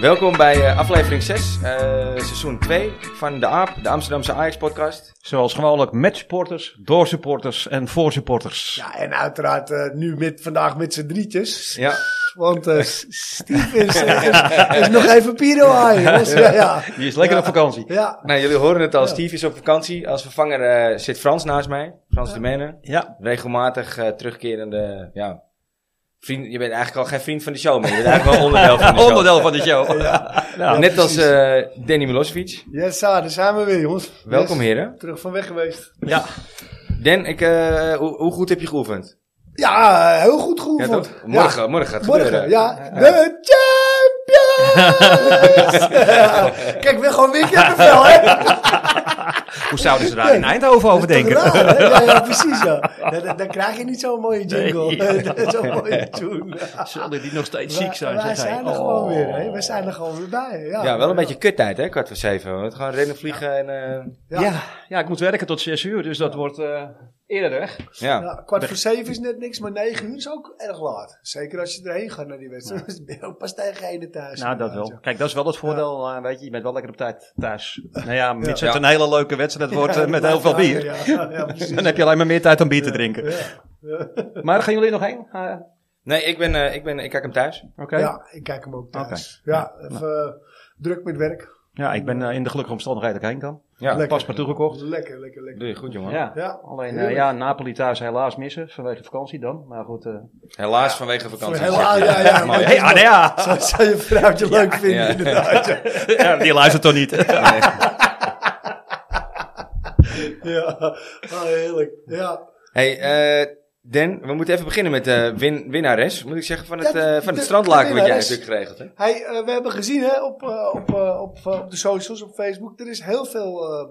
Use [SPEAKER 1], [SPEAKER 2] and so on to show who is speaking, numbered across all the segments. [SPEAKER 1] Welkom bij eh, aflevering 6, eh, seizoen 2 van de AAP, de Amsterdamse Ajax-podcast.
[SPEAKER 2] Zoals gewoonlijk met supporters, door supporters en voor supporters.
[SPEAKER 3] Ja, en uiteraard eh, nu met, vandaag met z'n drietjes.
[SPEAKER 1] Ja,
[SPEAKER 3] Want eh, S- Steve is, eh, is nog even Piro aan, jongens. Ja, ja.
[SPEAKER 2] Die is lekker op vakantie.
[SPEAKER 3] ja.
[SPEAKER 1] nou jullie horen het al, Steve is op vakantie. Als vervanger eh, zit Frans naast mij, Frans de Menen.
[SPEAKER 2] Ja,
[SPEAKER 1] Regelmatig eh, terugkerende, ja, vriend, je bent eigenlijk al geen vriend van de show meer. Je bent eigenlijk wel onderdeel van de show.
[SPEAKER 2] onderdeel van de show. Ja,
[SPEAKER 1] Net als eh, Danny Milosevic.
[SPEAKER 3] Yes, ah, daar zijn we weer, jongens.
[SPEAKER 1] Welkom
[SPEAKER 3] Yes.
[SPEAKER 1] heren.
[SPEAKER 3] Terug van weg geweest.
[SPEAKER 2] Ja,
[SPEAKER 1] Dan, ik, eh, hoe, hoe goed heb je geoefend?
[SPEAKER 3] Ja, eh, heel goed
[SPEAKER 1] Ja,
[SPEAKER 3] geoefend.
[SPEAKER 1] toch? Morgen, morgen gaat het
[SPEAKER 3] Morgen,
[SPEAKER 1] gebeuren.
[SPEAKER 3] ja. De Champions! Kijk, weer gewoon weer kippenvel, hè?
[SPEAKER 2] hoe zouden ze daar in Eindhoven over denken?
[SPEAKER 3] Toch raar, hè? ja, ja, precies, ja. Ja, Dan, dan krijg je niet zo'n mooie jingle. zo'n mooie tune.
[SPEAKER 2] Zullen die nog steeds
[SPEAKER 3] Wij- Wij zijn er
[SPEAKER 2] Oh.
[SPEAKER 3] gewoon weer, hè? Wij zijn er gewoon weer bij. Ja,
[SPEAKER 1] Ja, wel een beetje kuttijd hè, kwart voor zeven. We gaan rennen, vliegen en... eh,
[SPEAKER 2] Ja. Oh. Ja, ik moet werken tot 6 uur, dus dat wordt eh, eerder weg.
[SPEAKER 1] ja.
[SPEAKER 3] Ja, kwart voor zeven is net niks, maar negen uur is ook erg laat. Zeker als je erheen gaat naar die wedstrijd. Dan ben je ook pas tegen ene thuis.
[SPEAKER 2] Nou, dat wel. Kijk, dat is wel het voordeel, eh, weet je, je bent wel lekker op tijd thuis. Nou ja, mits
[SPEAKER 1] Ja.
[SPEAKER 2] het een hele leuke wedstrijd wordt eh,
[SPEAKER 3] Ja,
[SPEAKER 2] met
[SPEAKER 3] dat
[SPEAKER 2] heel veel
[SPEAKER 3] laat-
[SPEAKER 2] bier,
[SPEAKER 3] Ja, ja, ja, precies.
[SPEAKER 2] dan heb je alleen maar meer tijd om bier te drinken.
[SPEAKER 3] Ja,
[SPEAKER 2] Maar gaan jullie nog heen? Eh,
[SPEAKER 1] Nee, ik ben, eh, ik ben, ik kijk hem thuis.
[SPEAKER 2] Oké.
[SPEAKER 3] ja, ik kijk hem ook thuis. Ja, even eh, druk met werk.
[SPEAKER 2] Ja, ik ben eh, in de gelukkige omstandigheden dat ik heen kan.
[SPEAKER 1] Ja,
[SPEAKER 3] Lekker.
[SPEAKER 2] Pas maar toegekocht.
[SPEAKER 3] Lekker, lekker, lekker.
[SPEAKER 1] doe je goed, jongen.
[SPEAKER 2] Ja.
[SPEAKER 3] Ja,
[SPEAKER 2] Alleen eh,
[SPEAKER 3] heerlijk.
[SPEAKER 2] ja, Napoli thuis helaas missen vanwege de vakantie dan. Maar goed. eh
[SPEAKER 1] Helaas vanwege vakantie.
[SPEAKER 3] Helaas, ja, ja.
[SPEAKER 1] Mooi.
[SPEAKER 3] Hey,
[SPEAKER 2] ah, Anea!
[SPEAKER 3] Zou, zou je vrouwtje leuk vinden,
[SPEAKER 1] Ja.
[SPEAKER 3] inderdaad. Ja.
[SPEAKER 2] die luistert toch niet?
[SPEAKER 3] Ja. Ah, heerlijk. Ja.
[SPEAKER 1] Hey, eh Dan, we moeten even beginnen met de win winnares, moet ik zeggen, van het,
[SPEAKER 3] Ja,
[SPEAKER 1] eh,
[SPEAKER 3] de-
[SPEAKER 1] van
[SPEAKER 3] de-
[SPEAKER 1] het strandlaken
[SPEAKER 3] de
[SPEAKER 1] wat jij
[SPEAKER 3] winnares.
[SPEAKER 1] natuurlijk geregeld hebt.
[SPEAKER 3] Hey, eh, we hebben gezien hè, op, eh, op, eh, op, eh, op de socials, op Facebook. Er is heel veel eh eh,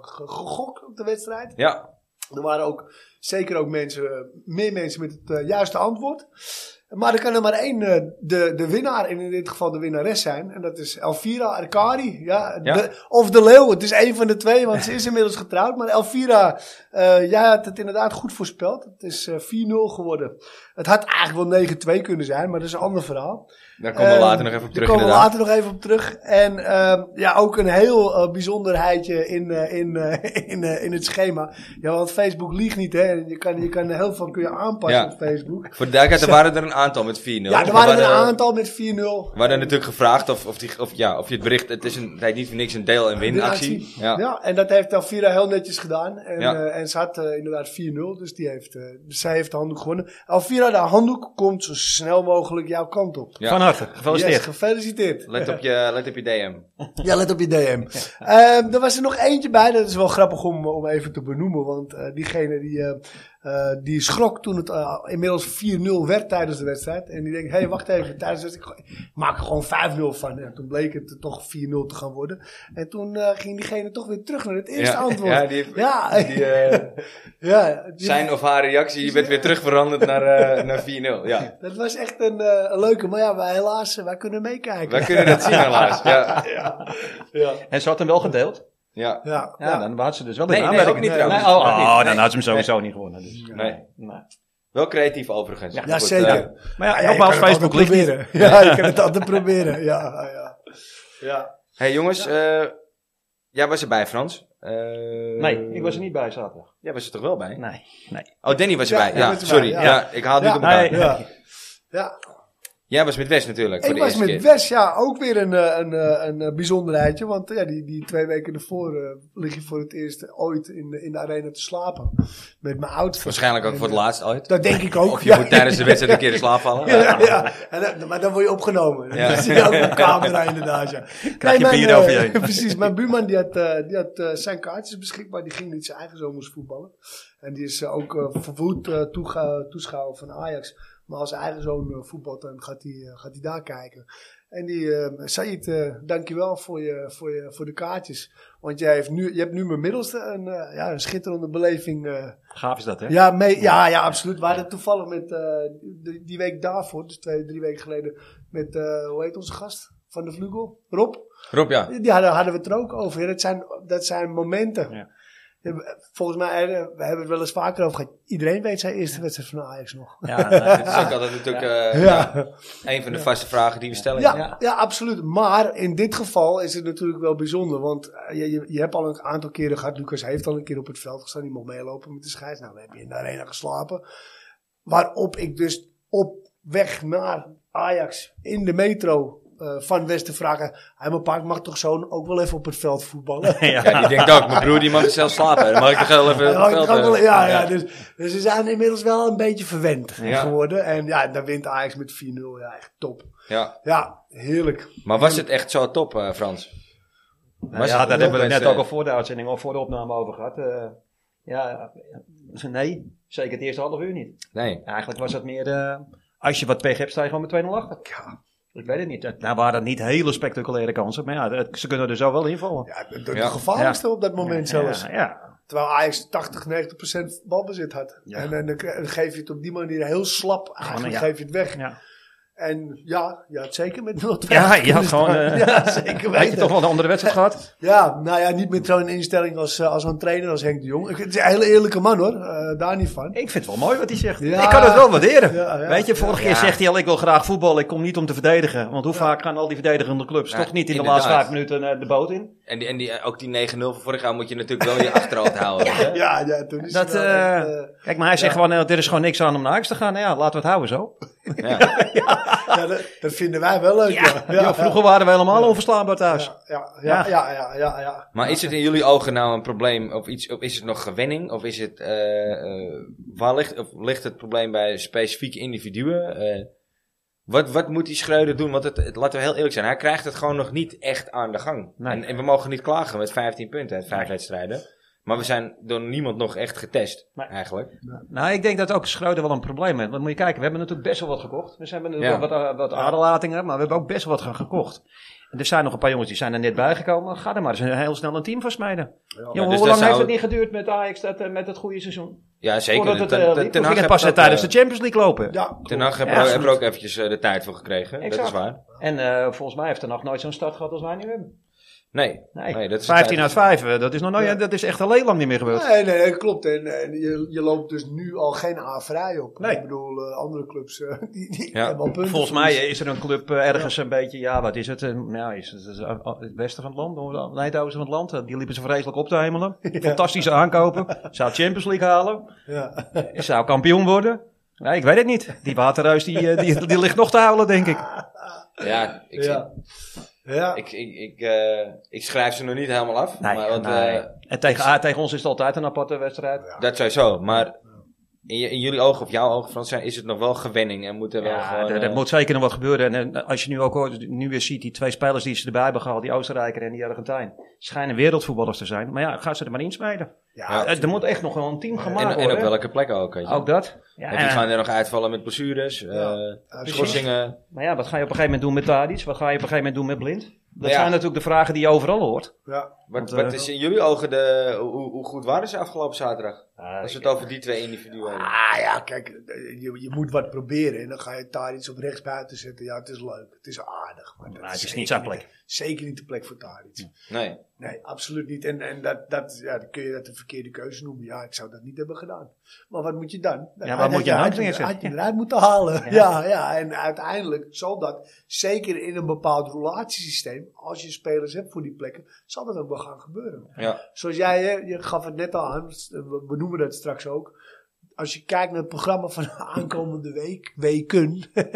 [SPEAKER 3] ge- gegok op de wedstrijd.
[SPEAKER 1] Ja,
[SPEAKER 3] Er waren ook zeker ook mensen, eh, meer mensen met het eh, juiste antwoord. Maar er kan er maar één eh, de, de winnaar, en in dit geval de winnares zijn. En dat is Elvira Arcari. Ja,
[SPEAKER 1] Ja.
[SPEAKER 3] de- of de leeuw, het is één van de twee, want ze is inmiddels getrouwd. Maar Elvira, eh, jij had het inderdaad goed voorspeld. Het is eh, 4-0 geworden. Het had eigenlijk wel 9-2 kunnen zijn, maar dat is een ander verhaal.
[SPEAKER 1] daar komen we
[SPEAKER 3] Ehm,
[SPEAKER 1] later nog even op terug
[SPEAKER 3] Daar komen we
[SPEAKER 1] inderdaad.
[SPEAKER 3] later nog even op terug. En ehm, ja, ook een heel eh, bijzonderheidje in, eh, in, eh, in, eh, in het schema. Ja, want Facebook liegt niet, hè. Je kan, je kan heel veel kun je aanpassen
[SPEAKER 1] Ja.
[SPEAKER 3] op Facebook.
[SPEAKER 1] Voor de duidelijkheid, er waren er een aantal met 4-0.
[SPEAKER 3] Ja, er
[SPEAKER 1] We
[SPEAKER 3] waren er een aantal met 4-0.
[SPEAKER 1] We hadden natuurlijk gevraagd of, of, die, of, ja, of je het bericht, het is een, het heet niet voor niks een deel- en winactie.
[SPEAKER 3] Winactie.
[SPEAKER 1] Ja.
[SPEAKER 3] en dat heeft Elvira heel netjes gedaan. En,
[SPEAKER 1] Ja.
[SPEAKER 3] eh, en ze had eh, inderdaad 4-0, dus die heeft, eh, dus zij heeft de handdoek gewonnen. Elvira, de handdoek komt zo snel mogelijk jouw kant op.
[SPEAKER 1] Ja.
[SPEAKER 2] Van harte,
[SPEAKER 3] Yes,
[SPEAKER 2] gefeliciteerd.
[SPEAKER 3] gefeliciteerd.
[SPEAKER 1] Let op je, let op je DM.
[SPEAKER 3] Ja, let op je DM. Ehm er was er nog eentje bij, dat is wel grappig om, om even te benoemen. Want eh, diegene die, eh, eh, die schrok toen het eh, inmiddels 4-0 werd tijdens de wedstrijd. En die denkt, hé, hey, wacht even, tijdens de wedstrijd, ik maak er gewoon 5-0 van. En toen bleek het toch 4-0 te gaan worden. En toen eh, ging diegene toch weer terug naar het eerste
[SPEAKER 1] Ja,
[SPEAKER 3] antwoord.
[SPEAKER 1] ja, die heeft-
[SPEAKER 3] ja,
[SPEAKER 1] Die, eh,
[SPEAKER 3] ja, die-
[SPEAKER 1] zijn of haar reactie, je bent weer terug veranderd naar, eh, naar 4-0. Ja.
[SPEAKER 3] dat was echt een, eh, een leuke. Maar ja, wij, helaas, eh, wij kunnen meekijken.
[SPEAKER 1] Wij kunnen dat zien helaas. Ja.
[SPEAKER 3] ja.
[SPEAKER 2] En ze had hem wel gedeeld?
[SPEAKER 1] Ja.
[SPEAKER 3] Ja,
[SPEAKER 2] Ja, dan had ze dus wel
[SPEAKER 1] Nee,
[SPEAKER 2] in
[SPEAKER 1] nee,
[SPEAKER 2] aanmerking.
[SPEAKER 1] ook niet
[SPEAKER 2] Nee,
[SPEAKER 1] trouwens.
[SPEAKER 2] oh,
[SPEAKER 1] Ook niet.
[SPEAKER 2] oh,
[SPEAKER 1] Nee.
[SPEAKER 2] dan had ze hem sowieso niet gewonnen. Dus.
[SPEAKER 1] Nee.
[SPEAKER 2] nee.
[SPEAKER 1] Wel creatief overigens.
[SPEAKER 2] Ja,
[SPEAKER 3] ja
[SPEAKER 1] Goed,
[SPEAKER 3] zeker.
[SPEAKER 1] eh,
[SPEAKER 2] Maar ja,
[SPEAKER 3] Ja,
[SPEAKER 2] nogmaals,
[SPEAKER 3] je kan het
[SPEAKER 2] Facebook
[SPEAKER 3] altijd
[SPEAKER 2] ligt niet.
[SPEAKER 3] proberen. Ja, je kan het altijd proberen. Ja, ja. ja.
[SPEAKER 1] hey jongens, eh, jij was erbij Frans. Eh,
[SPEAKER 2] Nee, ik was er niet bij zaterdag.
[SPEAKER 1] Jij was er toch wel bij?
[SPEAKER 2] Nee, nee.
[SPEAKER 1] Oh, Danny was
[SPEAKER 3] Ja,
[SPEAKER 1] erbij.
[SPEAKER 3] ik
[SPEAKER 1] Ja,
[SPEAKER 3] was erbij,
[SPEAKER 1] sorry. Ja.
[SPEAKER 3] ja.
[SPEAKER 1] ik haal het
[SPEAKER 3] Ja.
[SPEAKER 1] niet op elkaar.
[SPEAKER 2] Nee.
[SPEAKER 3] ja. ja.
[SPEAKER 1] Jij was met Wes natuurlijk. voor
[SPEAKER 3] Ik
[SPEAKER 1] de
[SPEAKER 3] was
[SPEAKER 1] eerste
[SPEAKER 3] met
[SPEAKER 1] keer.
[SPEAKER 3] Wes, ja, ook weer een, eh, een, eh, een, eh, bijzonderheidje. Want eh, ja, die, die twee weken ervoor eh, lig je voor het eerst ooit in de, in de arena te slapen. Met mijn outfit. eh,
[SPEAKER 1] Waarschijnlijk ook voor het laatst ooit.
[SPEAKER 3] Dat denk ik ook.
[SPEAKER 1] Of je
[SPEAKER 3] ja.
[SPEAKER 1] moet tijdens de wedstrijd een keer in slaap vallen.
[SPEAKER 3] Ja, ja, ja. En dan- maar dan word je opgenomen.
[SPEAKER 1] Ja.
[SPEAKER 3] Dan zie je ook een camera inderdaad. Ja. Krijg
[SPEAKER 2] je bier over je heen.
[SPEAKER 3] precies, mijn buurman die had, eh, die had eh, zijn kaartjes beschikbaar. Die ging niet zijn eigen zomers voetballen. En die is eh, ook eh, verwoed eh, toega- toeschouwer van Ajax. Maar als zijn eigen zoon eh, voetbalt, dan gaat hij eh, gaat hij daar kijken. En die eh Said, eh, dankjewel voor, je, voor, je, voor de kaartjes. Want jij heeft nu, je hebt nu mijn middelste een, eh, ja, een schitterende beleving eh,
[SPEAKER 2] Gaaf is dat, hè?
[SPEAKER 3] ja, mee, ja, ja, absoluut. We hadden toevallig met, eh, die, die week daarvoor, dus twee, drie weken geleden, met, eh, hoe heet onze gast? Van de Vlugel, Rob.
[SPEAKER 1] Rob, ja.
[SPEAKER 3] Die hadden, hadden we het er ook over. Ja, dat, zijn, dat zijn momenten.
[SPEAKER 2] Ja.
[SPEAKER 3] Ja. Volgens mij, eh, we hebben het wel eens vaker over gehad. Iedereen weet zijn eerste wedstrijd van Ajax nog.
[SPEAKER 2] Ja, nou,
[SPEAKER 1] Dat is ook altijd natuurlijk eh,
[SPEAKER 3] Ja.
[SPEAKER 1] een van de vaste vragen die we stellen.
[SPEAKER 3] Ja,
[SPEAKER 2] Ja.
[SPEAKER 3] ja. absoluut. Maar in dit geval is het natuurlijk wel bijzonder. Want eh, je, je, je hebt al een aantal keren gehad. Lucas heeft al een keer op het veld gestaan. Die mocht meelopen met de scheids. Nou, we hebben in de arena geslapen. Waarop ik dus op weg naar Ajax in de metro eh, van Westen vragen. Hij mijn paard mag toch zo'n ook wel even op het veld voetballen?
[SPEAKER 1] Ja, die denkt ook, mijn broer die mag zelf slapen. Dan mag ik toch heel even
[SPEAKER 3] Ja,
[SPEAKER 1] op het
[SPEAKER 3] ik
[SPEAKER 1] veld,
[SPEAKER 3] kan wel-
[SPEAKER 1] eh,
[SPEAKER 3] ja, ja, dus, dus ze zijn inmiddels wel een beetje verwend
[SPEAKER 1] Ja.
[SPEAKER 3] geworden. En ja, dan wint Ajax met 4-0. Ja, echt top.
[SPEAKER 1] Ja.
[SPEAKER 3] Ja, heerlijk.
[SPEAKER 1] Maar was het echt zo top, eh, Frans? Was
[SPEAKER 2] ja,
[SPEAKER 1] het
[SPEAKER 2] daar hebben we
[SPEAKER 1] mensen-
[SPEAKER 2] net ook al voor de uitzending, al voor de opname over gehad. Eh, ja, eh, nee, zeker het eerste half uur niet.
[SPEAKER 1] Nee.
[SPEAKER 2] Eigenlijk was het meer, eh, als je wat pech hebt, sta je gewoon met 2-0 achter. Ik weet het niet. Het- Nou waren dat niet hele spectaculaire kansen, maar ja, het- ze kunnen er zo wel invallen.
[SPEAKER 3] Ja, de, de
[SPEAKER 1] Ja.
[SPEAKER 3] gevaarlijkste op dat moment zelfs.
[SPEAKER 2] Ja, ja.
[SPEAKER 3] Terwijl Ajax 80, 90 balbezit had.
[SPEAKER 2] Ja.
[SPEAKER 3] En, en dan kre- dan geef je het op die manier heel slap. Eigenlijk
[SPEAKER 2] ja.
[SPEAKER 3] geef je het weg.
[SPEAKER 2] ja.
[SPEAKER 3] En ja, je had zeker met 0-2.
[SPEAKER 2] ja je had
[SPEAKER 3] kunnen
[SPEAKER 2] gewoon,
[SPEAKER 3] staan.
[SPEAKER 2] eh,
[SPEAKER 3] ja, zeker
[SPEAKER 2] Had je
[SPEAKER 3] weten.
[SPEAKER 2] toch wel een andere wedstrijd gehad?
[SPEAKER 3] Ja, nou ja, niet met zo'n instelling als, eh, als zo'n trainer als Henk de Jong. Ik- Het is een hele eerlijke man hoor, eh, daar niet van.
[SPEAKER 2] Ik vind het wel mooi wat hij zegt.
[SPEAKER 3] Ja.
[SPEAKER 2] Ik kan het wel waarderen.
[SPEAKER 3] Ja, ja.
[SPEAKER 2] Weet je, vorige keer
[SPEAKER 1] Ja.
[SPEAKER 2] zegt hij al, ik wil graag voetballen, ik kom niet om te verdedigen. Want hoe vaak gaan al die verdedigende clubs
[SPEAKER 1] Ja,
[SPEAKER 2] toch niet in de laatste
[SPEAKER 1] inderdaad.
[SPEAKER 2] vijf minuten eh, de boot in?
[SPEAKER 1] En, die, en die, ook die 9-0 van vorig jaar moet je natuurlijk wel in je achterhoofd houden. hè?
[SPEAKER 3] Ja, ja, toen is
[SPEAKER 2] Dat,
[SPEAKER 3] het wel
[SPEAKER 2] eh,
[SPEAKER 3] echt, eh,
[SPEAKER 2] Kijk, maar hij zegt gewoon, eh, er is gewoon niks aan om naar huis te gaan. Nou ja, laten we het houden zo.
[SPEAKER 1] Ja.
[SPEAKER 3] eh, ja, dat, dat vinden wij wel leuk. Ja, ja,
[SPEAKER 2] Ja, vroeger waren we helemaal onverslaanbaar thuis.
[SPEAKER 3] Ja, ja, ja, ja, ja, ja, ja.
[SPEAKER 1] Maar is het in jullie ogen nou een probleem? Of, iets, of is het nog gewenning? Of, is het, eh, eh, waar ligt, of ligt het probleem bij specifieke individuen? Eh, wat, wat moet die Schreuder doen? Want het, het- laten we heel eerlijk zijn, hij krijgt het gewoon nog niet echt aan de gang.
[SPEAKER 2] Nee.
[SPEAKER 1] En, en we mogen niet klagen met 15 punten uit vijf wedstrijden. Maar we zijn door niemand nog echt getest,
[SPEAKER 2] Nee.
[SPEAKER 1] eigenlijk.
[SPEAKER 2] Nou, ik denk dat ook Schreuder wel een probleem heeft. Want moet je kijken, we hebben natuurlijk best wel wat gekocht. We hebben
[SPEAKER 1] Ja.
[SPEAKER 2] natuurlijk wel wat, eh, wat aderlatingen, maar we hebben ook best wel wat ge- gekocht. En er zijn nog een paar jongens die zijn er net bijgekomen. Ga er maar eens een- heel snel een team van smeden. Jongen,
[SPEAKER 1] dus
[SPEAKER 2] hoe
[SPEAKER 1] dat
[SPEAKER 2] lang
[SPEAKER 1] zou-
[SPEAKER 2] heeft het niet geduurd met Ajax dat, eh, met het goede seizoen?
[SPEAKER 1] Ja, zeker. dus
[SPEAKER 2] Voordat het,
[SPEAKER 1] Ten-
[SPEAKER 2] eh,
[SPEAKER 1] ten- Ten
[SPEAKER 2] liep. Toen
[SPEAKER 1] Hag
[SPEAKER 2] ging het
[SPEAKER 1] heeft
[SPEAKER 2] pas
[SPEAKER 1] dat,
[SPEAKER 2] tijdens de
[SPEAKER 1] eh,
[SPEAKER 2] Champions League lopen.
[SPEAKER 3] Ja,
[SPEAKER 1] Ten Hag heeft
[SPEAKER 2] Ja,
[SPEAKER 1] er ook- heeft
[SPEAKER 2] absoluut.
[SPEAKER 1] er ook eventjes eh, de tijd voor gekregen. Dat
[SPEAKER 2] Exact.
[SPEAKER 1] is waar.
[SPEAKER 2] En eh, volgens mij heeft er nog nooit zo'n start gehad als wij nu hebben.
[SPEAKER 1] Nee,
[SPEAKER 2] Nee,
[SPEAKER 1] Nee, dat is de
[SPEAKER 2] 15
[SPEAKER 1] tijd.
[SPEAKER 2] uit 5, eh, dat is, nog nooit,
[SPEAKER 3] Ja.
[SPEAKER 2] dat is echt al heel lang niet meer gebeurd.
[SPEAKER 3] Nee, nee, nee, klopt. En, en je, je loopt dus nu al geen A vrij op.
[SPEAKER 2] Nee.
[SPEAKER 3] Ik bedoel, eh, andere clubs eh, die, die
[SPEAKER 1] Ja.
[SPEAKER 3] hebben al punten.
[SPEAKER 2] Volgens mij is er een club eh, ergens een beetje, ja, wat is het? eh, Nou, is het, het- het westen van het land, noorden- nee, het oosten van het land. eh, Die liepen ze vreselijk op te hemelen. Fantastische aankopen. Zou Champions League halen.
[SPEAKER 3] Ja.
[SPEAKER 2] Zou kampioen worden. Nee, ik weet het niet. Die waterreus, die, eh, die, die ligt nog te huilen, denk ik.
[SPEAKER 1] ja, ik,
[SPEAKER 3] Ja. Ja.
[SPEAKER 1] Ik, ik, ik, eh, ik schrijf ze nog niet helemaal af.
[SPEAKER 2] Nee,
[SPEAKER 1] maar want,
[SPEAKER 2] nee.
[SPEAKER 1] eh,
[SPEAKER 2] en tegen, ah, tegen ons is het altijd een aparte wedstrijd.
[SPEAKER 1] dat sowieso. Maar in, je- in jullie ogen of jouw ogen, Frans, zijn- is het nog wel gewenning. En moet er wel
[SPEAKER 2] Ja,
[SPEAKER 1] gewoon...
[SPEAKER 2] er, er
[SPEAKER 1] eh,
[SPEAKER 2] moet zeker nog wat gebeuren. En, eh, als je nu ook hoort, nu weer ziet, die twee spelers die ze erbij hebben gehaald, die Oostenrijker en die Argentijn, schijnen wereldvoetballers te zijn. Maar ja, gaan ze er maar insmijden.
[SPEAKER 3] ja.
[SPEAKER 2] Eh, Er moet echt nog wel een team gemaakt
[SPEAKER 1] en, en
[SPEAKER 2] worden.
[SPEAKER 1] op welke plek ook. Weet je.
[SPEAKER 2] Ook dat. Ja,
[SPEAKER 1] en die gaan er nog uitvallen met blessures, eh
[SPEAKER 3] precies.
[SPEAKER 1] schorsingen.
[SPEAKER 2] Maar ja, wat ga je op een gegeven moment doen met Tadic? Wat ga je op een gegeven moment doen met Blind? Dat
[SPEAKER 1] Ja.
[SPEAKER 2] zijn natuurlijk de vragen die je overal hoort.
[SPEAKER 3] Ja.
[SPEAKER 1] Wat,
[SPEAKER 2] Want,
[SPEAKER 1] wat
[SPEAKER 2] eh,
[SPEAKER 1] is in jullie ogen de... Hoe, hoe goed waren ze afgelopen zaterdag? Als we het over die twee individuen hebben.
[SPEAKER 3] Ah ja, kijk, eh, je, je moet wat proberen. En dan ga je Taric op rechts buiten zetten. Ja, het is leuk. Het is aardig. Maar, dat
[SPEAKER 2] Maar Nou, het is
[SPEAKER 3] zeker
[SPEAKER 2] niet zijn plek.
[SPEAKER 3] Zeker niet de plek voor Taric.
[SPEAKER 1] Nee.
[SPEAKER 3] Nee, absoluut niet. En, en dat, dat, ja, dan kun je dat een verkeerde keuze noemen. Ja, ik zou dat niet hebben gedaan. Maar wat moet je dan?
[SPEAKER 2] Ja, waar
[SPEAKER 3] Hij
[SPEAKER 2] moet
[SPEAKER 3] had
[SPEAKER 2] je nou
[SPEAKER 3] had
[SPEAKER 2] neer
[SPEAKER 3] je
[SPEAKER 2] zetten?
[SPEAKER 3] had je eruit moeten halen.
[SPEAKER 2] Ja.
[SPEAKER 3] Ja. Ja, en uiteindelijk zal dat, zeker in een bepaald relatiesysteem, als je spelers hebt voor die plekken, zal dat ook wel gaan gebeuren.
[SPEAKER 1] Ja.
[SPEAKER 3] Zoals jij, hè, je gaf het net al aan, we we noemen dat straks ook. Als je kijkt naar het programma van aankomende week, weken.
[SPEAKER 1] Ja.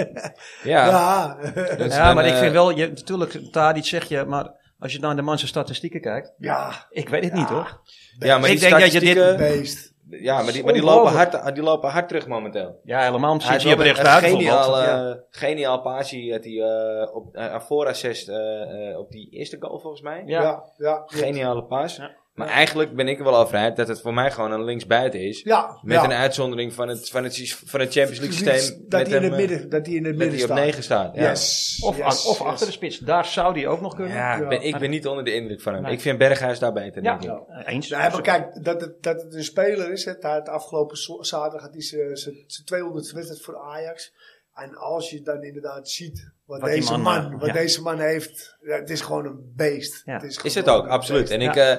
[SPEAKER 3] ja.
[SPEAKER 1] Dat is
[SPEAKER 2] ja,
[SPEAKER 1] dan,
[SPEAKER 2] maar ik
[SPEAKER 1] eh,
[SPEAKER 2] vind wel, je, natuurlijk, Tadic zeg je, maar als je naar de manse statistieken kijkt,
[SPEAKER 3] ja.
[SPEAKER 2] ik weet het niet hoor.
[SPEAKER 1] Ja, maar
[SPEAKER 2] Ik
[SPEAKER 1] die
[SPEAKER 2] denk dat je dit-
[SPEAKER 1] statistieken-
[SPEAKER 3] Beest.
[SPEAKER 1] Ja, maar die, maar die, lopen, hard, die lopen hard terug momenteel.
[SPEAKER 2] Ja, helemaal
[SPEAKER 1] Hij
[SPEAKER 2] zit
[SPEAKER 1] had
[SPEAKER 2] je op
[SPEAKER 1] wel een
[SPEAKER 2] rechteruit.
[SPEAKER 1] geniaal,
[SPEAKER 2] bijvoorbeeld.
[SPEAKER 1] eh, geniaal passie dat hij eh, op eh, voor assist eh, eh, op die eerste goal volgens mij.
[SPEAKER 2] Ja. Ja.
[SPEAKER 3] Ja, ja.
[SPEAKER 1] Geniale pas.
[SPEAKER 2] Ja.
[SPEAKER 1] Maar eigenlijk ben ik er wel over uit dat het voor mij gewoon een linksbuiten is.
[SPEAKER 3] Ja,
[SPEAKER 1] Met
[SPEAKER 3] ja.
[SPEAKER 1] een uitzondering van het, van het, sys- van het Champions League
[SPEAKER 3] Precies,
[SPEAKER 1] systeem.
[SPEAKER 3] Dat
[SPEAKER 1] met
[SPEAKER 3] hij in
[SPEAKER 1] hem,
[SPEAKER 3] het
[SPEAKER 1] eh,
[SPEAKER 3] midden, dat hij in het
[SPEAKER 1] dat
[SPEAKER 3] midden
[SPEAKER 1] hij op
[SPEAKER 3] staat.
[SPEAKER 1] 9 staat. Ja.
[SPEAKER 3] Yes.
[SPEAKER 2] Of,
[SPEAKER 3] yes,
[SPEAKER 2] aan- of
[SPEAKER 3] yes.
[SPEAKER 2] achter de spits, daar zou die ook nog kunnen.
[SPEAKER 1] Ja, ik ben, ik ben niet onder de indruk van hem. Ik vind Berghuis daar beter,
[SPEAKER 2] Ja,
[SPEAKER 1] denk ik.
[SPEAKER 2] eens.
[SPEAKER 3] Nou, maar kijk, dat het, dat het een speler is. Het, het afgelopen zo- zaterdag had hij zijn- zijn zijn 200 wedstrijd voor Ajax. En als je dan inderdaad ziet wat,
[SPEAKER 2] Wat die
[SPEAKER 3] deze
[SPEAKER 2] man,
[SPEAKER 3] man,
[SPEAKER 2] eh,
[SPEAKER 3] wat
[SPEAKER 2] ja.
[SPEAKER 3] deze man heeft. ja, het is gewoon een beest.
[SPEAKER 2] Ja.
[SPEAKER 3] gewoon
[SPEAKER 1] Is het
[SPEAKER 3] een
[SPEAKER 1] ook, absoluut.
[SPEAKER 3] beest.
[SPEAKER 1] En ik, eh,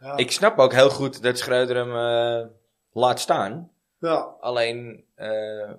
[SPEAKER 3] Ja.
[SPEAKER 1] Ik snap ook heel goed dat Schreuder hem eh, laat staan.
[SPEAKER 3] ja.
[SPEAKER 1] Alleen, eh,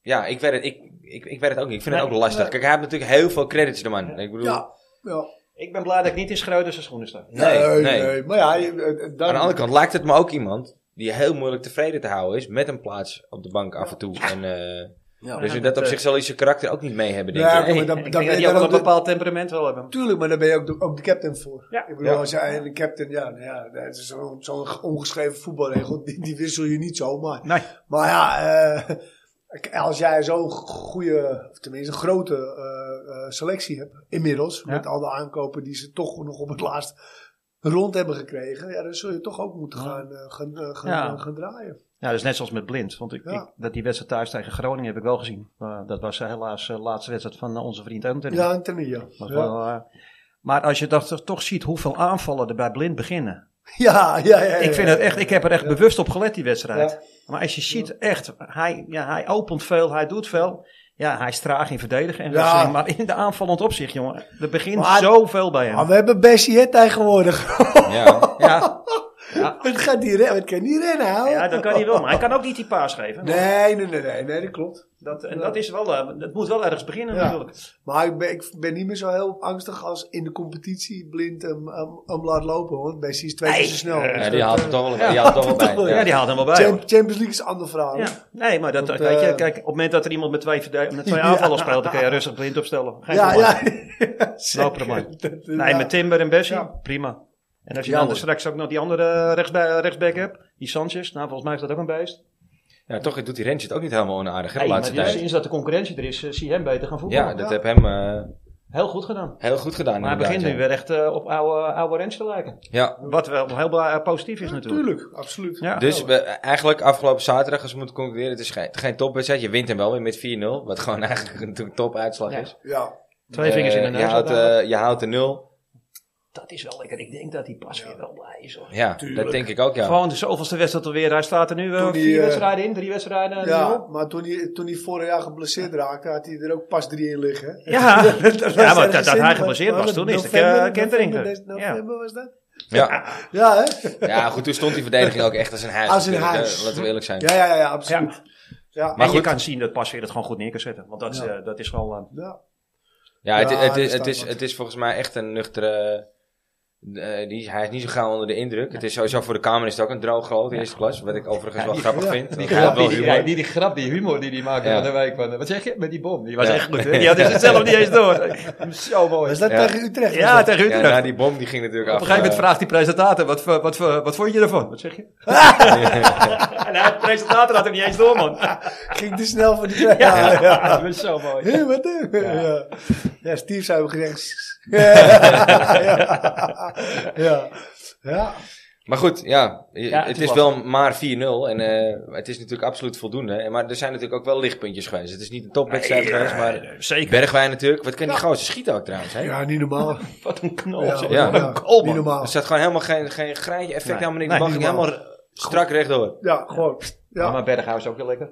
[SPEAKER 1] ja, ik weet, het, ik, ik, ik weet het ook niet. Ik vind het
[SPEAKER 2] Nee,
[SPEAKER 1] ook lastig.
[SPEAKER 3] nee.
[SPEAKER 1] Kijk, hij heeft natuurlijk heel veel credits, de man. Ik bedoel,
[SPEAKER 3] ja. ja.
[SPEAKER 2] Ik ben blij dat ik niet in Schreuder zijn schoenen sta.
[SPEAKER 1] nee, nee.
[SPEAKER 3] Maar ja, je- eh, eh, dan,
[SPEAKER 1] Aan de andere kant lijkt het me ook iemand die heel moeilijk tevreden te houden is met een plaats op de bank af en toe. En, eh,
[SPEAKER 3] Ja.
[SPEAKER 1] dus in dat opzicht zal hij zijn karakter ook niet mee hebben, denk
[SPEAKER 3] Ja,
[SPEAKER 1] ik.
[SPEAKER 3] maar
[SPEAKER 1] Nee.
[SPEAKER 3] dan,
[SPEAKER 2] Ik
[SPEAKER 3] dan
[SPEAKER 2] denk dat
[SPEAKER 3] ben
[SPEAKER 2] die
[SPEAKER 3] je
[SPEAKER 2] ook wel een
[SPEAKER 3] dan ook
[SPEAKER 2] bepaald temperament wil hebben.
[SPEAKER 3] Tuurlijk, maar daar ben je ook de, ook de captain voor.
[SPEAKER 2] Ja.
[SPEAKER 3] Ik bedoel,
[SPEAKER 1] Ja.
[SPEAKER 3] als je eigenlijk captain, ja, nou ja dat is zo'n zo'n ongeschreven voetbalregel, die, die wissel je niet zomaar.
[SPEAKER 2] Nee.
[SPEAKER 3] Maar ja, eh, k- als jij zo'n goede, of tenminste een grote eh, eh, selectie hebt, inmiddels,
[SPEAKER 2] Ja.
[SPEAKER 3] met alle aankopen die ze toch nog op het laatst rond hebben gekregen, ja, dan zul je toch ook moeten
[SPEAKER 2] Ja.
[SPEAKER 3] gaan, eh, gaan, eh, gaan,
[SPEAKER 2] Ja.
[SPEAKER 3] eh, gaan draaien.
[SPEAKER 2] Ja, dat is net zoals met Blind. Want ik,
[SPEAKER 3] Ja.
[SPEAKER 2] ik- dat die wedstrijd thuis tegen Groningen heb ik wel gezien. Eh, dat was helaas de laatste wedstrijd van eh, onze vriend Anthony.
[SPEAKER 3] Ja, Anthony, ja.
[SPEAKER 2] Maar,
[SPEAKER 3] Ja,
[SPEAKER 2] wel, eh, maar als je dat toch ziet hoeveel aanvallen er bij Blind beginnen.
[SPEAKER 3] ja, ja. ja,
[SPEAKER 2] Ik, vind
[SPEAKER 3] ja.
[SPEAKER 2] het echt, ik heb er echt
[SPEAKER 3] Ja.
[SPEAKER 2] bewust op gelet, die wedstrijd.
[SPEAKER 3] Ja.
[SPEAKER 2] Maar als je ziet, echt, hij, ja, hij opent veel, hij doet veel. Ja, hij is traag in verdedigen. En
[SPEAKER 3] Ja.
[SPEAKER 2] dat soort, maar in de aanvallend opzicht, jongen, er begint
[SPEAKER 3] Maar-
[SPEAKER 2] zoveel bij
[SPEAKER 3] Maar
[SPEAKER 2] hem.
[SPEAKER 3] we hebben Bessie hè, tegenwoordig.
[SPEAKER 1] Ja.
[SPEAKER 2] Ja, ja,
[SPEAKER 3] het, gaat niet redden, het kan niet rennen, hoor.
[SPEAKER 2] ja, dat kan hij wel. Maar hij kan ook niet die paas geven.
[SPEAKER 3] Nee, nee, nee, nee, nee, dat klopt.
[SPEAKER 2] Dat, en
[SPEAKER 3] Ja.
[SPEAKER 2] dat, is wel, eh, dat moet wel ergens beginnen
[SPEAKER 3] Ja.
[SPEAKER 2] natuurlijk.
[SPEAKER 3] Maar ik ben, ik ben niet meer zo heel angstig als in de competitie blind hem, hem, hem laat lopen. Want Bessie is twee keer
[SPEAKER 2] Nee.
[SPEAKER 3] zo snel.
[SPEAKER 2] Ja,
[SPEAKER 1] Ja,
[SPEAKER 3] Dus
[SPEAKER 1] die
[SPEAKER 3] dat,
[SPEAKER 1] haalt
[SPEAKER 3] eh,
[SPEAKER 1] het toch wel bij. Die haalt het toch wel bij.
[SPEAKER 2] Ja,
[SPEAKER 1] Ja.
[SPEAKER 2] die haalt hem wel bij.
[SPEAKER 3] Champ-
[SPEAKER 2] hoor.
[SPEAKER 3] Champions League is een ander verhaal. Ja,
[SPEAKER 2] Ja. Nee, maar dat,
[SPEAKER 3] Want,
[SPEAKER 2] weet je,
[SPEAKER 3] eh,
[SPEAKER 2] kijk, op het moment dat er iemand met twee, verde- met twee
[SPEAKER 3] Ja.
[SPEAKER 2] aanvallen speelt, dan kan je rustig blind opstellen. Geen
[SPEAKER 3] ja.
[SPEAKER 2] probleem.
[SPEAKER 3] ja, zeker.
[SPEAKER 2] No probleem.
[SPEAKER 3] Dat, eh,
[SPEAKER 2] Nee,
[SPEAKER 3] ja.
[SPEAKER 2] met Timber en Bessie,
[SPEAKER 3] Ja.
[SPEAKER 2] prima. En als je
[SPEAKER 3] Ja,
[SPEAKER 2] dan
[SPEAKER 3] hoor.
[SPEAKER 2] straks ook nog die andere eh, rechtsba- rechtsback hebt, die Sanchez, nou volgens mij is dat ook een beest.
[SPEAKER 1] Ja, toch doet die Rens het ook niet helemaal onaardig hè, de
[SPEAKER 2] Hey, maar
[SPEAKER 1] laatste
[SPEAKER 2] die-
[SPEAKER 1] tijd.
[SPEAKER 2] sinds dat de concurrentie er is, eh, zie je hem beter gaan voetballen.
[SPEAKER 1] Ja, dat
[SPEAKER 3] Ja.
[SPEAKER 1] heb hem eh,
[SPEAKER 2] Heel goed gedaan.
[SPEAKER 1] heel goed gedaan.
[SPEAKER 2] Maar hij
[SPEAKER 1] inderdaad,
[SPEAKER 2] begint nu
[SPEAKER 1] ja.
[SPEAKER 2] weer echt eh, op oude, oude Rens te lijken.
[SPEAKER 1] Ja.
[SPEAKER 3] Oh.
[SPEAKER 2] Wat wel heel bla- eh, positief is
[SPEAKER 3] Ja,
[SPEAKER 2] natuurlijk.
[SPEAKER 3] Tuurlijk, absoluut.
[SPEAKER 2] Ja.
[SPEAKER 1] Dus we, eigenlijk afgelopen zaterdag, als we moeten concluderen, het is geen, geen topwedstrijd. Je wint hem wel weer met 4-0, wat gewoon eigenlijk een topuitslag
[SPEAKER 2] Ja.
[SPEAKER 1] is.
[SPEAKER 3] Ja.
[SPEAKER 2] Twee vingers in de
[SPEAKER 1] Eh,
[SPEAKER 2] neus.
[SPEAKER 1] Je houdt,
[SPEAKER 2] uiteindelijk.
[SPEAKER 1] eh, je houdt de nul.
[SPEAKER 2] dat is wel lekker. Ik denk dat die pas weer wel blij is hoor.
[SPEAKER 1] Ja, dat
[SPEAKER 3] Tuurlijk.
[SPEAKER 1] denk ik ook, ja.
[SPEAKER 2] Gewoon de zoveelste wedstrijd alweer. Hij staat er nu eh,
[SPEAKER 3] Toen die,
[SPEAKER 2] vier
[SPEAKER 3] eh,
[SPEAKER 2] wedstrijden in, drie wedstrijden. eh,
[SPEAKER 3] Ja,
[SPEAKER 2] nul.
[SPEAKER 3] maar toen hij, toen hij vorig jaar geblesseerd raakte, had hij er ook pas drie in liggen. hè.
[SPEAKER 2] Ja,
[SPEAKER 3] was
[SPEAKER 2] ja maar dat,
[SPEAKER 3] ergens
[SPEAKER 2] dat
[SPEAKER 3] in,
[SPEAKER 2] hij
[SPEAKER 3] maar-
[SPEAKER 2] geblesseerd
[SPEAKER 3] maar
[SPEAKER 2] was toen is de
[SPEAKER 3] november-
[SPEAKER 2] ke- kentering.
[SPEAKER 3] november-
[SPEAKER 2] Ja.
[SPEAKER 3] November was dat?
[SPEAKER 1] ja.
[SPEAKER 3] Ja, hè?
[SPEAKER 1] ja, goed, toen stond die verdediging ook echt als een huis.
[SPEAKER 3] Als een
[SPEAKER 1] natuurlijk, hè.
[SPEAKER 3] huis.
[SPEAKER 1] Laten we eerlijk zijn.
[SPEAKER 3] Ja, ja, ja, ja, absoluut. Ja.
[SPEAKER 1] Maar
[SPEAKER 2] Maar je
[SPEAKER 1] goed.
[SPEAKER 2] kan zien dat Pasveer het gewoon goed neer kan zetten. Want dat, is,
[SPEAKER 3] Ja.
[SPEAKER 2] eh, dat is wel... eh,
[SPEAKER 3] Ja.
[SPEAKER 1] Ja, het,
[SPEAKER 3] Ja,
[SPEAKER 1] het,
[SPEAKER 3] er
[SPEAKER 1] is, het,
[SPEAKER 3] staat
[SPEAKER 1] is,
[SPEAKER 3] wat.
[SPEAKER 1] het is volgens mij echt een nuchtere... eh, die, hij is niet zo gauw onder de indruk. Het is sowieso voor de Kamer is het ook een droog groot in eerste klas. Wat ik overigens
[SPEAKER 2] Ja,
[SPEAKER 1] wel
[SPEAKER 4] die-
[SPEAKER 1] grappig
[SPEAKER 3] ja,
[SPEAKER 1] vind.
[SPEAKER 4] Die
[SPEAKER 1] Ik haal
[SPEAKER 4] grap,
[SPEAKER 1] wel
[SPEAKER 4] die, die,
[SPEAKER 1] humor.
[SPEAKER 4] die, die grap, die humor die die maakte
[SPEAKER 1] Ja.
[SPEAKER 4] van de week. Van, wat zeg je? Met die bom. Die was
[SPEAKER 1] Ja.
[SPEAKER 4] echt goed, hè?
[SPEAKER 2] Die
[SPEAKER 4] Die had
[SPEAKER 2] had het zelf niet eens door.
[SPEAKER 4] hem zo mooi.
[SPEAKER 3] Was dat
[SPEAKER 1] Ja.
[SPEAKER 3] tegen Utrecht? was
[SPEAKER 2] Ja,
[SPEAKER 3] dat?
[SPEAKER 2] tegen
[SPEAKER 1] Ja,
[SPEAKER 2] Utrecht.
[SPEAKER 1] nou, die bom die ging natuurlijk
[SPEAKER 4] Op
[SPEAKER 1] af.
[SPEAKER 4] een gegeven moment
[SPEAKER 1] eh,
[SPEAKER 4] vraagt die presentator, wat, voor- wat, voor- wat vond je ervan? Wat zeg je?
[SPEAKER 2] En de presentator had het niet eens door, man. Ja,
[SPEAKER 3] Ging te snel voor die ja, ja.
[SPEAKER 2] dat is zo mooi.
[SPEAKER 3] Hé, wat hè? Ja. ja, Steve zou hebben gezegd. "Sss." ja. ja. ja.
[SPEAKER 1] Maar goed, ja, je-
[SPEAKER 2] Ja,
[SPEAKER 1] het
[SPEAKER 2] het
[SPEAKER 1] is
[SPEAKER 2] is
[SPEAKER 1] wel maar 4-0. En eh, het is natuurlijk absoluut voldoende. En Maar er zijn natuurlijk ook wel lichtpuntjes geweest. Het is niet een topwedstrijd geweest, maar...
[SPEAKER 2] Zeker.
[SPEAKER 1] Bergwijn natuurlijk. Wat kan die gozer schieten ook trouwens, hè?
[SPEAKER 3] Ja, niet normaal.
[SPEAKER 2] Wat een knal.
[SPEAKER 3] Ja,
[SPEAKER 2] zeg.
[SPEAKER 1] ja.
[SPEAKER 2] Wat een goal,
[SPEAKER 3] niet
[SPEAKER 2] man.
[SPEAKER 1] Er
[SPEAKER 3] normaal.
[SPEAKER 1] zat gewoon helemaal geen, geen graantje effect,
[SPEAKER 2] Nee.
[SPEAKER 1] helemaal niks.
[SPEAKER 2] Nee,
[SPEAKER 1] De bal ging
[SPEAKER 3] niet normaal.
[SPEAKER 1] helemaal strak rechtdoor.
[SPEAKER 3] Ja, gewoon.
[SPEAKER 2] Ja,
[SPEAKER 3] Ja.
[SPEAKER 2] maar Berghuis ook weer lekker.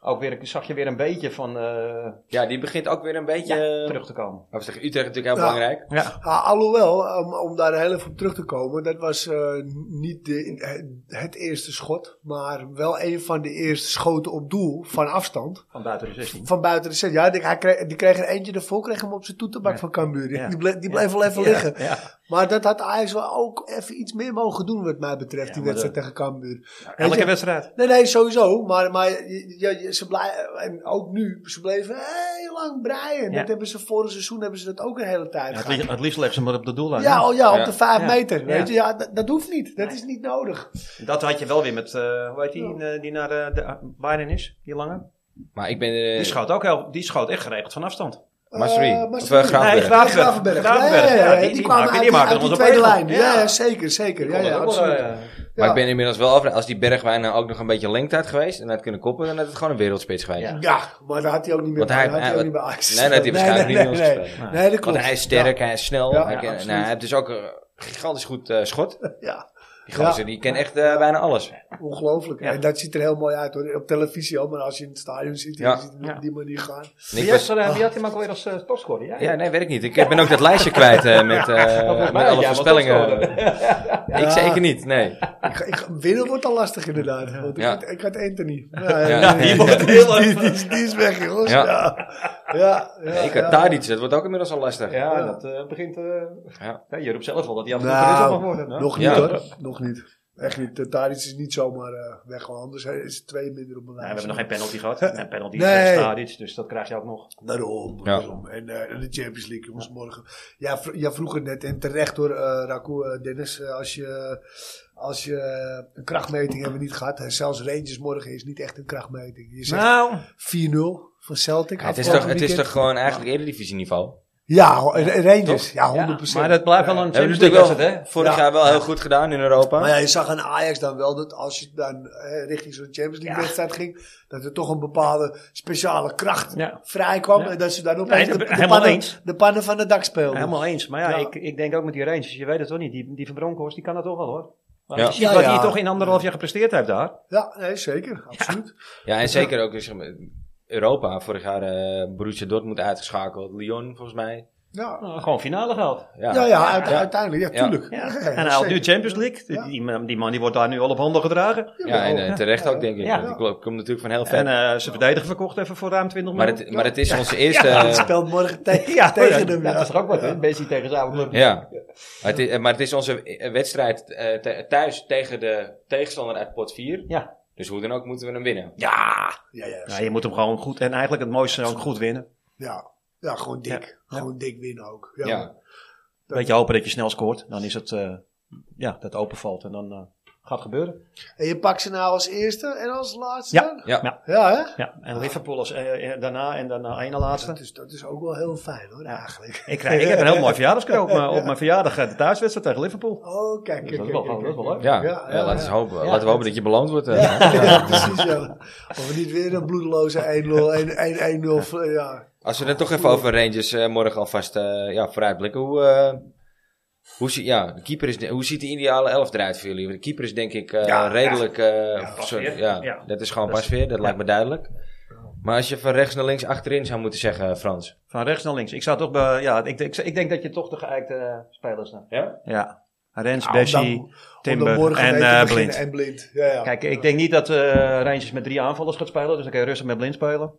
[SPEAKER 2] Ook weer, zag je weer een beetje van eh,
[SPEAKER 1] Ja, die begint ook weer een beetje... eh,
[SPEAKER 2] terug te komen.
[SPEAKER 1] Of tegen Utrecht natuurlijk heel
[SPEAKER 3] Ja.
[SPEAKER 1] belangrijk.
[SPEAKER 2] Ehm, Ja.
[SPEAKER 3] Ah, alhoewel, om, om daar heel even op terug te komen, dat was eh, niet de, het eerste schot, maar wel een van de eerste schoten op doel van afstand.
[SPEAKER 2] Van buiten de 16.
[SPEAKER 3] Van buiten de set. Ja, die, hij kreeg, die kreeg er eentje ervoor, kreeg hem op zijn toeterbak
[SPEAKER 2] Ja.
[SPEAKER 3] van Cambuur.
[SPEAKER 2] Ja.
[SPEAKER 3] Die, ble- die bleef wel even
[SPEAKER 2] Ja,
[SPEAKER 3] liggen.
[SPEAKER 2] Ja.
[SPEAKER 3] Maar dat had Ajax wel ook even iets meer mogen doen, wat mij betreft,
[SPEAKER 2] Ja,
[SPEAKER 3] die
[SPEAKER 2] maar
[SPEAKER 3] wedstrijd tegen Cambuur. Weet
[SPEAKER 2] Elke
[SPEAKER 3] je-
[SPEAKER 2] wedstrijd.
[SPEAKER 3] Nee, nee, sowieso. Maar, maar je- je- je- ze blijven, en ook nu, ze bleven heel lang breien.
[SPEAKER 2] Ja.
[SPEAKER 3] Dat hebben ze vorig seizoen hebben ze dat ook een hele tijd
[SPEAKER 2] Ja, het,
[SPEAKER 3] gedaan.
[SPEAKER 2] liefst, het liefst leggen ze hem maar op de doellijn. hè?
[SPEAKER 3] Ja, oh, ja,
[SPEAKER 1] Ja.
[SPEAKER 3] op de vijf
[SPEAKER 2] Ja.
[SPEAKER 3] meter.
[SPEAKER 2] Ja.
[SPEAKER 3] Weet je, ja, dat, dat hoeft niet. Dat is niet nodig.
[SPEAKER 2] Dat had je wel weer met, eh, hoe heet die, eh, die naar de, de eh, Bayern is, die lange.
[SPEAKER 1] Maar ik ben... eh,
[SPEAKER 2] Die schoot ook heel, die schoot echt geregeld van afstand.
[SPEAKER 1] Masri.
[SPEAKER 3] Eh,
[SPEAKER 1] Of,
[SPEAKER 3] Masri.
[SPEAKER 1] eh, Graafberg.
[SPEAKER 2] Nee, Graaf- Graafberg.
[SPEAKER 3] Gravenberg.
[SPEAKER 2] Gravenberg,
[SPEAKER 3] Ja, ja,
[SPEAKER 2] ja,
[SPEAKER 3] ja,
[SPEAKER 2] die-
[SPEAKER 3] die,
[SPEAKER 2] die
[SPEAKER 3] kwamen
[SPEAKER 2] maken-
[SPEAKER 3] uit,
[SPEAKER 2] die maken
[SPEAKER 3] uit
[SPEAKER 2] ons
[SPEAKER 3] die
[SPEAKER 2] op
[SPEAKER 3] tweede
[SPEAKER 2] regel.
[SPEAKER 3] lijn. Ja,
[SPEAKER 2] Ja.
[SPEAKER 3] ja, zeker, zeker. Ja,
[SPEAKER 2] Die kon
[SPEAKER 3] ja,
[SPEAKER 2] dat ook wel,
[SPEAKER 3] absoluut.
[SPEAKER 2] eh,
[SPEAKER 1] Maar
[SPEAKER 3] Ja.
[SPEAKER 1] ik ben inmiddels wel af. Als die Bergwijn nou ook nog een beetje lengte had geweest en had kunnen koppen, dan had het gewoon een wereldspits geweest.
[SPEAKER 2] Ja.
[SPEAKER 3] Ja, maar dat had hij ook niet meer
[SPEAKER 1] Want hij-
[SPEAKER 3] dat had
[SPEAKER 1] hij-
[SPEAKER 3] ook niet bij Ajax.
[SPEAKER 1] Nee, dat had hij waarschijnlijk
[SPEAKER 3] nee,
[SPEAKER 1] niet
[SPEAKER 3] nee,
[SPEAKER 1] meer
[SPEAKER 3] nee.
[SPEAKER 1] gespeeld.
[SPEAKER 3] Nee, dat klopt.
[SPEAKER 1] Want hij is sterk, hij is snel.
[SPEAKER 3] Ja,
[SPEAKER 1] hij,
[SPEAKER 2] ja,
[SPEAKER 1] kan- nou,
[SPEAKER 3] absoluut.
[SPEAKER 1] hij heeft dus ook een gigantisch goed eh, schot.
[SPEAKER 3] Ja,
[SPEAKER 1] Die gozer, die kent echt eh, bijna alles.
[SPEAKER 3] Ongelooflijk.
[SPEAKER 2] Ja.
[SPEAKER 3] En dat ziet er heel mooi uit hoor. Op televisie al, maar als je in het stadion zit, en
[SPEAKER 1] Ja.
[SPEAKER 3] je ziet hem op die manier gaan.
[SPEAKER 1] Nick was-
[SPEAKER 2] wie
[SPEAKER 3] Ah.
[SPEAKER 2] had hem ook alweer als uh, topscorer?
[SPEAKER 1] ja, nee, weet ik niet. Ik ben ook dat lijstje kwijt eh, met, eh, met alle voorspellingen. Ik zeker niet, nee.
[SPEAKER 3] Ik, ga- ik, ga- winnen wordt al lastig inderdaad. Want
[SPEAKER 1] Ja.
[SPEAKER 3] ik, had, ik had Anthony. Ja,
[SPEAKER 1] Ja,
[SPEAKER 3] ja,
[SPEAKER 1] die
[SPEAKER 3] ja.
[SPEAKER 1] wordt
[SPEAKER 3] Die, is- die is- die is- die is weg jongens.
[SPEAKER 1] Ja.
[SPEAKER 3] Ja. Ja. Ja,
[SPEAKER 1] Nee, ik
[SPEAKER 3] ja.
[SPEAKER 1] had daar iets, dat wordt ook inmiddels al lastig.
[SPEAKER 2] Ja, dat eh, begint... eh,
[SPEAKER 1] Ja.
[SPEAKER 2] ja. je roept zelf al dat hij af en toe gewisseld mag
[SPEAKER 3] Nou,
[SPEAKER 2] worden. hè?
[SPEAKER 3] nog niet
[SPEAKER 1] Ja.
[SPEAKER 3] hoor. Nog niet. Echt niet. Eh, Tadic is niet zomaar eh, weg. gewoon. Anders is het twee minder op mijn
[SPEAKER 2] Nee,
[SPEAKER 3] lijst.
[SPEAKER 2] we hebben nog geen penalty gehad. En penalty is
[SPEAKER 3] Nee.
[SPEAKER 2] eh, Stadic, dus dat krijg je ook nog.
[SPEAKER 3] Daarom,
[SPEAKER 1] Ja.
[SPEAKER 3] daarom. En eh, de Champions League, jongens, morgen. Ja, vro ja, vroeger net. En terecht hoor, eh Raku, eh, Dennis. eh, als je, als je eh, een krachtmeting hebben we niet gehad. En zelfs Rangers morgen is niet echt een krachtmeting. Je zegt
[SPEAKER 2] Nou,
[SPEAKER 3] 4-0 van Celtic.
[SPEAKER 1] Ja, het, is toch,
[SPEAKER 3] afgelopen
[SPEAKER 1] het is
[SPEAKER 3] weekend.
[SPEAKER 1] toch gewoon eigenlijk eredivisieniveau.
[SPEAKER 3] Ja, ho- en- en Rangers. Ja, 100%.
[SPEAKER 2] maar dat blijft wel een
[SPEAKER 1] Hebben
[SPEAKER 2] Champions
[SPEAKER 1] we natuurlijk wel
[SPEAKER 2] League wedstrijd, hè?
[SPEAKER 1] vorig
[SPEAKER 3] Ja.
[SPEAKER 1] jaar wel heel goed gedaan in Europa.
[SPEAKER 3] Maar ja, je zag aan Ajax dan wel dat als je dan eh, richting zo'n Champions League wedstrijd ging, dat er toch een bepaalde speciale kracht
[SPEAKER 2] Ja.
[SPEAKER 3] vrij kwam.
[SPEAKER 2] Ja.
[SPEAKER 3] En dat ze dan
[SPEAKER 2] Nee, dat
[SPEAKER 3] opeens de,
[SPEAKER 2] ben ik
[SPEAKER 3] de,
[SPEAKER 2] helemaal
[SPEAKER 3] pannen,
[SPEAKER 2] eens.
[SPEAKER 3] de pannen van de dak speelden.
[SPEAKER 2] Helemaal eens. Maar ja,
[SPEAKER 3] Ja.
[SPEAKER 2] Ik, ik denk ook met die Rangers, je weet het toch niet. Die, die Van Bronckhorst, die kan dat toch wel hoor. Maar
[SPEAKER 1] Ja.
[SPEAKER 2] als je ziet
[SPEAKER 3] Ja,
[SPEAKER 2] wat
[SPEAKER 3] ja.
[SPEAKER 2] hij toch in anderhalf jaar gepresteerd heeft daar.
[SPEAKER 3] Ja, nee, zeker. Absoluut.
[SPEAKER 1] Ja, en zeker ook dus, zeg maar, Europa. Vorig jaar eh Borussia Dortmund uitgeschakeld. Lyon volgens mij.
[SPEAKER 3] Ja,
[SPEAKER 2] Nou, gewoon finale gehaald.
[SPEAKER 1] Ja,
[SPEAKER 3] ja, ja, uite-
[SPEAKER 1] Ja.
[SPEAKER 3] uiteindelijk. Ja,
[SPEAKER 1] Ja.
[SPEAKER 3] tuurlijk. Ja.
[SPEAKER 2] en hij haalt nu
[SPEAKER 3] zeker.
[SPEAKER 2] Champions League. Die-
[SPEAKER 3] Ja.
[SPEAKER 2] Die, man- die man die wordt daar nu al op handen gedragen.
[SPEAKER 1] Ja, en eh,
[SPEAKER 2] Ja.
[SPEAKER 1] terecht ook denk ik.
[SPEAKER 2] Ja.
[SPEAKER 1] Want Die club komt natuurlijk van heel ver.
[SPEAKER 2] En eh zijn verdediger verkocht even voor ruim 20
[SPEAKER 1] maar,
[SPEAKER 2] miljoen.
[SPEAKER 1] het, maar het is onze eerste...
[SPEAKER 3] Ja, die
[SPEAKER 1] eh,
[SPEAKER 3] speelt morgen tegen
[SPEAKER 2] ja,
[SPEAKER 3] tegen
[SPEAKER 2] dat-
[SPEAKER 3] hem.
[SPEAKER 2] Dat
[SPEAKER 3] ja.
[SPEAKER 2] is toch ook wat, hè? Bessie tegen zijn oude club.
[SPEAKER 1] Ja, Maar, het is, maar het is onze eh, wedstrijd eh, te- thuis tegen de tegenstander uit pot 4.
[SPEAKER 2] Ja.
[SPEAKER 1] Dus hoe dan ook moeten we hem winnen.
[SPEAKER 2] Ja.
[SPEAKER 3] Ja, ja,
[SPEAKER 2] ja, je moet hem gewoon goed en eigenlijk het mooiste ook goed winnen.
[SPEAKER 3] ja. ja, gewoon dik. Gewoon dik winnen ook. Ja.
[SPEAKER 1] Ja.
[SPEAKER 2] Een beetje hopen dat je snel scoort. Dan is het, eh, ja, dat openvalt en dan eh, gaat het gebeuren.
[SPEAKER 3] En je pakt ze nou als eerste en als laatste?
[SPEAKER 2] Ja.
[SPEAKER 1] Ja.
[SPEAKER 2] Ja.
[SPEAKER 3] Ja, hè?
[SPEAKER 2] Ja, en Liverpool als eh, eh, daarna en daarna één na laatste. Dus-
[SPEAKER 3] Dat is, dat is ook wel heel fijn hoor, eigenlijk.
[SPEAKER 2] Ik, krijg, ik heb een heel mooi verjaardagscadeau op, mijn- op mijn verjaardag. eh, De thuiswedstrijd tegen Liverpool.
[SPEAKER 3] Oh, kijk, kijk,
[SPEAKER 2] Dat is
[SPEAKER 3] kijk,
[SPEAKER 2] wel-
[SPEAKER 3] kijk,
[SPEAKER 2] dat is wel
[SPEAKER 3] kijk.
[SPEAKER 2] leuk.
[SPEAKER 1] Ja,
[SPEAKER 3] Ja,
[SPEAKER 1] ja,
[SPEAKER 3] ja,
[SPEAKER 1] laten, we
[SPEAKER 3] ja.
[SPEAKER 1] hopen,
[SPEAKER 2] Ja.
[SPEAKER 1] laten we hopen dat je beloond wordt. eh.
[SPEAKER 3] Ja, ja, precies. Ja. Of we niet weer een bloedeloze 1-0, 1-1, 1-0. Ja.
[SPEAKER 1] Als we het toch even over Rangers eh, morgen alvast eh ja, vooruitblikken. Hoe, eh, hoe, zie- ja, de keeper is, de- hoe ziet de ideale elf eruit voor jullie? Want de keeper is denk ik eh,
[SPEAKER 2] Ja,
[SPEAKER 1] redelijk... eh,
[SPEAKER 2] pas
[SPEAKER 1] sorry,
[SPEAKER 2] weer.
[SPEAKER 1] ja,
[SPEAKER 2] Ja.
[SPEAKER 1] Dat is gewoon
[SPEAKER 2] Dat is-
[SPEAKER 1] pas weer, dat
[SPEAKER 2] ja.
[SPEAKER 1] lijkt me duidelijk. Maar als je van rechts naar links achterin zou moeten zeggen, eh, Frans.
[SPEAKER 2] Van rechts naar links. Ik zou toch, bij- ja, ik, ik, ik denk dat je toch de geëikte eh, spelers neemt.
[SPEAKER 1] Ja?
[SPEAKER 2] Ja. Nou, Rens,
[SPEAKER 3] Ja, om dan- om
[SPEAKER 2] Bessie,
[SPEAKER 3] Om dan
[SPEAKER 2] Timber
[SPEAKER 3] morgen mee
[SPEAKER 2] en
[SPEAKER 3] te
[SPEAKER 2] eh,
[SPEAKER 3] beginnen
[SPEAKER 2] Blind.
[SPEAKER 3] En blind. Ja, ja.
[SPEAKER 2] Kijk, ik denk niet dat eh Rangers met drie aanvallers gaat spelen. Dus dan kan je rustig met Blind spelen.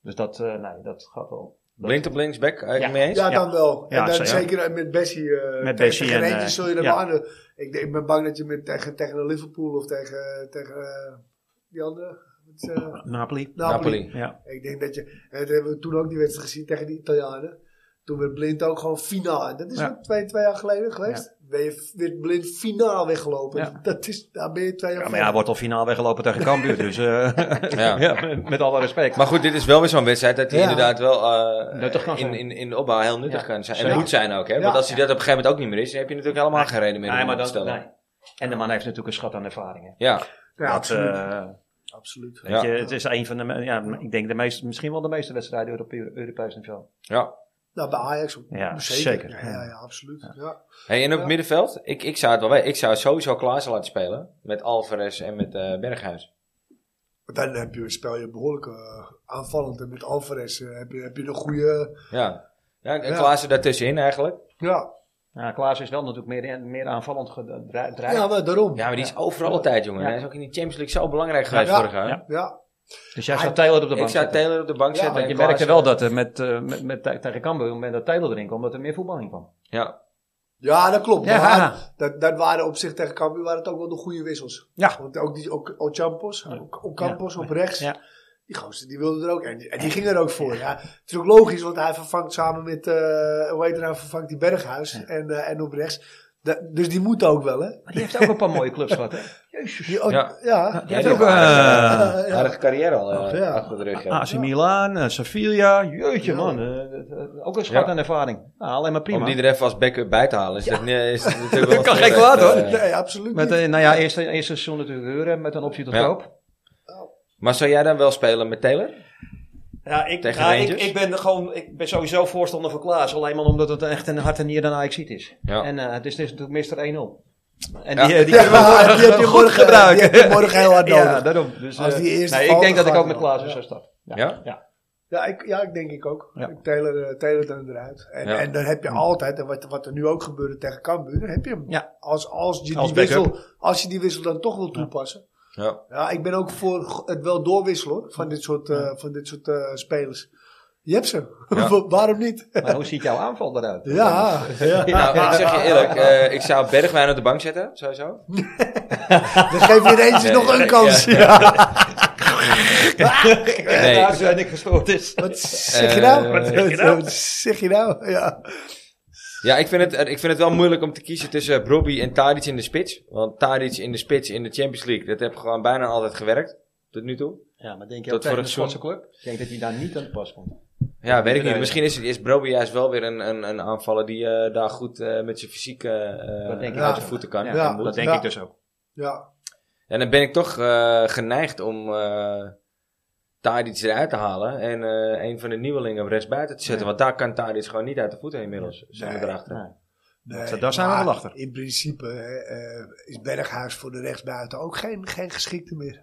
[SPEAKER 2] Dus dat, eh, nee, dat gaat wel.
[SPEAKER 1] Blind op links, back, eh,
[SPEAKER 2] Ja.
[SPEAKER 1] mee eens?
[SPEAKER 3] ja, dan wel.
[SPEAKER 2] Ja,
[SPEAKER 3] en dan
[SPEAKER 2] zo, ja.
[SPEAKER 3] zeker met Bessie. eh,
[SPEAKER 2] Met
[SPEAKER 3] tegen-
[SPEAKER 2] Bessie
[SPEAKER 3] tegen
[SPEAKER 2] en,
[SPEAKER 3] Rangers
[SPEAKER 2] eh,
[SPEAKER 3] zul je er
[SPEAKER 2] ja.
[SPEAKER 3] wel aan de- ik, denk- ik ben bang dat je met, tegen, tegen de Liverpool of tegen, tegen eh, die andere... Met, eh,
[SPEAKER 2] Napoli.
[SPEAKER 3] Napoli.
[SPEAKER 1] Napoli.
[SPEAKER 2] Ja.
[SPEAKER 3] Ik denk dat je... en Dat hebben we toen ook die wedstrijd gezien tegen de Italianen. Toen werd Blind ook gewoon finaal. En Dat is
[SPEAKER 2] Ja.
[SPEAKER 3] wat twee, twee jaar geleden geweest. Ben je, werd Blind finaal weggelopen.
[SPEAKER 2] Ja.
[SPEAKER 3] Dat is, daar ben je twee jaar
[SPEAKER 2] Ja, maar
[SPEAKER 3] verder.
[SPEAKER 2] ja, hij wordt al finaal weggelopen tegen Cambuur. Dus eh,
[SPEAKER 1] Ja.
[SPEAKER 2] ja. met, met alle respect.
[SPEAKER 1] Maar goed, dit is wel weer zo'n wedstrijd dat hij
[SPEAKER 3] Ja.
[SPEAKER 1] inderdaad wel eh,
[SPEAKER 2] Nuttig kan
[SPEAKER 1] in,
[SPEAKER 2] zijn.
[SPEAKER 1] in, in de opbouw heel nuttig
[SPEAKER 2] Ja.
[SPEAKER 1] kan zijn. En
[SPEAKER 2] Zeker.
[SPEAKER 1] moet zijn ook, hè? Want
[SPEAKER 3] Ja.
[SPEAKER 1] als hij dat op een gegeven moment ook niet meer is, dan heb je natuurlijk helemaal geen reden meer om
[SPEAKER 2] nee, maar
[SPEAKER 1] hem op te
[SPEAKER 2] dat,
[SPEAKER 1] stellen.
[SPEAKER 2] nee. En de man heeft natuurlijk een schat aan ervaring. Hè.
[SPEAKER 1] Ja,
[SPEAKER 3] Ja,
[SPEAKER 2] dat,
[SPEAKER 3] absoluut.
[SPEAKER 2] eh,
[SPEAKER 3] absoluut.
[SPEAKER 1] Ja.
[SPEAKER 2] weet je, het is een van de, me- ja, ik denk de meeste, misschien wel de meeste wedstrijden op Euro- Europees niveau.
[SPEAKER 1] ja.
[SPEAKER 3] Nou, bij Ajax ook.
[SPEAKER 2] Ja,
[SPEAKER 3] zeker.
[SPEAKER 2] zeker.
[SPEAKER 3] Ja, ja, ja, absoluut. Ja.
[SPEAKER 1] Hey, en op
[SPEAKER 3] Ja.
[SPEAKER 1] het middenveld? Ik, ik zou het wel weten. Ik zou sowieso Klaassen laten spelen. Met Alvarez en met eh, Berghuis.
[SPEAKER 3] Want Dan heb je, speel je behoorlijk eh, aanvallend. En met Alvarez eh, heb, je, heb je een goede...
[SPEAKER 1] Ja. ja en
[SPEAKER 3] Ja.
[SPEAKER 1] Klaassen daartussenin eigenlijk.
[SPEAKER 3] Ja,
[SPEAKER 2] Ja, Klaas is wel natuurlijk meer, meer aanvallend gedreigd.
[SPEAKER 3] ja maar daarom.
[SPEAKER 1] Ja,
[SPEAKER 3] Ja.
[SPEAKER 1] maar die is overal altijd, jongen.
[SPEAKER 2] Ja.
[SPEAKER 1] Hij is ook in de Champions League zo belangrijk geweest
[SPEAKER 3] Ja.
[SPEAKER 1] vorig jaar.
[SPEAKER 2] Ja.
[SPEAKER 3] Ja.
[SPEAKER 2] Dus jij staat Taylor op de bank.
[SPEAKER 1] Ik zou
[SPEAKER 2] zetten.
[SPEAKER 1] Taylor op de bank
[SPEAKER 3] Ja,
[SPEAKER 1] zetten.
[SPEAKER 2] Want
[SPEAKER 1] en
[SPEAKER 2] je merkte
[SPEAKER 1] Klaassen-
[SPEAKER 2] wel dat er met, eh, met, met, tegen Cambuur, op het moment dat Taylor erin kwam, dat er meer voetbal in kwam.
[SPEAKER 1] Ja.
[SPEAKER 3] dat klopt.
[SPEAKER 2] Ja.
[SPEAKER 3] Maar dat, dat waren op zich tegen Cambuur waren het ook wel de goede wissels.
[SPEAKER 2] Ja.
[SPEAKER 3] Want ook die ook Ocampos, ook Ocampos op rechts.
[SPEAKER 2] Ja.
[SPEAKER 3] Die gozer, die wilde er ook. En die, en die ging er ook voor. Ja. Het is ook logisch, want hij vervangt samen met... eh hoe heet het nou? Vervangt die Berghuis. En, eh, en op rechts. Da- dus die moet ook wel, hè?
[SPEAKER 2] Maar die heeft ook een paar mooie clubs gehad. Hè?
[SPEAKER 3] Die, ook-
[SPEAKER 1] Ja.
[SPEAKER 3] ja.
[SPEAKER 1] Ja,
[SPEAKER 2] heeft
[SPEAKER 1] die
[SPEAKER 2] ook,
[SPEAKER 1] had een
[SPEAKER 2] eh,
[SPEAKER 1] aardige- aardige carrière al eh,
[SPEAKER 3] Ja.
[SPEAKER 1] achter de rug. ja.
[SPEAKER 2] AC Milan, eh, Sevilla, jeetje
[SPEAKER 3] Ja.
[SPEAKER 2] man. eh, eh, eh, ook een schat
[SPEAKER 1] Ja.
[SPEAKER 2] aan ervaring. Nou, alleen maar
[SPEAKER 1] Om
[SPEAKER 2] prima.
[SPEAKER 1] die er even als backup bij te halen. Is dat, niet- is dat natuurlijk wel
[SPEAKER 2] Dat kan
[SPEAKER 1] terecht,
[SPEAKER 2] geen kwaad, hoor.
[SPEAKER 1] eh.
[SPEAKER 3] Nee, absoluut
[SPEAKER 2] Met,
[SPEAKER 3] niet.
[SPEAKER 2] eh, nou ja, eerste, eerste seizoen natuurlijk huren met een optie tot
[SPEAKER 1] Ja.
[SPEAKER 2] koop.
[SPEAKER 1] Maar zou jij dan wel spelen met Taylor?
[SPEAKER 2] Ja, ik,
[SPEAKER 1] Tegen
[SPEAKER 2] nou, ik,
[SPEAKER 1] Rangers?
[SPEAKER 2] ik, ben gewoon, ik ben sowieso voorstander van Klaas. Alleen maar omdat het echt een hart en nier dan AXC is.
[SPEAKER 1] Ja.
[SPEAKER 2] En eh, dus het is natuurlijk Mr. 1-0. En
[SPEAKER 1] Ja.
[SPEAKER 2] die, eh, die
[SPEAKER 3] Ja, maar die heb je morgen,
[SPEAKER 2] gebruiken.
[SPEAKER 3] die heb je morgen heel hard nodig.
[SPEAKER 2] Ja, daarom. Dus,
[SPEAKER 3] Als
[SPEAKER 2] eh,
[SPEAKER 3] die eerste
[SPEAKER 2] nee, ik
[SPEAKER 3] valt,
[SPEAKER 2] denk dat
[SPEAKER 3] dan
[SPEAKER 2] ik
[SPEAKER 3] gaat
[SPEAKER 2] ook met
[SPEAKER 3] het wel.
[SPEAKER 2] Klaassen zou stappen.
[SPEAKER 1] Ja?
[SPEAKER 3] Ja, ik, ja, ik denk ik ook.
[SPEAKER 2] Ja.
[SPEAKER 3] Ik tailor, eh, tailor dan eruit. En,
[SPEAKER 1] Ja.
[SPEAKER 3] en dan heb je altijd, en wat, wat er nu ook gebeurde tegen Cambuur, dan heb je hem.
[SPEAKER 2] Ja.
[SPEAKER 3] Als, als, je
[SPEAKER 2] Als
[SPEAKER 3] die wissel,
[SPEAKER 2] backup.
[SPEAKER 3] als je die wissel dan toch wil toepassen.
[SPEAKER 1] Ja.
[SPEAKER 3] Ja, ik ben ook voor g- het wel doorwisselen hoor, van dit soort, eh, van dit soort eh, spelers. Je hebt ze.
[SPEAKER 1] Ja.
[SPEAKER 3] Waarom niet?
[SPEAKER 2] Maar hoe ziet jouw aanval eruit?
[SPEAKER 3] Ja.
[SPEAKER 1] Nou, ik zeg je eerlijk, eh, ik zou Bergwijn op de bank zetten, sowieso.
[SPEAKER 3] Dan geef je ineens
[SPEAKER 1] Nee,
[SPEAKER 3] nog
[SPEAKER 1] nee,
[SPEAKER 3] een kans.
[SPEAKER 1] ja. Nee.
[SPEAKER 2] Daar zijn ik gestoord is.
[SPEAKER 3] Wat zeg je nou?
[SPEAKER 1] Eh,
[SPEAKER 3] Wat zeg je nou? Wat zeg je nou? Ja.
[SPEAKER 1] Ja, ik vind, het, eh, ik vind het wel moeilijk om te kiezen tussen Robbie en Tadic in de spits. Want Tadic in de spits in de Champions League, dat heb gewoon bijna altijd gewerkt. Tot nu toe.
[SPEAKER 2] Ja, maar denk je
[SPEAKER 1] Dat
[SPEAKER 2] ook tegen
[SPEAKER 1] voor
[SPEAKER 2] een
[SPEAKER 1] het
[SPEAKER 2] Schotse club? Ik denk dat hij daar niet aan de pas komt.
[SPEAKER 1] Ja, weet ik niet.
[SPEAKER 2] Nee.
[SPEAKER 1] Misschien is, is Broby juist wel weer een, een, een aanvaller die eh, daar goed eh, met zijn fysiek eh,
[SPEAKER 2] Dat denk ik
[SPEAKER 1] uit
[SPEAKER 3] ook.
[SPEAKER 1] de voeten kan.
[SPEAKER 2] Ja,
[SPEAKER 1] en
[SPEAKER 3] ja.
[SPEAKER 1] moet.
[SPEAKER 2] Dat denk
[SPEAKER 3] Ja.
[SPEAKER 2] ik dus ook.
[SPEAKER 3] Ja.
[SPEAKER 1] En dan ben ik toch eh, geneigd om eh Tadic eruit te halen en eh, een van de nieuwelingen rechts buiten te zetten. Want daar kan Tadic gewoon niet uit de voeten inmiddels. Zijn we
[SPEAKER 3] Nee.
[SPEAKER 1] erachter.
[SPEAKER 2] Nee.
[SPEAKER 3] Nee,
[SPEAKER 2] daar zijn we
[SPEAKER 3] maar
[SPEAKER 2] wel achter.
[SPEAKER 3] In principe eh, eh, is Berghuis voor de rechtsbuiten ook geen, geen geschikte meer.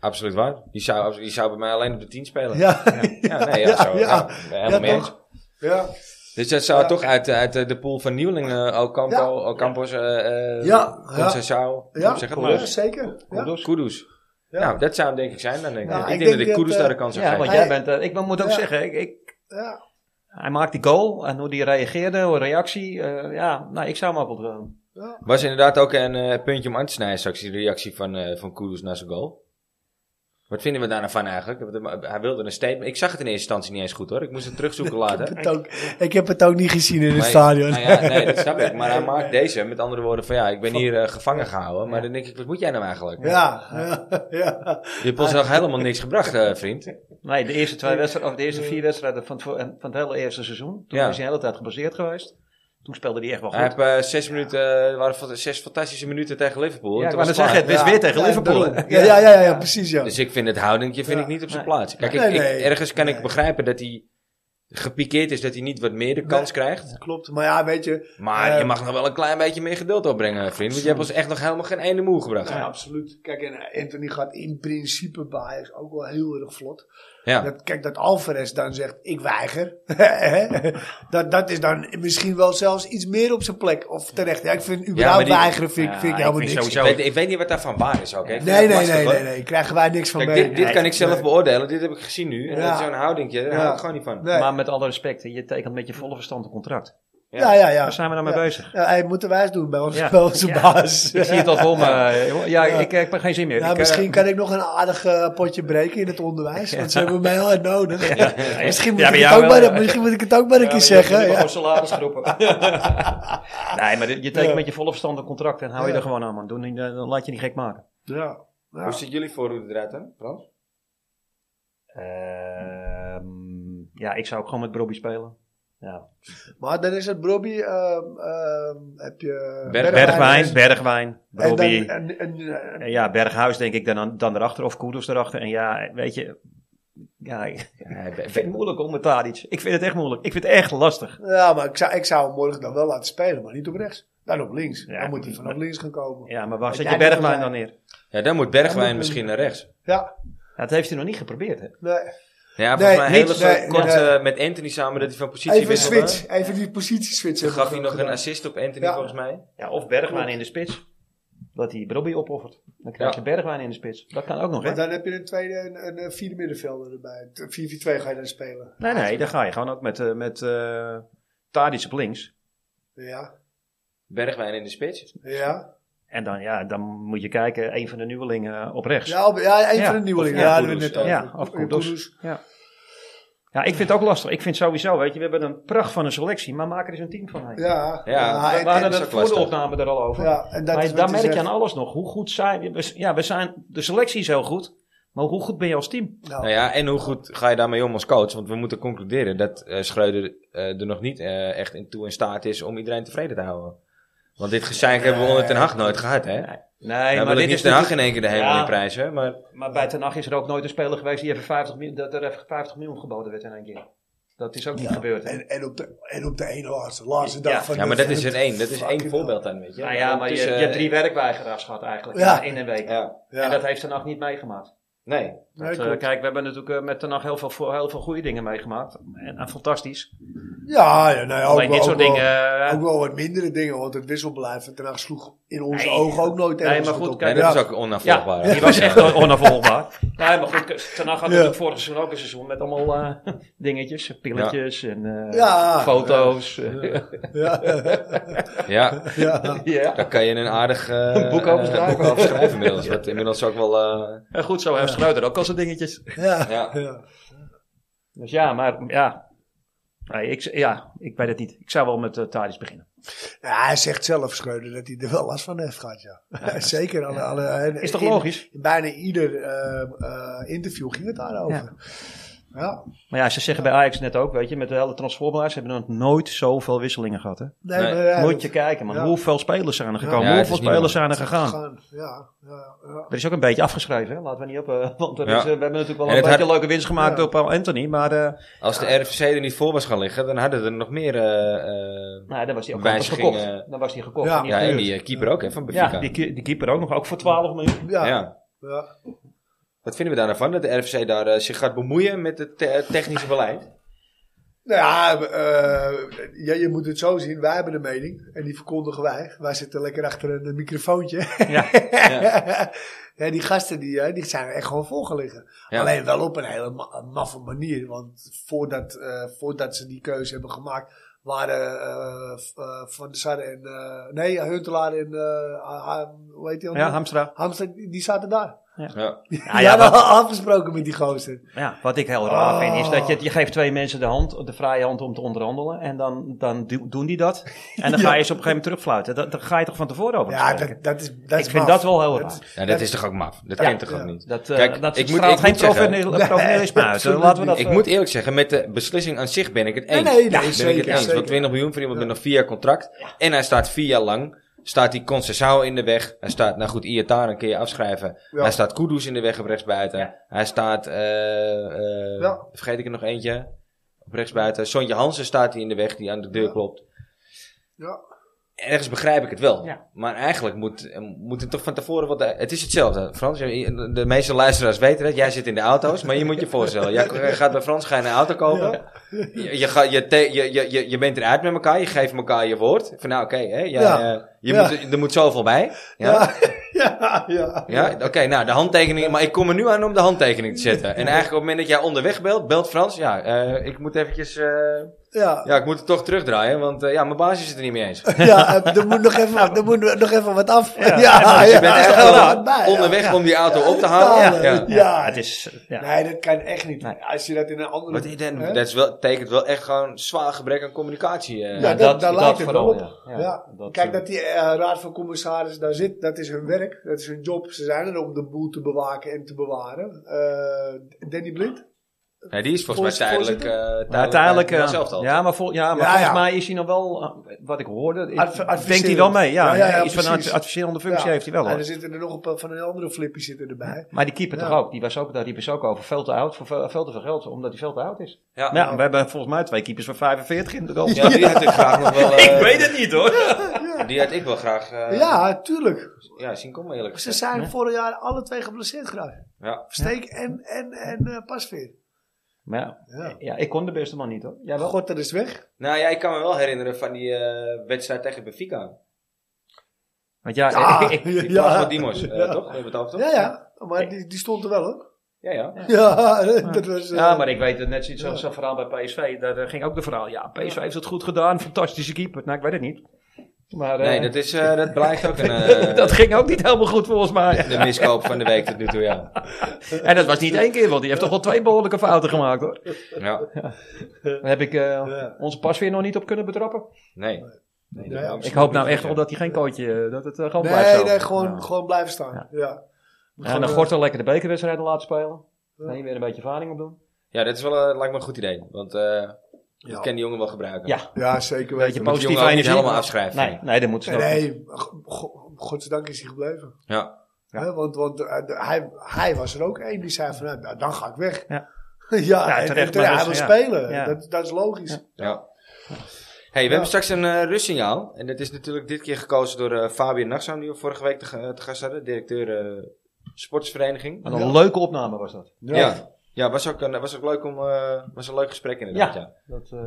[SPEAKER 1] Absoluut waar. Die zou, die zou bij mij alleen op de 10 spelen.
[SPEAKER 3] Ja,
[SPEAKER 1] Ja, nee, ja, zo.
[SPEAKER 3] ja.
[SPEAKER 1] Ja, helemaal mee
[SPEAKER 3] Ja,
[SPEAKER 1] eens.
[SPEAKER 3] toch? Ja.
[SPEAKER 1] Dus dat zou
[SPEAKER 3] Ja.
[SPEAKER 1] toch uit, uit eh, de pool van nieuwelingen eh, Ocampo, Ocampos, eh eh
[SPEAKER 3] Ja, ja.
[SPEAKER 1] Conceição,
[SPEAKER 3] Ja,
[SPEAKER 1] zeg het
[SPEAKER 3] ja,
[SPEAKER 1] maar.
[SPEAKER 3] zeker. Ja.
[SPEAKER 2] Kudos.
[SPEAKER 1] Kudus.
[SPEAKER 3] Ja.
[SPEAKER 1] Nou, dat zou hem denk ik zijn dan denk ik.
[SPEAKER 3] Nou,
[SPEAKER 1] ik,
[SPEAKER 3] ik
[SPEAKER 1] denk,
[SPEAKER 3] denk
[SPEAKER 1] dat ik
[SPEAKER 3] dat,
[SPEAKER 1] Kudus
[SPEAKER 3] eh,
[SPEAKER 1] daar de kans op
[SPEAKER 2] Ja, want
[SPEAKER 1] geef.
[SPEAKER 2] jij
[SPEAKER 3] Hij-
[SPEAKER 2] bent... eh, Ik moet ook
[SPEAKER 3] Ja.
[SPEAKER 2] zeggen, ik, ik,
[SPEAKER 3] Ja.
[SPEAKER 2] hij maakt die goal en hoe die reageerde, hoe reactie. eh, ja, nou, ik zou hem op het...
[SPEAKER 3] Ja.
[SPEAKER 1] Was inderdaad ook een eh, puntje om aan te snijden straks die reactie van, eh van Kudus naar zijn goal. Wat vinden we daar nou van eigenlijk? Want, eh, Hij wilde een statement. Ik zag het in eerste instantie niet eens goed hoor. Ik moest het terugzoeken later.
[SPEAKER 3] Het ook- ik heb het ook niet gezien in het
[SPEAKER 1] Maar-
[SPEAKER 3] stadion.
[SPEAKER 1] nou ja, nee, dat snap ik. Maar hij maakt deze, met andere woorden, van ja, ik ben hier eh, gevangen gehouden. Maar dan denk ik, wat moet jij nou eigenlijk?
[SPEAKER 3] Ja, ja, ja.
[SPEAKER 1] Je hebt
[SPEAKER 2] Ah.
[SPEAKER 1] ons nog helemaal niks gebracht, eh, vriend.
[SPEAKER 2] Nee, de eerste, twee wedstrijden, of de eerste vier wedstrijden van het, voor- van het hele eerste seizoen. Toen
[SPEAKER 1] Ja.
[SPEAKER 2] is hij de hele tijd gebaseerd geweest. Toen speelde hij echt wel
[SPEAKER 1] Hij
[SPEAKER 2] goed.
[SPEAKER 1] heeft eh, zes minuten, eh, er waren fa- zes fantastische minuten tegen Liverpool.
[SPEAKER 2] Ja,
[SPEAKER 1] En
[SPEAKER 2] ik
[SPEAKER 1] toen
[SPEAKER 2] wou net
[SPEAKER 1] was het
[SPEAKER 2] zeggen, het
[SPEAKER 1] klaar.
[SPEAKER 2] is weer tegen Liverpool.
[SPEAKER 3] Ja, ja, ja, ja, ja, precies ja.
[SPEAKER 1] Dus ik vind het houdingje vind
[SPEAKER 3] Ja.
[SPEAKER 1] ik niet op zijn
[SPEAKER 2] Nee.
[SPEAKER 1] plaats. Kijk, ik,
[SPEAKER 3] Nee,
[SPEAKER 1] ik-
[SPEAKER 3] nee.
[SPEAKER 1] ergens kan ik
[SPEAKER 3] Nee.
[SPEAKER 1] begrijpen dat hij gepikeerd is, dat hij niet wat meer de kans krijgt.
[SPEAKER 3] Klopt, maar ja, weet je.
[SPEAKER 1] Maar
[SPEAKER 3] Eh.
[SPEAKER 1] je mag nog wel een klein beetje meer geduld opbrengen, vriend. Want je hebt ons echt nog helemaal geen ene moe gebracht.
[SPEAKER 3] Ja,
[SPEAKER 1] Ja.
[SPEAKER 3] absoluut. Kijk, en eh, Anthony gaat in principe bij Ajax ook wel heel erg vlot. Dat, kijk, dat Alvarez dan zegt, ik weiger. dat, dat is dan misschien wel zelfs iets meer op zijn plek. Of terecht. Ja, ik vind überhaupt
[SPEAKER 1] maar die-
[SPEAKER 3] weigeren vind, ik-
[SPEAKER 2] Ja,
[SPEAKER 3] vind ik
[SPEAKER 2] ik
[SPEAKER 3] helemaal
[SPEAKER 2] vind
[SPEAKER 3] niks.
[SPEAKER 1] Ik, weet, ik weet niet wat daarvan waar is ook. hè. Ik vind dat
[SPEAKER 3] Nee, nee,
[SPEAKER 1] lastig,
[SPEAKER 3] nee,
[SPEAKER 1] hoor.
[SPEAKER 3] nee, nee. Krijgen wij niks van
[SPEAKER 1] Kijk,
[SPEAKER 3] mee.
[SPEAKER 1] dit, dit kan ik zelf
[SPEAKER 3] Nee.
[SPEAKER 1] beoordelen. Dit heb ik gezien nu. En
[SPEAKER 3] Ja.
[SPEAKER 1] Dat is zo'n houdingje. Daar
[SPEAKER 3] Ja.
[SPEAKER 1] hou ik gewoon niet van.
[SPEAKER 3] Nee.
[SPEAKER 2] Maar met alle respect, je tekent met je volle verstand een contract.
[SPEAKER 3] Ja, ja, ja.
[SPEAKER 2] Waar zijn we nou mee bezig?
[SPEAKER 3] Ja, hij moet de wijs doen bij ons,
[SPEAKER 2] Ja.
[SPEAKER 3] bij onze
[SPEAKER 2] Ja.
[SPEAKER 3] baas.
[SPEAKER 2] Ik zie het al voor me. eh, jongen. Ja, ik, ik heb er geen zin meer.
[SPEAKER 3] Ja,
[SPEAKER 2] Ik, eh,
[SPEAKER 3] misschien kan ik nog een aardig eh, potje breken in het onderwijs, want ze hebben mij heel erg nodig. Misschien, moet
[SPEAKER 2] Ja,
[SPEAKER 3] ik
[SPEAKER 2] bij
[SPEAKER 3] het
[SPEAKER 2] jou
[SPEAKER 3] ook maar,
[SPEAKER 2] wel, ja.
[SPEAKER 3] misschien moet ik het ook maar een keer
[SPEAKER 2] ja,
[SPEAKER 3] zeggen.
[SPEAKER 2] je
[SPEAKER 3] Ja.
[SPEAKER 2] mag gewoon salaris groepen. nee, maar dit- je tekent met je volle verstand een contract en hou je
[SPEAKER 3] Ja.
[SPEAKER 2] er gewoon aan, man. Doe niet- eh, Dan laat je niet gek maken.
[SPEAKER 3] Ja. Ja.
[SPEAKER 1] Hoe ziet jullie voorhoede eruit dan, Frans?
[SPEAKER 2] Ehm, ja, ik zou ook gewoon met Brobby spelen. Ja.
[SPEAKER 3] Maar dan is het Brobby, ehm, ehm, heb je...
[SPEAKER 1] Berg-
[SPEAKER 2] Bergwijn,
[SPEAKER 3] Bergwijn,
[SPEAKER 2] Bergwijn,
[SPEAKER 3] en dan-
[SPEAKER 2] Brobby.
[SPEAKER 3] en- en- en-
[SPEAKER 2] Eh, Ja, Berghuis denk ik dan, dan erachter of Koeders erachter. En ja, weet je... Ja, ik ik vind het moeilijk om met Tadic. Ik vind het echt moeilijk. Ik vind het echt lastig.
[SPEAKER 3] Ja, maar ik zou, ik zou hem morgen dan wel laten spelen, maar niet op rechts. Dan op links.
[SPEAKER 2] Ja.
[SPEAKER 3] Dan moet hij vanaf links gaan komen.
[SPEAKER 2] Ja, maar waar
[SPEAKER 3] Ja,
[SPEAKER 2] zet
[SPEAKER 3] jij
[SPEAKER 2] je
[SPEAKER 3] bent
[SPEAKER 2] Bergwijn dan
[SPEAKER 3] erbij.
[SPEAKER 2] neer?
[SPEAKER 1] Ja, dan moet
[SPEAKER 3] Dan
[SPEAKER 1] Bergwijn
[SPEAKER 3] moet-
[SPEAKER 1] misschien naar rechts.
[SPEAKER 3] Ja,
[SPEAKER 2] Ja, dat heeft hij nog niet geprobeerd, hè?
[SPEAKER 3] nee.
[SPEAKER 1] Ja, volgens mij
[SPEAKER 3] Nee,
[SPEAKER 1] heel
[SPEAKER 3] niet-
[SPEAKER 1] even
[SPEAKER 3] nee,
[SPEAKER 1] kort
[SPEAKER 3] nee.
[SPEAKER 1] eh, met Anthony samen dat hij van positie
[SPEAKER 3] Even
[SPEAKER 1] wisselde.
[SPEAKER 3] switch, even die positie switchen.
[SPEAKER 1] Toen gaf hij nog een
[SPEAKER 3] Gedaan.
[SPEAKER 1] assist op Anthony
[SPEAKER 3] Ja.
[SPEAKER 1] volgens mij.
[SPEAKER 2] Ja, of Bergwijn in de spits. Dat hij Brobby opoffert. Dan krijg
[SPEAKER 1] Ja.
[SPEAKER 2] je Bergwijn in de spits. Dat kan ook nog, hè?
[SPEAKER 3] Maar dan heb je een tweede en een, eh, vierde middenvelder erbij. 4-4-2 ga je dan spelen.
[SPEAKER 2] Nee, nee, dan ga je gewoon ook met, eh, met eh, Tadic op links.
[SPEAKER 3] Ja,
[SPEAKER 1] Bergwijn in de spits.
[SPEAKER 3] ja.
[SPEAKER 2] En dan, ja, dan moet je kijken, een van de nieuwelingen op rechts. Ja.
[SPEAKER 3] Ja, op- ja een
[SPEAKER 2] Ja,
[SPEAKER 3] van de nieuwelingen.
[SPEAKER 1] of-
[SPEAKER 3] Ja,
[SPEAKER 1] ja,
[SPEAKER 3] dat we net
[SPEAKER 1] Kudus,
[SPEAKER 3] over.
[SPEAKER 2] ja, of
[SPEAKER 3] Kudus.
[SPEAKER 2] Kudus. ik vind het ook lastig. Ik vind sowieso, weet je, we hebben een pracht van een selectie, maar maak er eens een team van. hè.
[SPEAKER 3] Ja,
[SPEAKER 1] Ja,
[SPEAKER 2] we
[SPEAKER 3] en-
[SPEAKER 2] hadden
[SPEAKER 1] dat
[SPEAKER 2] het
[SPEAKER 1] is ook
[SPEAKER 2] voor
[SPEAKER 1] lastig.
[SPEAKER 2] de opname er al over.
[SPEAKER 3] ja, en dat
[SPEAKER 2] maar
[SPEAKER 3] is wat
[SPEAKER 2] daar
[SPEAKER 3] je
[SPEAKER 2] merk je
[SPEAKER 3] zegt.
[SPEAKER 2] aan alles nog. Hoe goed zijn we? Ja, we zijn, de selectie is heel goed, maar hoe goed ben je als team?
[SPEAKER 3] Nou,
[SPEAKER 1] Nou ja, en hoe goed ga je daarmee om als coach? Want we moeten concluderen dat eh Schreuder eh, er nog niet eh, echt in toe in staat is om iedereen tevreden te houden. Want dit gezeik hebben we onder Ten Hag nooit gehad, hè?
[SPEAKER 2] Nee,
[SPEAKER 1] nou, maar dit is Ten Hag in één keer de hemel
[SPEAKER 2] Ja.
[SPEAKER 1] in prijzen. Maar
[SPEAKER 2] Maar bij Ten Hag is er ook nooit een speler geweest die even 50 miljoen, dat er even 50 miljoen geboden werd in één keer. Dat is ook niet
[SPEAKER 3] Ja.
[SPEAKER 2] gebeurd. hè?
[SPEAKER 3] En, en, op de, en op de ene laatste, laatste dag
[SPEAKER 2] Ja.
[SPEAKER 3] van
[SPEAKER 1] Ja, maar
[SPEAKER 3] de-
[SPEAKER 1] dat is er één. Dat is één
[SPEAKER 3] Oh, Fucking
[SPEAKER 1] voorbeeld dan, weet je.
[SPEAKER 2] nou ja, maar je,
[SPEAKER 1] Dus,
[SPEAKER 2] je
[SPEAKER 1] eh,
[SPEAKER 2] hebt drie werkweigeraars gehad eigenlijk
[SPEAKER 3] Ja.
[SPEAKER 2] in een week.
[SPEAKER 1] Ja,
[SPEAKER 3] hell. Ja.
[SPEAKER 2] En dat heeft Ten Hag niet meegemaakt.
[SPEAKER 1] nee.
[SPEAKER 5] Nee,
[SPEAKER 2] Want, eh,
[SPEAKER 5] klopt.
[SPEAKER 2] kijk, we hebben natuurlijk eh, met Ten Hag heel veel, vo- heel veel goede dingen meegemaakt. En, en fantastisch.
[SPEAKER 3] ja, ja, nou ja, ook
[SPEAKER 2] Alleen
[SPEAKER 3] wel-
[SPEAKER 2] dit soort
[SPEAKER 3] ook wel-
[SPEAKER 2] dingen... eh,
[SPEAKER 3] Ook wel wat mindere dingen, want het wisselbeleid van Ten Hag sloeg in onze
[SPEAKER 2] Nee.
[SPEAKER 3] ogen ook nooit
[SPEAKER 2] Nee,
[SPEAKER 3] ergens
[SPEAKER 2] maar goed,
[SPEAKER 1] Nee,
[SPEAKER 3] op.
[SPEAKER 2] kijk,
[SPEAKER 1] dat
[SPEAKER 3] Ja.
[SPEAKER 1] is ook onafvolgbaar.
[SPEAKER 2] die was echt on- onafvolgbaar. nee, maar goed, Ten Hag had
[SPEAKER 3] Ja.
[SPEAKER 2] natuurlijk vorig seizoen ook een seizoen met allemaal eh, dingetjes. Pilletjes en eh,
[SPEAKER 3] Ja.
[SPEAKER 2] foto's. eh,
[SPEAKER 3] Ja,
[SPEAKER 1] Ja,
[SPEAKER 3] ja.
[SPEAKER 2] ja.
[SPEAKER 1] daar kan je een aardig eh,
[SPEAKER 2] boek
[SPEAKER 1] eh,
[SPEAKER 2] over schrijven.
[SPEAKER 1] boek over schrijven inmiddels. Wat inmiddels ook wel... eh,
[SPEAKER 2] En goed, zo heeft Schreuder ook al zijn dingetjes.
[SPEAKER 3] ja,
[SPEAKER 1] Ja.
[SPEAKER 3] ja.
[SPEAKER 2] Dus ja, maar ja. Nee, ik, ja, ik weet het niet. Ik zou wel met eh Tadic beginnen.
[SPEAKER 3] Ja, hij zegt zelf, Schreuder, dat hij er wel last van heeft gehad, ja. Zeker. Alle, alle, en
[SPEAKER 2] Is toch
[SPEAKER 3] in-
[SPEAKER 2] logisch?
[SPEAKER 3] In bijna ieder eh, eh, interview ging het daarover. Ja.
[SPEAKER 2] Maar ja, ze zeggen bij Ajax net ook, weet je, met de hele transferbeleid, ze hebben nog nooit zoveel wisselingen gehad. Hè?
[SPEAKER 3] Nee,
[SPEAKER 1] Nee,
[SPEAKER 3] maar ja,
[SPEAKER 2] Moet
[SPEAKER 3] dat-
[SPEAKER 2] je kijken, man.
[SPEAKER 3] ja.
[SPEAKER 2] Hoeveel spelers zijn er gekomen?
[SPEAKER 1] Ja, het is
[SPEAKER 2] hoeveel
[SPEAKER 1] niet
[SPEAKER 2] spelers zijn er gegaan?
[SPEAKER 3] gaan. Ja, ja, ja.
[SPEAKER 2] Er is ook een beetje afgeschreven, hè? laten we niet op. eh, want er
[SPEAKER 1] Ja.
[SPEAKER 2] is, eh, we hebben natuurlijk wel
[SPEAKER 1] En
[SPEAKER 2] een
[SPEAKER 1] het
[SPEAKER 2] beetje
[SPEAKER 1] had-
[SPEAKER 2] leuke winst gemaakt
[SPEAKER 3] Ja.
[SPEAKER 2] op Paul Anthony. Maar eh
[SPEAKER 1] Als de RFC er niet voor was gaan liggen, dan hadden er nog meer... eh, eh,
[SPEAKER 2] nou, dan was hij ook anders
[SPEAKER 1] Wijzigingen.
[SPEAKER 2] gekocht. Dan was hij gekocht.
[SPEAKER 3] Ja.
[SPEAKER 2] en niet
[SPEAKER 1] ja, en
[SPEAKER 2] gehuurd.
[SPEAKER 1] die eh, keeper ook, hè, van Benfica.
[SPEAKER 2] ja die, ki- die keeper ook nog. Ook voor 12 miljoen.
[SPEAKER 3] Ja, ja.
[SPEAKER 1] Ja. Wat vinden we daar nou van? Dat de RFC daar eh, zich gaat bemoeien met het te- technische beleid?
[SPEAKER 3] Nou ja, eh, ja, je moet het zo zien. Wij hebben de mening en die verkondigen wij. Wij zitten lekker achter een microfoontje.
[SPEAKER 2] Ja.
[SPEAKER 3] ja. die gasten die, eh, die zijn er echt gewoon voor gaan liggen.
[SPEAKER 1] Ja.
[SPEAKER 3] Alleen wel op een hele ma- maffe manier. Want voordat, eh, voordat ze die keuze hebben gemaakt, waren eh, v- eh, Van der Sar en... eh, nee, Huntelaar en... eh, Ha- Ha- hoe heet die
[SPEAKER 2] Ja,
[SPEAKER 3] andere?
[SPEAKER 2] Hamstra.
[SPEAKER 3] Hamster, die die zaten daar.
[SPEAKER 1] Ja.
[SPEAKER 2] Ja,
[SPEAKER 3] die
[SPEAKER 2] ja,
[SPEAKER 3] hadden al afgesproken met die gozer.
[SPEAKER 2] Ja, wat ik heel raar
[SPEAKER 3] Oh.
[SPEAKER 2] vind is dat je, je geeft twee mensen de hand, de vrije hand om te onderhandelen. En dan, dan do- doen die dat. En dan ga je ze op een gegeven moment terugfluiten. Dat- Daar ga je toch van tevoren over
[SPEAKER 3] Ja,
[SPEAKER 2] bespreken?
[SPEAKER 3] dat, dat is dat
[SPEAKER 2] ik
[SPEAKER 3] is
[SPEAKER 2] vind
[SPEAKER 3] maf.
[SPEAKER 2] dat wel heel
[SPEAKER 3] Dat is-
[SPEAKER 2] raar.
[SPEAKER 1] Ja, dat
[SPEAKER 3] Dat-
[SPEAKER 1] is toch ook maf? Dat
[SPEAKER 2] Ja.
[SPEAKER 1] kent toch
[SPEAKER 3] Ja.
[SPEAKER 1] ook niet?
[SPEAKER 2] Dat, eh
[SPEAKER 1] Kijk,
[SPEAKER 2] dat
[SPEAKER 1] ik moet-
[SPEAKER 2] straalt
[SPEAKER 1] ik
[SPEAKER 2] geen
[SPEAKER 1] moet zeggen-
[SPEAKER 2] professionele- professionalisme uit.
[SPEAKER 3] absoluut
[SPEAKER 2] Laten we dat...
[SPEAKER 1] Ik
[SPEAKER 2] eh,
[SPEAKER 1] moet eerlijk zeggen, met de beslissing aan zich ben ik het eens.
[SPEAKER 3] Nee, nee,
[SPEAKER 1] ben
[SPEAKER 3] nee,
[SPEAKER 1] ik het
[SPEAKER 3] zeker,
[SPEAKER 1] eens. Want
[SPEAKER 3] zeker.
[SPEAKER 1] 20 miljoen voor iemand met nog vier jaar contract. En hij staat vier jaar lang. Staat die Concessao in de weg. Hij staat, nou goed, Iataren een keer afschrijven.
[SPEAKER 3] Ja.
[SPEAKER 1] Hij staat Kudus in de weg op rechtsbuiten.
[SPEAKER 2] Ja.
[SPEAKER 1] Hij staat, eh, eh,
[SPEAKER 3] Ja.
[SPEAKER 1] vergeet ik er nog eentje, op rechtsbuiten. Sontje Hansen staat hij in de weg, die aan de deur
[SPEAKER 3] Ja.
[SPEAKER 1] klopt.
[SPEAKER 3] Ja.
[SPEAKER 1] Ergens begrijp ik het wel.
[SPEAKER 2] Ja.
[SPEAKER 1] Maar eigenlijk moet, eh, moet het toch van tevoren wat... Het is hetzelfde, Frans. Je- De meeste luisteraars weten dat. Jij zit in de auto's, maar je moet je voorstellen. Jij gaat bij Frans, ga je een auto kopen. Je, je, gaat- je, te- je, je, je- je bent eruit met elkaar, je geeft elkaar je woord. Van nou, oké, hè, jij,
[SPEAKER 3] Ja.
[SPEAKER 1] eh, je
[SPEAKER 3] Ja.
[SPEAKER 1] moet, er moet zoveel bij. Ja, ja.
[SPEAKER 3] Ja, ja, ja.
[SPEAKER 1] oké, nou, de handtekening. Maar ik kom er nu aan om de handtekening te zetten. En eigenlijk op het moment dat jij onderweg belt, belt Frans. Ja, eh, ik moet eventjes, eh,
[SPEAKER 3] Ja,
[SPEAKER 1] ja, ik moet het toch terugdraaien, want eh, ja, mijn baas is het er niet mee eens.
[SPEAKER 3] ja er, moet nog even, er moet nog even wat af. Ja, Ah, ja,
[SPEAKER 1] Dus je bent echt wel
[SPEAKER 3] ja, ja.
[SPEAKER 1] onderweg om die auto op te
[SPEAKER 3] Ja,
[SPEAKER 1] halen. Ja.
[SPEAKER 3] ja.
[SPEAKER 2] ja,
[SPEAKER 3] ja.
[SPEAKER 2] het is... Ja.
[SPEAKER 3] Nee, dat kan echt niet.
[SPEAKER 2] Nee.
[SPEAKER 3] Als je dat in een andere...
[SPEAKER 1] Wat is dat?
[SPEAKER 3] Hè?
[SPEAKER 1] Dat is wel, betekent wel echt gewoon zwaar gebrek aan communicatie. eh.
[SPEAKER 3] Ja,
[SPEAKER 1] Ja.
[SPEAKER 3] dat- daar lijkt het wel op.
[SPEAKER 2] ja.
[SPEAKER 3] ja.
[SPEAKER 2] Ja, dat,
[SPEAKER 3] Kijk,
[SPEAKER 2] eh,
[SPEAKER 3] dat die eh, raad van commissarissen daar zit, dat is hun werk, dat is hun job. Ze zijn er om de boel te bewaken en te bewaren. Eh, Danny Blind?
[SPEAKER 1] die is volgens mij
[SPEAKER 3] Voorzitter?
[SPEAKER 1] tijdelijk. eh tijdelijk
[SPEAKER 2] Maar uiteindelijk,
[SPEAKER 1] bij
[SPEAKER 2] eh,
[SPEAKER 1] hetzelfde al.
[SPEAKER 2] ja, maar, vol- ja, maar
[SPEAKER 3] Ja,
[SPEAKER 2] volgens
[SPEAKER 3] ja.
[SPEAKER 2] mij is hij nog wel, eh, wat ik hoorde, ik-
[SPEAKER 3] Adv- adviserend.
[SPEAKER 2] denkt hij wel mee. Ja,
[SPEAKER 3] Ja, ja, ja,
[SPEAKER 2] iets van een
[SPEAKER 3] precies.
[SPEAKER 2] adv- adviserende functie
[SPEAKER 3] Ja.
[SPEAKER 2] heeft hij wel.
[SPEAKER 3] En
[SPEAKER 2] hoor.
[SPEAKER 3] er zitten er nog een paar van een andere flippie zitten erbij.
[SPEAKER 2] Maar die keeper
[SPEAKER 3] Ja.
[SPEAKER 2] toch ook, die was ook, daar riepen ze ook over, veel te oud, voor veel, veel te veel geld, omdat hij veel te oud is.
[SPEAKER 1] Ja.
[SPEAKER 2] Nou, we hebben volgens mij twee keepers van 45 in de goal.
[SPEAKER 1] Ja, die had ik graag nog wel. eh,
[SPEAKER 2] het niet hoor.
[SPEAKER 1] Die had ik wel graag eh, ja.
[SPEAKER 3] ja, tuurlijk.
[SPEAKER 1] zien komen, eerlijk
[SPEAKER 3] Ze
[SPEAKER 1] gezegd.
[SPEAKER 3] zijn
[SPEAKER 2] Ja.
[SPEAKER 3] vorig jaar alle twee geblesseerd geraakt.
[SPEAKER 1] Ja.
[SPEAKER 3] Steek en, en, en eh Pasveer.
[SPEAKER 2] Maar ja,
[SPEAKER 3] Ja.
[SPEAKER 2] ja, ik kon de beste man niet hoor. Ja, wel.
[SPEAKER 3] God, dat is weg.
[SPEAKER 1] Nou ja, ik kan me wel herinneren van die eh, wedstrijd tegen Benfica.
[SPEAKER 2] Want ja,
[SPEAKER 3] Ja.
[SPEAKER 2] ik, ik- ik-
[SPEAKER 1] Die
[SPEAKER 3] Ja.
[SPEAKER 1] ja. van Dimos, eh,
[SPEAKER 3] Ja.
[SPEAKER 1] toch? We hebben het over, toch?
[SPEAKER 3] Ja, ja. Maar die, die stond er wel, hoor.
[SPEAKER 1] Ja, ja.
[SPEAKER 3] Ja, dat was... eh,
[SPEAKER 2] ja, maar ik weet het net zoiets als dat verhaal bij PSV. Daar eh, ging ook de verhaal. Ja, PSV heeft het goed gedaan, fantastische keeper. Nou, ik weet het niet. Maar eh,
[SPEAKER 1] Nee, dat, is, eh, dat blijft ook een, eh,
[SPEAKER 2] dat ging ook niet helemaal goed volgens mij.
[SPEAKER 1] de miskoop van de week tot nu toe, ja.
[SPEAKER 2] En dat was niet één keer, want die heeft toch wel twee behoorlijke fouten gemaakt hoor.
[SPEAKER 1] ja.
[SPEAKER 2] Daar heb ik eh,
[SPEAKER 3] Ja.
[SPEAKER 2] onze pas weer nog niet op kunnen betrappen.
[SPEAKER 1] Nee. Nee, dat
[SPEAKER 3] Nee,
[SPEAKER 1] ook
[SPEAKER 2] Ik hoop nou
[SPEAKER 1] niet.
[SPEAKER 2] echt wel dat hij geen kootje, eh, dat het eh, gewoon blijft
[SPEAKER 3] Nee,
[SPEAKER 2] zo.
[SPEAKER 3] nee, gewoon,
[SPEAKER 2] Ja.
[SPEAKER 3] gewoon blijven staan. Ja.
[SPEAKER 2] Ja, en dan
[SPEAKER 3] Gewoon,
[SPEAKER 2] Gortel lekker de bekerwedstrijden laten spelen.
[SPEAKER 3] Ja.
[SPEAKER 2] Dan hier weer een beetje ervaring op doen.
[SPEAKER 1] Ja, dat is wel, eh, lijkt me een goed idee. Want eh ik
[SPEAKER 3] Ja.
[SPEAKER 1] kan die jongen wel gebruiken.
[SPEAKER 2] Ja,
[SPEAKER 3] Ja, zeker
[SPEAKER 2] weet
[SPEAKER 1] moet
[SPEAKER 2] je,
[SPEAKER 3] weten.
[SPEAKER 1] die
[SPEAKER 2] positief
[SPEAKER 1] jongen ook niet
[SPEAKER 2] energie.
[SPEAKER 1] helemaal afschrijven.
[SPEAKER 2] Nee, nee, dat moeten ze nog.
[SPEAKER 3] Nee, go- go- godzijdank is hij gebleven.
[SPEAKER 1] Ja.
[SPEAKER 3] Hè, want want eh, de- hij, hij was er ook één die zei van, nou, dan ga ik weg.
[SPEAKER 2] Ja.
[SPEAKER 3] ja, en- en
[SPEAKER 2] terecht,
[SPEAKER 3] terecht,
[SPEAKER 2] maar
[SPEAKER 3] hij wil
[SPEAKER 2] dus, ja.
[SPEAKER 3] spelen.
[SPEAKER 2] Ja.
[SPEAKER 3] Dat, dat is logisch.
[SPEAKER 1] Ja. Hey, we hebben straks een eh, rustsignaal. En dat is natuurlijk dit keer gekozen door eh, Fabian Nachtzaam, die we vorige week te, ga- te gast hadden. Directeur eh, sportsvereniging.
[SPEAKER 2] Wat een leuke opname was dat.
[SPEAKER 1] Ja. ja. was ook, een- was ook leuk om, eh, was een leuk gesprek inderdaad, ja.
[SPEAKER 2] dat eh,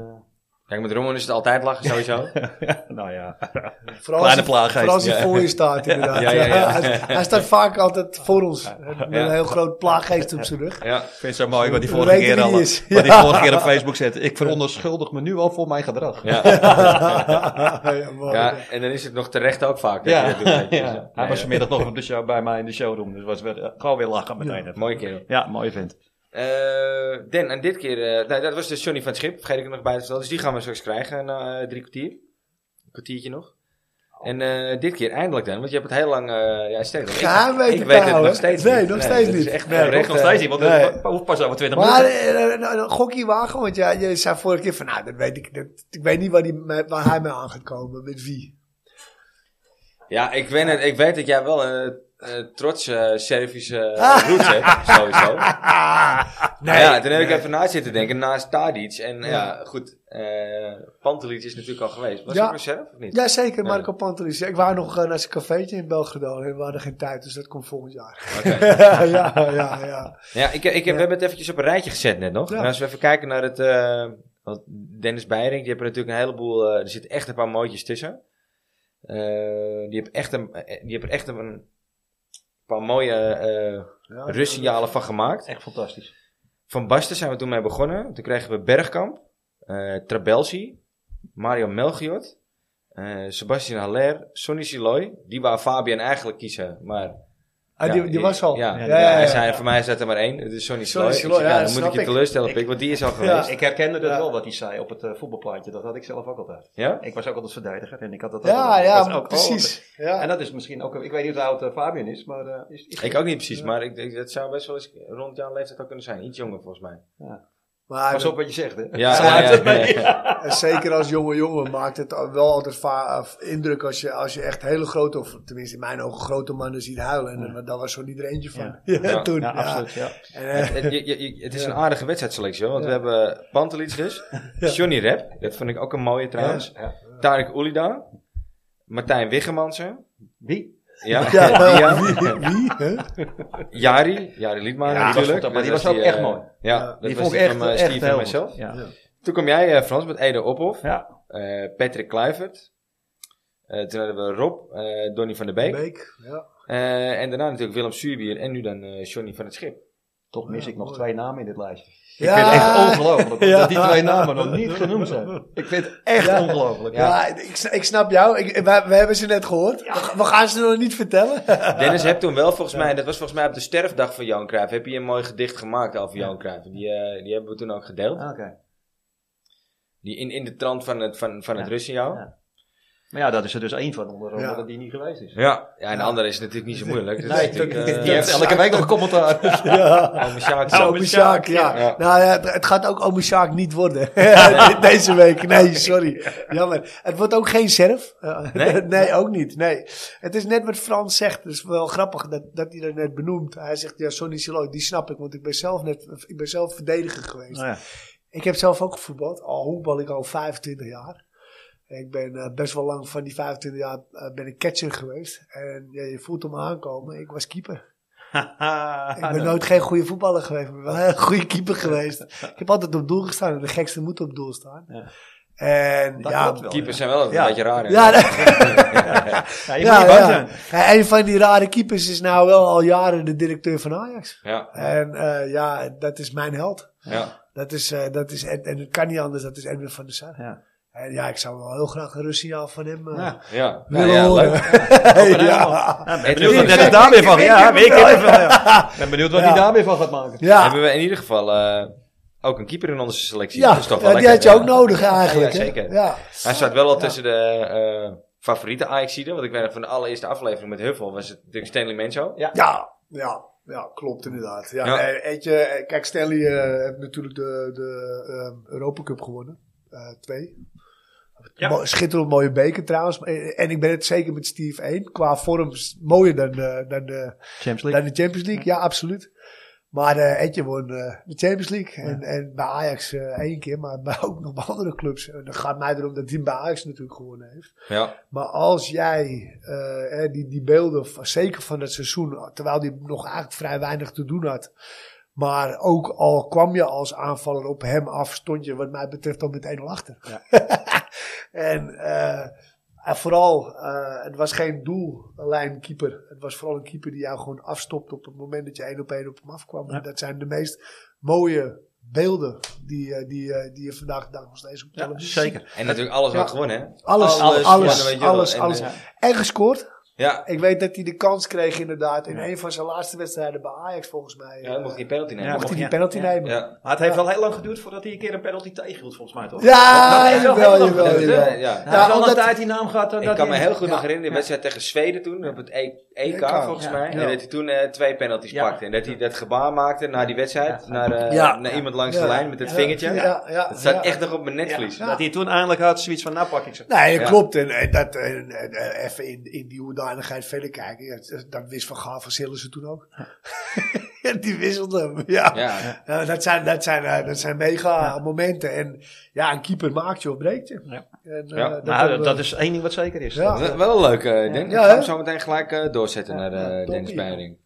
[SPEAKER 1] Kijk, met Roman is het altijd lachen, sowieso.
[SPEAKER 2] nou ja. Kleine
[SPEAKER 3] Vooral als hij-
[SPEAKER 2] plaaggeest,
[SPEAKER 3] Vooral als hij
[SPEAKER 2] ja.
[SPEAKER 3] voor je staat, inderdaad.
[SPEAKER 1] Ja, ja, ja.
[SPEAKER 3] hij, hij staat vaak altijd voor ons. Met
[SPEAKER 1] Ja.
[SPEAKER 3] een heel groot plaaggeest op zijn rug.
[SPEAKER 1] ja.
[SPEAKER 2] Ik vind het zo mooi wat die
[SPEAKER 3] We
[SPEAKER 2] vorige
[SPEAKER 3] weten
[SPEAKER 2] keer
[SPEAKER 3] wie
[SPEAKER 2] al,
[SPEAKER 3] die is.
[SPEAKER 2] wat die vorige keer op Facebook zette. Ik veronderschuldig me nu al voor mijn gedrag.
[SPEAKER 1] Ja.
[SPEAKER 3] ja, mooi.
[SPEAKER 1] ja, en dan is het nog terecht ook vaak. dat je
[SPEAKER 2] Ja.
[SPEAKER 1] dat doet, weet je.
[SPEAKER 2] Ja.
[SPEAKER 1] Dus, eh,
[SPEAKER 2] Hij was
[SPEAKER 1] nee,
[SPEAKER 2] vanmiddag nog op de show, bij mij in de showroom. Dus was weer, eh, gewoon weer lachen meteen.
[SPEAKER 1] eh,
[SPEAKER 2] even.
[SPEAKER 1] Mooie kerel.
[SPEAKER 2] Ja, mooi vindt.
[SPEAKER 1] Eh, Den, en dit keer, eh, nou, dat was dus Johnny van het Schip, vergeet ik er nog bij te vertellen. Dus die gaan we straks krijgen na eh, drie kwartier. Een kwartiertje nog. En eh, dit keer eindelijk dan, want je hebt het heel lang, eh ja, sterker nog, ik-
[SPEAKER 3] Geheim weten
[SPEAKER 1] Ik weet het
[SPEAKER 3] houden.
[SPEAKER 1] nog steeds
[SPEAKER 3] Nee,
[SPEAKER 1] niet.
[SPEAKER 3] nog steeds
[SPEAKER 1] dat is
[SPEAKER 3] niet.
[SPEAKER 1] echt
[SPEAKER 3] Nee,
[SPEAKER 1] oprecht,
[SPEAKER 2] Recht nog
[SPEAKER 1] eh,
[SPEAKER 2] steeds niet, want
[SPEAKER 3] nee.
[SPEAKER 2] het hoeft pas over 20
[SPEAKER 3] Maar
[SPEAKER 2] minuten.
[SPEAKER 3] eh, eh, een gokje wagen, want ja, je zei vorige keer van, nou, dat weet ik, dat, ik weet niet waar, die, me- waar hij mee aan gaat komen, met wie.
[SPEAKER 1] Ja, ik, ben het, ik weet dat jij wel een eh trotse Servische
[SPEAKER 3] Ah.
[SPEAKER 1] eh, roots hebt, sowieso. Nee, ja, toen heb ik even na zitten denken, naast Tadic. En ja, goed, eh Pantelic is natuurlijk al geweest. Was
[SPEAKER 3] Ja.
[SPEAKER 1] het een Serv of niet?
[SPEAKER 3] Jazeker,
[SPEAKER 1] Ja.
[SPEAKER 3] Marco Pantelis. Ik wou nog eh, naar zijn cafeetje in Belgrado en we hadden geen tijd, dus dat komt volgend jaar.
[SPEAKER 1] Oké.
[SPEAKER 3] ja, ja, ja.
[SPEAKER 1] Ja, ik, ik, heb- we hebben het eventjes op een rijtje gezet net nog.
[SPEAKER 3] Ja.
[SPEAKER 1] En als we even kijken naar het... eh, want Dennis Beiring, die hebben natuurlijk een heleboel... eh, er zitten echt een paar mooitjes tussen. Eh, die hebben echt een, eh, die hebben er echt een paar mooie eh
[SPEAKER 3] ja.
[SPEAKER 1] rustsignalen van gemaakt.
[SPEAKER 2] Echt fantastisch.
[SPEAKER 1] Van Basten zijn we toen mee begonnen. Toen kregen we Bergkamp, eh Trabelsi, Mario Melchiot, eh, Sebastian Haller, Sonny Siloy. Die wou Fabian eigenlijk kiezen, maar...
[SPEAKER 3] Ah,
[SPEAKER 1] ja,
[SPEAKER 3] die, die was al.
[SPEAKER 1] Ja, ja,
[SPEAKER 3] ja, ja.
[SPEAKER 1] hij zei, voor mij is dat er maar één. Het is Sonny Siloy.
[SPEAKER 3] Sonny
[SPEAKER 1] Ik
[SPEAKER 3] Siloy,
[SPEAKER 1] zei,
[SPEAKER 3] ja,
[SPEAKER 1] ja, dan moet
[SPEAKER 3] dat
[SPEAKER 1] ik je
[SPEAKER 3] snap ik.
[SPEAKER 1] teleurstellen,
[SPEAKER 2] Ik-
[SPEAKER 1] Pik, want die is al geweest.
[SPEAKER 2] Ik herkende dat
[SPEAKER 3] Ja.
[SPEAKER 2] wel wat hij zei op het eh, voetbalplaatje. Dat had ik zelf ook altijd.
[SPEAKER 1] Ja?
[SPEAKER 2] Ik was ook altijd verdediger en ik had dat ook
[SPEAKER 3] Ja,
[SPEAKER 2] altijd.
[SPEAKER 3] ja,
[SPEAKER 2] Dat is ook altijd.
[SPEAKER 3] precies. Ja.
[SPEAKER 2] En dat is misschien ook... Ik weet niet hoe oud eh, Fabian is, maar... eh, is, is-
[SPEAKER 1] Ik ook niet precies, maar ik, ik- het zou best wel eens rond jouw leeftijd ook kunnen zijn. Iets jonger volgens mij.
[SPEAKER 3] Maar
[SPEAKER 2] Pas op wat je zegt, hè.
[SPEAKER 1] Ja,
[SPEAKER 3] ja,
[SPEAKER 1] ja, ja, ja.
[SPEAKER 3] En zeker als jonge jongen maakt het wel altijd va- af- indruk als je, als je echt hele grote, of tenminste in mijn ogen grote mannen ziet huilen. En daar was zo niet er eentje van. Ja,
[SPEAKER 1] Ja.
[SPEAKER 3] toen.
[SPEAKER 2] Ja,
[SPEAKER 3] ja.
[SPEAKER 2] absoluut. Ja.
[SPEAKER 3] En, eh,
[SPEAKER 1] Het, je- je- je- het is een aardige wedstrijdselectie, hoor, want we hebben Pantelic dus, Johnny Rep, dat vond ik ook een mooie trouwens,
[SPEAKER 2] Ja.
[SPEAKER 1] Tarek Oelida, Martijn Wiggemansen,
[SPEAKER 2] Wie?
[SPEAKER 1] Ja,
[SPEAKER 3] ja,
[SPEAKER 1] ja.
[SPEAKER 3] wie? wie, hè?
[SPEAKER 1] Jari, Jari Liedmaar
[SPEAKER 2] Ja, die was
[SPEAKER 1] natuurlijk.
[SPEAKER 2] fantastisch, maar die
[SPEAKER 1] Dat
[SPEAKER 2] was ook
[SPEAKER 1] eh,
[SPEAKER 2] echt mooi.
[SPEAKER 1] Ja,
[SPEAKER 3] Ja.
[SPEAKER 1] dat
[SPEAKER 2] Die
[SPEAKER 1] was
[SPEAKER 2] vond ik
[SPEAKER 1] die
[SPEAKER 2] echt,
[SPEAKER 1] van eh,
[SPEAKER 2] echt
[SPEAKER 1] Steve
[SPEAKER 2] heel
[SPEAKER 1] en
[SPEAKER 2] goed.
[SPEAKER 1] mijzelf.
[SPEAKER 2] Ja. Ja.
[SPEAKER 1] Toen kwam jij eh, Frans met Ede Ophoff,
[SPEAKER 2] Ja.
[SPEAKER 1] eh, Patrick Kluivert. Eh, toen hadden we Rob, eh Donny van der Beek.
[SPEAKER 3] Beek. Ja.
[SPEAKER 1] Eh, en daarna natuurlijk Willem Suurbier en nu dan eh, Johnny van het Schip.
[SPEAKER 2] Toch mis ik nog
[SPEAKER 3] mooi.
[SPEAKER 2] twee namen in dit lijstje.
[SPEAKER 3] Ja.
[SPEAKER 2] Ik vind het echt ongelooflijk
[SPEAKER 3] Ja.
[SPEAKER 2] dat die twee namen nog niet genoemd zijn. Ik vind het echt
[SPEAKER 3] Ja.
[SPEAKER 2] ongelooflijk.
[SPEAKER 3] Ja, ik, s- ik snap jou. Ik, we, we hebben ze net gehoord. We, we gaan ze nog niet vertellen.
[SPEAKER 1] Dennis heb toen wel volgens mij, dat was volgens mij op de sterfdag van Johan Cruijff, heb je een mooi gedicht gemaakt over Johan Cruijff. Die, eh, die hebben we toen ook gedeeld.
[SPEAKER 2] Ah, Oké.
[SPEAKER 1] Die in, in de trant van het, van, van het
[SPEAKER 2] Ja.
[SPEAKER 1] Russiaal.
[SPEAKER 2] Ja. Maar ja, dat is er dus één van onder andere
[SPEAKER 3] Ja.
[SPEAKER 2] dat die niet geweest is.
[SPEAKER 1] Ja, ja en de andere is natuurlijk niet zo moeilijk. Dat
[SPEAKER 2] Nee,
[SPEAKER 1] is natuurlijk,
[SPEAKER 2] die
[SPEAKER 1] eh,
[SPEAKER 2] heeft elke week nog commentaar.
[SPEAKER 3] Ja.
[SPEAKER 1] Ome Sjaak.
[SPEAKER 3] Ome Sjaak, ja.
[SPEAKER 1] Ja.
[SPEAKER 3] Nou ja, het, het gaat ook Ome Sjaak niet worden. Deze week, nee, sorry. Jammer. Het wordt ook geen serf. Eh,
[SPEAKER 1] Nee?
[SPEAKER 3] nee? ook niet. Nee. Het is net wat Frans zegt. Het is wel grappig dat, dat hij dat net benoemt. Hij zegt, ja, Sonny Siloy, die snap ik. Want ik ben zelf, net, ik ben zelf verdediger geweest.
[SPEAKER 2] Nou ja.
[SPEAKER 3] Ik heb zelf ook gevoetbald. Al hoekbal ik al 25 jaar. Ik ben eh, best wel lang van die 25 jaar eh, ben ik catcher geweest. En ja, je voelt hem aankomen. Ik was keeper.
[SPEAKER 1] Ah,
[SPEAKER 3] Ik
[SPEAKER 2] Nou,
[SPEAKER 3] ben nooit geen goede voetballer geweest, maar wel een goede keeper geweest. Ik heb altijd op doel gestaan en de gekste moet op doel staan.
[SPEAKER 2] Ja.
[SPEAKER 3] En
[SPEAKER 2] Dat
[SPEAKER 3] ja,
[SPEAKER 2] klopt wel.
[SPEAKER 1] Keepers zijn wel een
[SPEAKER 2] Ja.
[SPEAKER 1] beetje raar.
[SPEAKER 3] ja,
[SPEAKER 1] hè.
[SPEAKER 2] Ja, je moet
[SPEAKER 3] ja,
[SPEAKER 2] niet bang
[SPEAKER 3] ja.
[SPEAKER 2] zijn.
[SPEAKER 3] En een van die rare keepers is nou wel al jaren de directeur van Ajax.
[SPEAKER 1] ja.
[SPEAKER 3] En eh, ja, dat is mijn held.
[SPEAKER 1] ja.
[SPEAKER 3] Dat is, eh, dat is, en, en het kan niet anders, dat is Edwin van der Sar.
[SPEAKER 2] Ja.
[SPEAKER 3] En ja, ik zou wel heel graag een Russiaal van hem eh,
[SPEAKER 2] Ja.
[SPEAKER 1] Ja,
[SPEAKER 3] willen
[SPEAKER 1] ja, ja,
[SPEAKER 3] horen.
[SPEAKER 1] leuk.
[SPEAKER 2] Ja.
[SPEAKER 3] ja.
[SPEAKER 2] Ja,
[SPEAKER 1] Het
[SPEAKER 2] ben benieuwd
[SPEAKER 1] is-
[SPEAKER 2] wat Dennis daar weer van Ja, weet ik even. ja. Ben benieuwd wat hij
[SPEAKER 3] Ja.
[SPEAKER 2] daar weer van gaat maken.
[SPEAKER 3] ja.
[SPEAKER 1] Hebben we in ieder geval eh, ook een keeper in onze selectie.
[SPEAKER 3] Ja,
[SPEAKER 1] dat is toch
[SPEAKER 3] ja,
[SPEAKER 1] wel
[SPEAKER 3] die
[SPEAKER 1] lekker,
[SPEAKER 3] had je
[SPEAKER 1] hè?
[SPEAKER 3] ook nodig eigenlijk.
[SPEAKER 1] Ja,
[SPEAKER 3] hè?
[SPEAKER 1] zeker.
[SPEAKER 3] Ja.
[SPEAKER 1] Hij staat wel al tussen de eh, favoriete Ajaxiden. Want ik weet nog van de allereerste aflevering met Huffel was het natuurlijk Stanley Menzo.
[SPEAKER 3] Ja, ja, ja klopt inderdaad. Ja,
[SPEAKER 1] Ja.
[SPEAKER 3] nee, weet je, eh, kijk, Stanley eh, heeft natuurlijk de, de ehm, Europa Cup gewonnen. Eh, twee. Mo- schitterend mooie beker trouwens. Maar, eh, En ik ben het zeker met Steve 1. Qua vorm is het mooier dan, eh, dan, de,
[SPEAKER 2] Champions
[SPEAKER 3] dan de Champions League. Ja, absoluut. Maar eh Etje won eh, de Champions League. En, en bij Ajax eh, één keer, maar bij, ook nog bij andere clubs. En dat gaat mij erom dat hij bij Ajax natuurlijk gewonnen heeft.
[SPEAKER 1] Ja,
[SPEAKER 3] Maar als jij eh, hè, die, die beelden, van- zeker van dat seizoen, terwijl hij nog eigenlijk vrij weinig te doen had. Maar ook al kwam je als aanvaller op hem af, stond je wat mij betreft al met 1-0 achter. en, eh, en vooral, eh, het was geen doellijnkeeper. Het was vooral een keeper die jou gewoon afstopt op het moment dat je één op één op hem afkwam. En dat zijn de meest mooie beelden die, eh, die, eh, die je vandaag de dag nog steeds op televisie ziet.
[SPEAKER 2] zeker.
[SPEAKER 1] en natuurlijk alles
[SPEAKER 3] Ja.
[SPEAKER 1] wordt gewonnen, hè?
[SPEAKER 3] Alles,
[SPEAKER 1] Alles,
[SPEAKER 3] alles,
[SPEAKER 1] ja, weet je
[SPEAKER 3] alles,
[SPEAKER 1] wel.
[SPEAKER 3] alles.
[SPEAKER 1] En,
[SPEAKER 3] alles.
[SPEAKER 1] eh,
[SPEAKER 3] En gescoord.
[SPEAKER 1] Ja,
[SPEAKER 3] Ik weet dat hij de kans kreeg inderdaad in een van zijn laatste wedstrijden bij Ajax volgens mij.
[SPEAKER 1] ja dan mocht
[SPEAKER 3] eh,
[SPEAKER 1] hij penalty nemen.
[SPEAKER 2] Ja,
[SPEAKER 3] mocht hij die
[SPEAKER 2] ja,
[SPEAKER 3] penalty
[SPEAKER 2] ja.
[SPEAKER 3] nemen. Ja,
[SPEAKER 1] Ja,
[SPEAKER 2] Maar het heeft wel heel lang geduurd voordat hij een keer een penalty tegenhield, volgens mij toch?
[SPEAKER 3] ja,
[SPEAKER 2] Ja,
[SPEAKER 3] jawel,
[SPEAKER 2] ja,
[SPEAKER 3] jawel,
[SPEAKER 2] ja,
[SPEAKER 3] jawel.
[SPEAKER 1] ja, ja.
[SPEAKER 2] Hij heeft wel
[SPEAKER 3] omdat-
[SPEAKER 2] een tijd die naam gehad. eh,
[SPEAKER 1] Ik
[SPEAKER 2] dat
[SPEAKER 1] kan me
[SPEAKER 2] hij-
[SPEAKER 1] heel goed
[SPEAKER 3] ja,
[SPEAKER 1] nog herinneren, de
[SPEAKER 2] ja.
[SPEAKER 1] wedstrijd tegen Zweden toen, op het E- EK,
[SPEAKER 3] EK,
[SPEAKER 1] volgens
[SPEAKER 2] ja,
[SPEAKER 1] mij.
[SPEAKER 2] ja.
[SPEAKER 1] En dat hij toen eh, twee penalties
[SPEAKER 2] Ja.
[SPEAKER 1] pakte. En dat hij dat gebaar maakte na die wedstrijd, naar, eh,
[SPEAKER 3] Ja.
[SPEAKER 1] naar iemand langs de
[SPEAKER 3] Ja.
[SPEAKER 1] lijn met het
[SPEAKER 3] Ja,
[SPEAKER 1] vingertje.
[SPEAKER 3] Ja, ja,
[SPEAKER 1] Dat staat
[SPEAKER 3] ja.
[SPEAKER 1] echt nog op mijn
[SPEAKER 2] Ja,
[SPEAKER 1] netvlies.
[SPEAKER 2] Dat hij toen eindelijk had zoiets van, nou pak ik ze.
[SPEAKER 3] Nee, dat
[SPEAKER 1] Ja.
[SPEAKER 3] klopt. En, en dat, en, en, eh, even in, in die hoedanigheid verder kijken. Ja, dat wist Van Gaal van Sillissen toen ook. die wisselde hem, ja.
[SPEAKER 1] Ja.
[SPEAKER 3] Ja, dat, zijn, dat, zijn, eh, dat zijn mega momenten. En ja, een keeper maakt je of breekt je.
[SPEAKER 2] Ja.
[SPEAKER 3] En, eh,
[SPEAKER 1] Ja.
[SPEAKER 3] dat hebben
[SPEAKER 2] Nou,
[SPEAKER 3] we-
[SPEAKER 2] dat is één ding wat zeker is.
[SPEAKER 3] Ja.
[SPEAKER 1] Dat is Wel een leuke, eh, Dennis.
[SPEAKER 3] Ja,
[SPEAKER 1] Ik ga hem
[SPEAKER 3] hè?
[SPEAKER 1] zo meteen gelijk eh, doorzetten
[SPEAKER 3] Ja,
[SPEAKER 1] naar eh,
[SPEAKER 3] ja,
[SPEAKER 1] Dennis
[SPEAKER 3] toppie.
[SPEAKER 1] Beiring.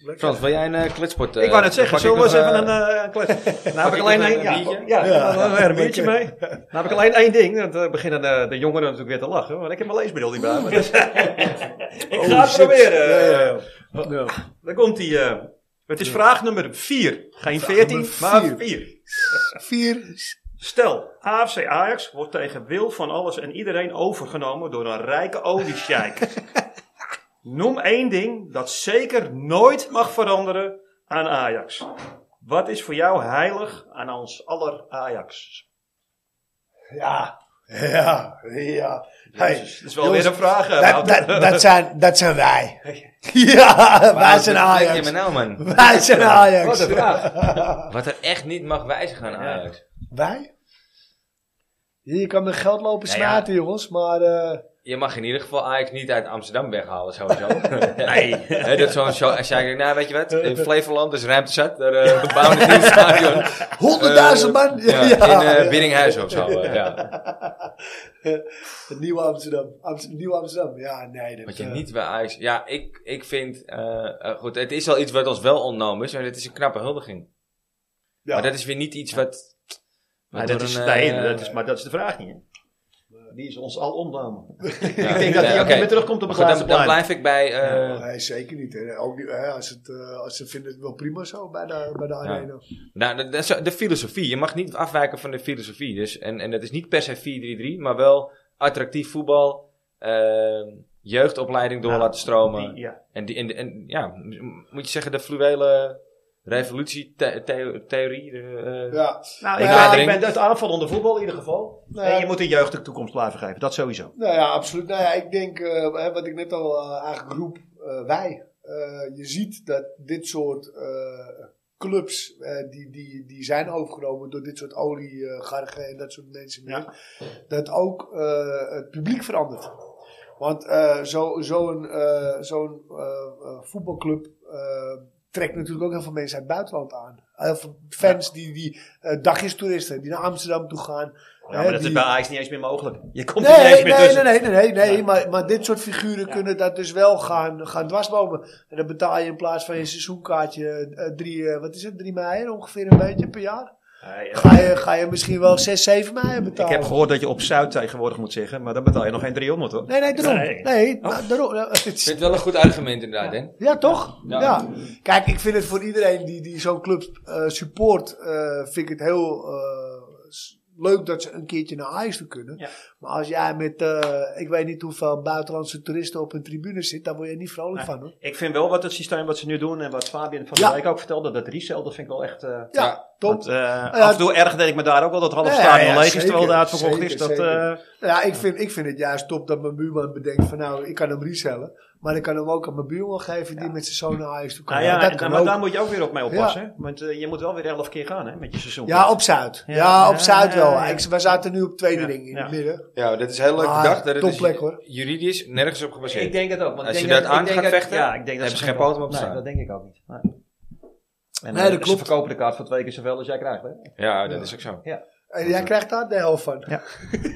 [SPEAKER 3] Lekker.
[SPEAKER 1] Frans, wil jij een eh, kletspot? eh,
[SPEAKER 2] Ik wou net zeggen,
[SPEAKER 1] pak
[SPEAKER 2] zullen we
[SPEAKER 1] ik
[SPEAKER 2] eens
[SPEAKER 1] nog,
[SPEAKER 2] even
[SPEAKER 1] eh,
[SPEAKER 2] een eh, klets. Nou heb
[SPEAKER 1] ik nog
[SPEAKER 2] ik alleen
[SPEAKER 1] een
[SPEAKER 2] één. Ja,
[SPEAKER 1] biertje?
[SPEAKER 2] ja,
[SPEAKER 3] Ja.
[SPEAKER 2] dan hebben we er een biertje
[SPEAKER 3] Oké.
[SPEAKER 2] mee. Nou heb ik alleen één ding. Dan eh, beginnen de, de jongeren natuurlijk weer te lachen. Want ik heb mijn leesbril niet bij me. Dus- Oh, ik ga het
[SPEAKER 3] shit.
[SPEAKER 2] proberen.
[SPEAKER 3] Ja, ja,
[SPEAKER 2] Oh, Daar komt hij. eh, het is vraag nummer 4. Geen 14,
[SPEAKER 3] nummer
[SPEAKER 2] maar
[SPEAKER 3] vier.
[SPEAKER 2] 4.
[SPEAKER 3] Vier.
[SPEAKER 2] Stel, AFC Ajax wordt tegen wil van alles en iedereen overgenomen door een rijke oliesjeik. Noem één ding dat zeker nooit mag veranderen aan Ajax. Wat is voor jou heilig aan ons aller Ajax?
[SPEAKER 3] Ja, ja, ja. Hey,
[SPEAKER 2] Jezus, dus dat is wel
[SPEAKER 3] jongens,
[SPEAKER 2] weer een vraag. eh,
[SPEAKER 3] Dat,
[SPEAKER 2] Wouter.
[SPEAKER 3] dat, dat, zijn, dat zijn wij. Ja, wij
[SPEAKER 1] Frans,
[SPEAKER 3] zijn
[SPEAKER 1] wat denk
[SPEAKER 3] Ajax.
[SPEAKER 1] je me nou, man?
[SPEAKER 3] Wij zijn Ajax.
[SPEAKER 2] eh, Wat een vraag.
[SPEAKER 1] Wat er echt niet mag wijzigen aan
[SPEAKER 2] Ja.
[SPEAKER 1] Ajax.
[SPEAKER 3] Wij? Je kan met geld lopen
[SPEAKER 1] Nou ja.
[SPEAKER 3] smaten, jongens, maar... eh,
[SPEAKER 1] Je mag in ieder geval Ajax niet uit Amsterdam weghalen, sowieso.
[SPEAKER 2] Nee.
[SPEAKER 1] Hè, dat is zo'n show. Als jij denkt, nou weet je wat, in Flevoland is ruimte zat, daar eh, bouwen we een nieuw stadion.
[SPEAKER 3] 100.000
[SPEAKER 2] Eh,
[SPEAKER 3] man!
[SPEAKER 1] Ja,
[SPEAKER 3] Ja,
[SPEAKER 1] In eh Biddinghuizen of zo. eh, ja.
[SPEAKER 3] Het nieuwe Amsterdam. Amst- nieuw Amsterdam. Ja, nee. Dat,
[SPEAKER 1] Wat je
[SPEAKER 3] eh,
[SPEAKER 1] niet bij Ajax... Ja, ik, ik vind... eh, eh, goed, het is al iets wat ons wel ontnomen is, en het is een knappe huldiging.
[SPEAKER 3] ja.
[SPEAKER 1] Maar dat is weer niet iets wat...
[SPEAKER 2] Maar
[SPEAKER 1] wat
[SPEAKER 2] dat
[SPEAKER 1] door
[SPEAKER 2] is,
[SPEAKER 1] een,
[SPEAKER 2] nee,
[SPEAKER 1] eh,
[SPEAKER 2] dat is, maar dat is de vraag niet. hè. Die is ons al ontnomen.
[SPEAKER 1] Ja,
[SPEAKER 2] Ik denk dat
[SPEAKER 1] nee,
[SPEAKER 2] hij ook
[SPEAKER 1] oké.
[SPEAKER 2] niet meer terugkomt op
[SPEAKER 1] Maar
[SPEAKER 2] het
[SPEAKER 1] goed,
[SPEAKER 2] laatste
[SPEAKER 1] dan, dan
[SPEAKER 2] plein.
[SPEAKER 1] blijf ik bij... eh,
[SPEAKER 3] Oh, Nee, zeker niet. Hè. Ook niet hè, als, het, eh, als ze vinden het wel prima zo bij de, bij de arena.
[SPEAKER 1] Nou, de, de, zo- de filosofie. Je mag niet afwijken van de filosofie. Dus, en, en dat is niet per se 4-3-3, maar wel attractief voetbal. ehm, jeugdopleiding door
[SPEAKER 2] Ja,
[SPEAKER 1] laten stromen.
[SPEAKER 2] Die- ja.
[SPEAKER 1] En, die, en, en ja, m- moet je zeggen, de fluwele revolutietheorie. eh
[SPEAKER 3] Ja.
[SPEAKER 2] Nou, ik,
[SPEAKER 1] Ja,
[SPEAKER 2] ben, ik
[SPEAKER 1] denk-
[SPEAKER 2] ben het aanval onder voetbal in ieder geval.
[SPEAKER 3] Nee.
[SPEAKER 2] En je moet de jeugd de toekomst blijven geven. Dat sowieso.
[SPEAKER 3] Nou ja, absoluut. Nou ja, ik denk, eh, hè, wat ik net al eh, eigenlijk roep, eh, wij. Eh, je ziet dat dit soort eh, clubs, eh, die, die, die zijn overgenomen door dit soort oliegargen en dat soort mensen meer, dat ook eh, het publiek verandert. Want eh, zo- zo'n eh, zo'n, eh, eh, voetbalclub eh, trekt natuurlijk ook heel veel mensen uit het buitenland aan. Heel veel fans die, die eh, dagjestoeristen, die naar Amsterdam toe gaan.
[SPEAKER 2] Ja,
[SPEAKER 3] hè,
[SPEAKER 2] maar dat is
[SPEAKER 3] die-
[SPEAKER 2] bij Ajax niet eens meer mogelijk. Je komt er niet
[SPEAKER 3] Nee,
[SPEAKER 2] eens meer
[SPEAKER 3] nee,
[SPEAKER 2] tussen.
[SPEAKER 3] nee, nee, nee, nee, nee,
[SPEAKER 2] Ja.
[SPEAKER 3] Maar, maar dit soort figuren kunnen dat dus wel gaan, gaan dwarsbomen. En dan betaal je in plaats van je seizoenkaartje eh, drie, eh, wat is het, drie mei ongeveer een beetje per jaar.
[SPEAKER 2] Nee, ja.
[SPEAKER 3] Ga je, ga je misschien wel zes, zeven mei
[SPEAKER 2] Ik
[SPEAKER 3] betalen.
[SPEAKER 2] eh, heb gehoord dat je op Zuid tegenwoordig moet zeggen. Maar dan betaal je nog geen 300 hoor.
[SPEAKER 3] Nee, nee, daarom.
[SPEAKER 2] Nee. Oh.
[SPEAKER 3] Nee, nou, daarom. Nou, het
[SPEAKER 1] ik
[SPEAKER 3] is-
[SPEAKER 1] vind het wel een goed argument inderdaad, hè?
[SPEAKER 3] Ja, toch?
[SPEAKER 1] Ja.
[SPEAKER 3] Ja. Kijk, ik vind het voor iedereen die, die zo'n club eh, support, eh, vind ik het heel eh, s- leuk dat ze een keertje naar Ajax toe kunnen.
[SPEAKER 2] Ja.
[SPEAKER 3] Maar als jij met, eh, ik weet niet hoeveel buitenlandse toeristen op een tribune zit, dan word je niet vrolijk
[SPEAKER 2] Nee.
[SPEAKER 3] van hoor.
[SPEAKER 2] Ik vind wel wat het systeem wat ze nu doen. En wat Fabian van
[SPEAKER 3] Ja.
[SPEAKER 2] der Wijk ook vertelde. Dat resell, dat vind ik wel echt... eh,
[SPEAKER 3] Ja,
[SPEAKER 1] Ja,
[SPEAKER 3] top.
[SPEAKER 2] want, eh, af en toe ergerde ik me daar ook wel dat het half
[SPEAKER 3] Ja,
[SPEAKER 2] stadion
[SPEAKER 3] ja,
[SPEAKER 2] leeg is.
[SPEAKER 3] zeker,
[SPEAKER 2] Terwijl daar het verkocht
[SPEAKER 3] zeker,
[SPEAKER 2] is. Dat,
[SPEAKER 3] zeker.
[SPEAKER 2] eh,
[SPEAKER 3] ja, ik vind, ik vind het juist top dat mijn buurman bedenkt van nou, ik kan hem resellen. Maar ik kan hem ook aan mijn buurman geven die met zijn zoon naar Ajax toe kan.
[SPEAKER 2] Nou ja,
[SPEAKER 3] dat
[SPEAKER 2] en-
[SPEAKER 3] kan
[SPEAKER 2] maar
[SPEAKER 3] ook.
[SPEAKER 2] daar moet je ook weer op mee oppassen. hè? Want eh, je moet wel weer elf keer gaan hè, met je seizoen.
[SPEAKER 3] Ja, op Zuid. Ja,
[SPEAKER 2] Ja,
[SPEAKER 3] op Zuid wel.
[SPEAKER 2] ja, ja.
[SPEAKER 3] Ik- We zaten nu op tweede
[SPEAKER 2] Ja,
[SPEAKER 3] ring in
[SPEAKER 2] ja.
[SPEAKER 3] het midden.
[SPEAKER 1] ja dat is heel leuk
[SPEAKER 3] Ah,
[SPEAKER 1] bedacht. Dat het is
[SPEAKER 3] topplek, hoor.
[SPEAKER 1] Juridisch nergens op gebaseerd.
[SPEAKER 2] ik denk het ook. Want
[SPEAKER 1] Als
[SPEAKER 2] ik
[SPEAKER 1] je
[SPEAKER 2] denk
[SPEAKER 1] dat aan
[SPEAKER 2] ik denk
[SPEAKER 1] gaat
[SPEAKER 2] dat-
[SPEAKER 1] vechten,
[SPEAKER 2] ja, ik denk dat
[SPEAKER 1] hebben ze geen
[SPEAKER 2] poot
[SPEAKER 1] poten op te
[SPEAKER 2] nee,
[SPEAKER 1] staan.
[SPEAKER 2] dat denk ik ook niet. Nee. En,
[SPEAKER 3] Nee,
[SPEAKER 2] eh,
[SPEAKER 3] dat
[SPEAKER 2] Ze
[SPEAKER 3] klopt.
[SPEAKER 2] verkopen de kaart voor twee keer zoveel als jij krijgt. Hè?
[SPEAKER 1] Ja, dat is ook zo.
[SPEAKER 3] En jij krijgt daar de helft van.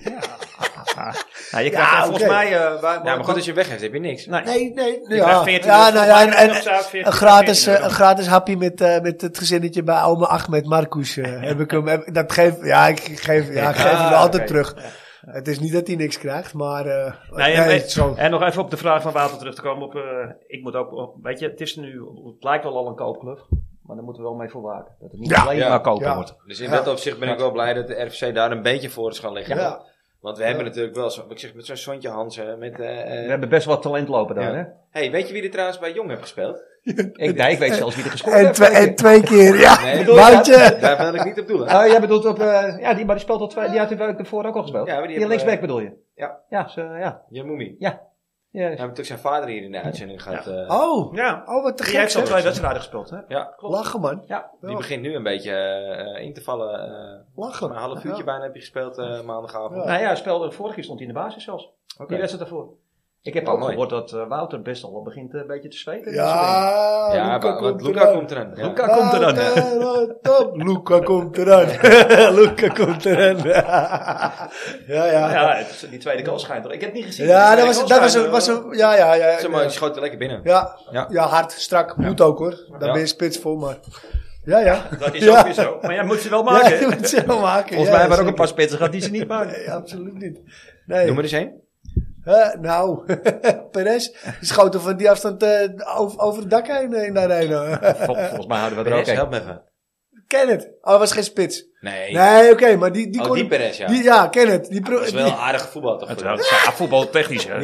[SPEAKER 6] Ah.
[SPEAKER 2] Nou, je
[SPEAKER 3] krijgt
[SPEAKER 2] krijgt
[SPEAKER 3] daar
[SPEAKER 2] volgens
[SPEAKER 3] volgens
[SPEAKER 2] mij...
[SPEAKER 6] eh,
[SPEAKER 1] Ja, maar goed, dus- als je weggeeft, heb je niks.
[SPEAKER 3] Nee, nee.
[SPEAKER 6] Je
[SPEAKER 3] ja.
[SPEAKER 6] krijgt 14
[SPEAKER 3] ja,
[SPEAKER 6] euro.
[SPEAKER 3] nou ja, en, en-
[SPEAKER 6] Op zaterdag 14
[SPEAKER 3] een, gratis, eh,
[SPEAKER 6] euro.
[SPEAKER 3] een gratis happy met, eh, met het gezinnetje bij Alme Ahmed Marcus. eh, heb ik hem, heb- dat geef, ja, ik geef, ja, ik geef hem
[SPEAKER 1] Ah,
[SPEAKER 3] altijd
[SPEAKER 1] oké.
[SPEAKER 3] terug. Het is niet dat hij niks krijgt, maar eh,
[SPEAKER 6] Nee,
[SPEAKER 3] nee,
[SPEAKER 6] en-
[SPEAKER 3] het is zo.
[SPEAKER 6] En nog even op de vraag van Wouter terug te komen. Op, eh, ik moet ook, op- weet je, het is nu, het lijkt wel al een koopclub. Maar daar moeten we wel mee voor waken. Dat het niet alleen
[SPEAKER 1] ja,
[SPEAKER 6] maar kopen
[SPEAKER 3] ja.
[SPEAKER 6] wordt.
[SPEAKER 1] Dus in dat opzicht ben ik wel blij dat de RFC daar een beetje voor is gaan liggen.
[SPEAKER 3] Ja.
[SPEAKER 1] Want we hebben natuurlijk wel, zo, ik zeg met zo'n Sontje Hansen, met... eh,
[SPEAKER 2] We
[SPEAKER 1] eh,
[SPEAKER 2] hebben best wat talent lopen daar.
[SPEAKER 1] Ja.
[SPEAKER 2] Hè?
[SPEAKER 1] hey, weet je wie er trouwens bij Jong heeft gespeeld?
[SPEAKER 2] Ik, nee, ik weet zelfs wie er gescoord
[SPEAKER 3] En,
[SPEAKER 2] heeft.
[SPEAKER 3] twee, en twee keer, ja.
[SPEAKER 1] Nee,
[SPEAKER 2] bedoel je
[SPEAKER 3] Woutje.
[SPEAKER 1] daar wil ik niet op doelen.
[SPEAKER 2] Oh, jij bedoelt op... eh, ja, die, maar die speelt al twee... Die had hij ervoor ook al gespeeld.
[SPEAKER 1] Ja, maar die
[SPEAKER 2] die
[SPEAKER 1] hebben,
[SPEAKER 2] linksback
[SPEAKER 1] eh,
[SPEAKER 2] bedoel je?
[SPEAKER 1] ja.
[SPEAKER 2] Ja, ze, ja.
[SPEAKER 1] Jamoumi.
[SPEAKER 2] ja.
[SPEAKER 1] We hebben natuurlijk zijn vader hier in de uitzending gehad. eh,
[SPEAKER 3] Oh,
[SPEAKER 6] Ja,
[SPEAKER 3] oh, wat te
[SPEAKER 6] die
[SPEAKER 3] gek.
[SPEAKER 6] heeft al
[SPEAKER 3] zeg.
[SPEAKER 6] twee wedstrijden gespeeld. Hè?
[SPEAKER 1] ja,
[SPEAKER 3] Lachen, man.
[SPEAKER 1] die begint nu een beetje eh, eh, in te vallen. eh,
[SPEAKER 3] Lachen.
[SPEAKER 1] maar een half uurtje bijna heb je gespeeld eh, maandagavond.
[SPEAKER 3] Ja.
[SPEAKER 2] Nou ja, speelde, vorig jaar stond hij in de basis zelfs.
[SPEAKER 1] Oké.
[SPEAKER 2] Die wedstrijd daarvoor. Ik heb
[SPEAKER 1] Oh,
[SPEAKER 2] ook
[SPEAKER 1] mooi.
[SPEAKER 2] gehoord dat eh, Wouter best al begint eh, een beetje te zweten.
[SPEAKER 3] Ja,
[SPEAKER 1] Ja,
[SPEAKER 3] Luca
[SPEAKER 1] wa- want
[SPEAKER 3] komt
[SPEAKER 1] Luca
[SPEAKER 3] eraan.
[SPEAKER 1] komt eraan. Ja.
[SPEAKER 2] Luca komt eraan.
[SPEAKER 3] Wouter, top. Luca komt eraan. Luca komt eraan. ja, ja. ja.
[SPEAKER 2] het is- die tweede goal schijnt er. Ik heb het niet gezien.
[SPEAKER 3] Ja,
[SPEAKER 2] Die
[SPEAKER 3] dat
[SPEAKER 2] tweede
[SPEAKER 3] was,
[SPEAKER 2] goal
[SPEAKER 3] dat was,
[SPEAKER 2] schijnt
[SPEAKER 3] een,
[SPEAKER 2] er.
[SPEAKER 3] was een, ja, ja, ja.
[SPEAKER 1] Zeg maar, die schoot er lekker binnen.
[SPEAKER 3] Ja,
[SPEAKER 1] Ja.
[SPEAKER 3] ja. hard, strak, moet ook hoor. Daar
[SPEAKER 1] Ja.
[SPEAKER 3] ben je spits voor, maar. Ja, ja.
[SPEAKER 6] Dat is
[SPEAKER 3] Ja.
[SPEAKER 6] ook weer zo. Maar jij moet ze wel
[SPEAKER 3] Ja,
[SPEAKER 6] maken.
[SPEAKER 3] je moet ze wel maken.
[SPEAKER 2] Volgens
[SPEAKER 3] ja,
[SPEAKER 2] mij hebben er ook
[SPEAKER 3] zeker.
[SPEAKER 2] een paar spitsen gehad die ze niet maken.
[SPEAKER 3] Nee, absoluut niet. Nee.
[SPEAKER 1] Noem maar eens één.
[SPEAKER 3] Hè, nou, Perez schoten van die afstand eh, over, over het dak heen eh, in de arena.
[SPEAKER 2] Vol- volgens mij houden we er ook
[SPEAKER 1] Perez,
[SPEAKER 2] een.
[SPEAKER 1] help me even.
[SPEAKER 3] Ken het. Oh, was geen spits.
[SPEAKER 1] Nee.
[SPEAKER 3] Nee, oké, maar die, die
[SPEAKER 1] oh,
[SPEAKER 3] kon.
[SPEAKER 1] die Perez, ja.
[SPEAKER 3] die- ja, ken het. Die pro-
[SPEAKER 1] Dat is wel
[SPEAKER 3] die-
[SPEAKER 1] een aardige voetbal toch?
[SPEAKER 6] Het is ja, voetbaltechnisch, hè?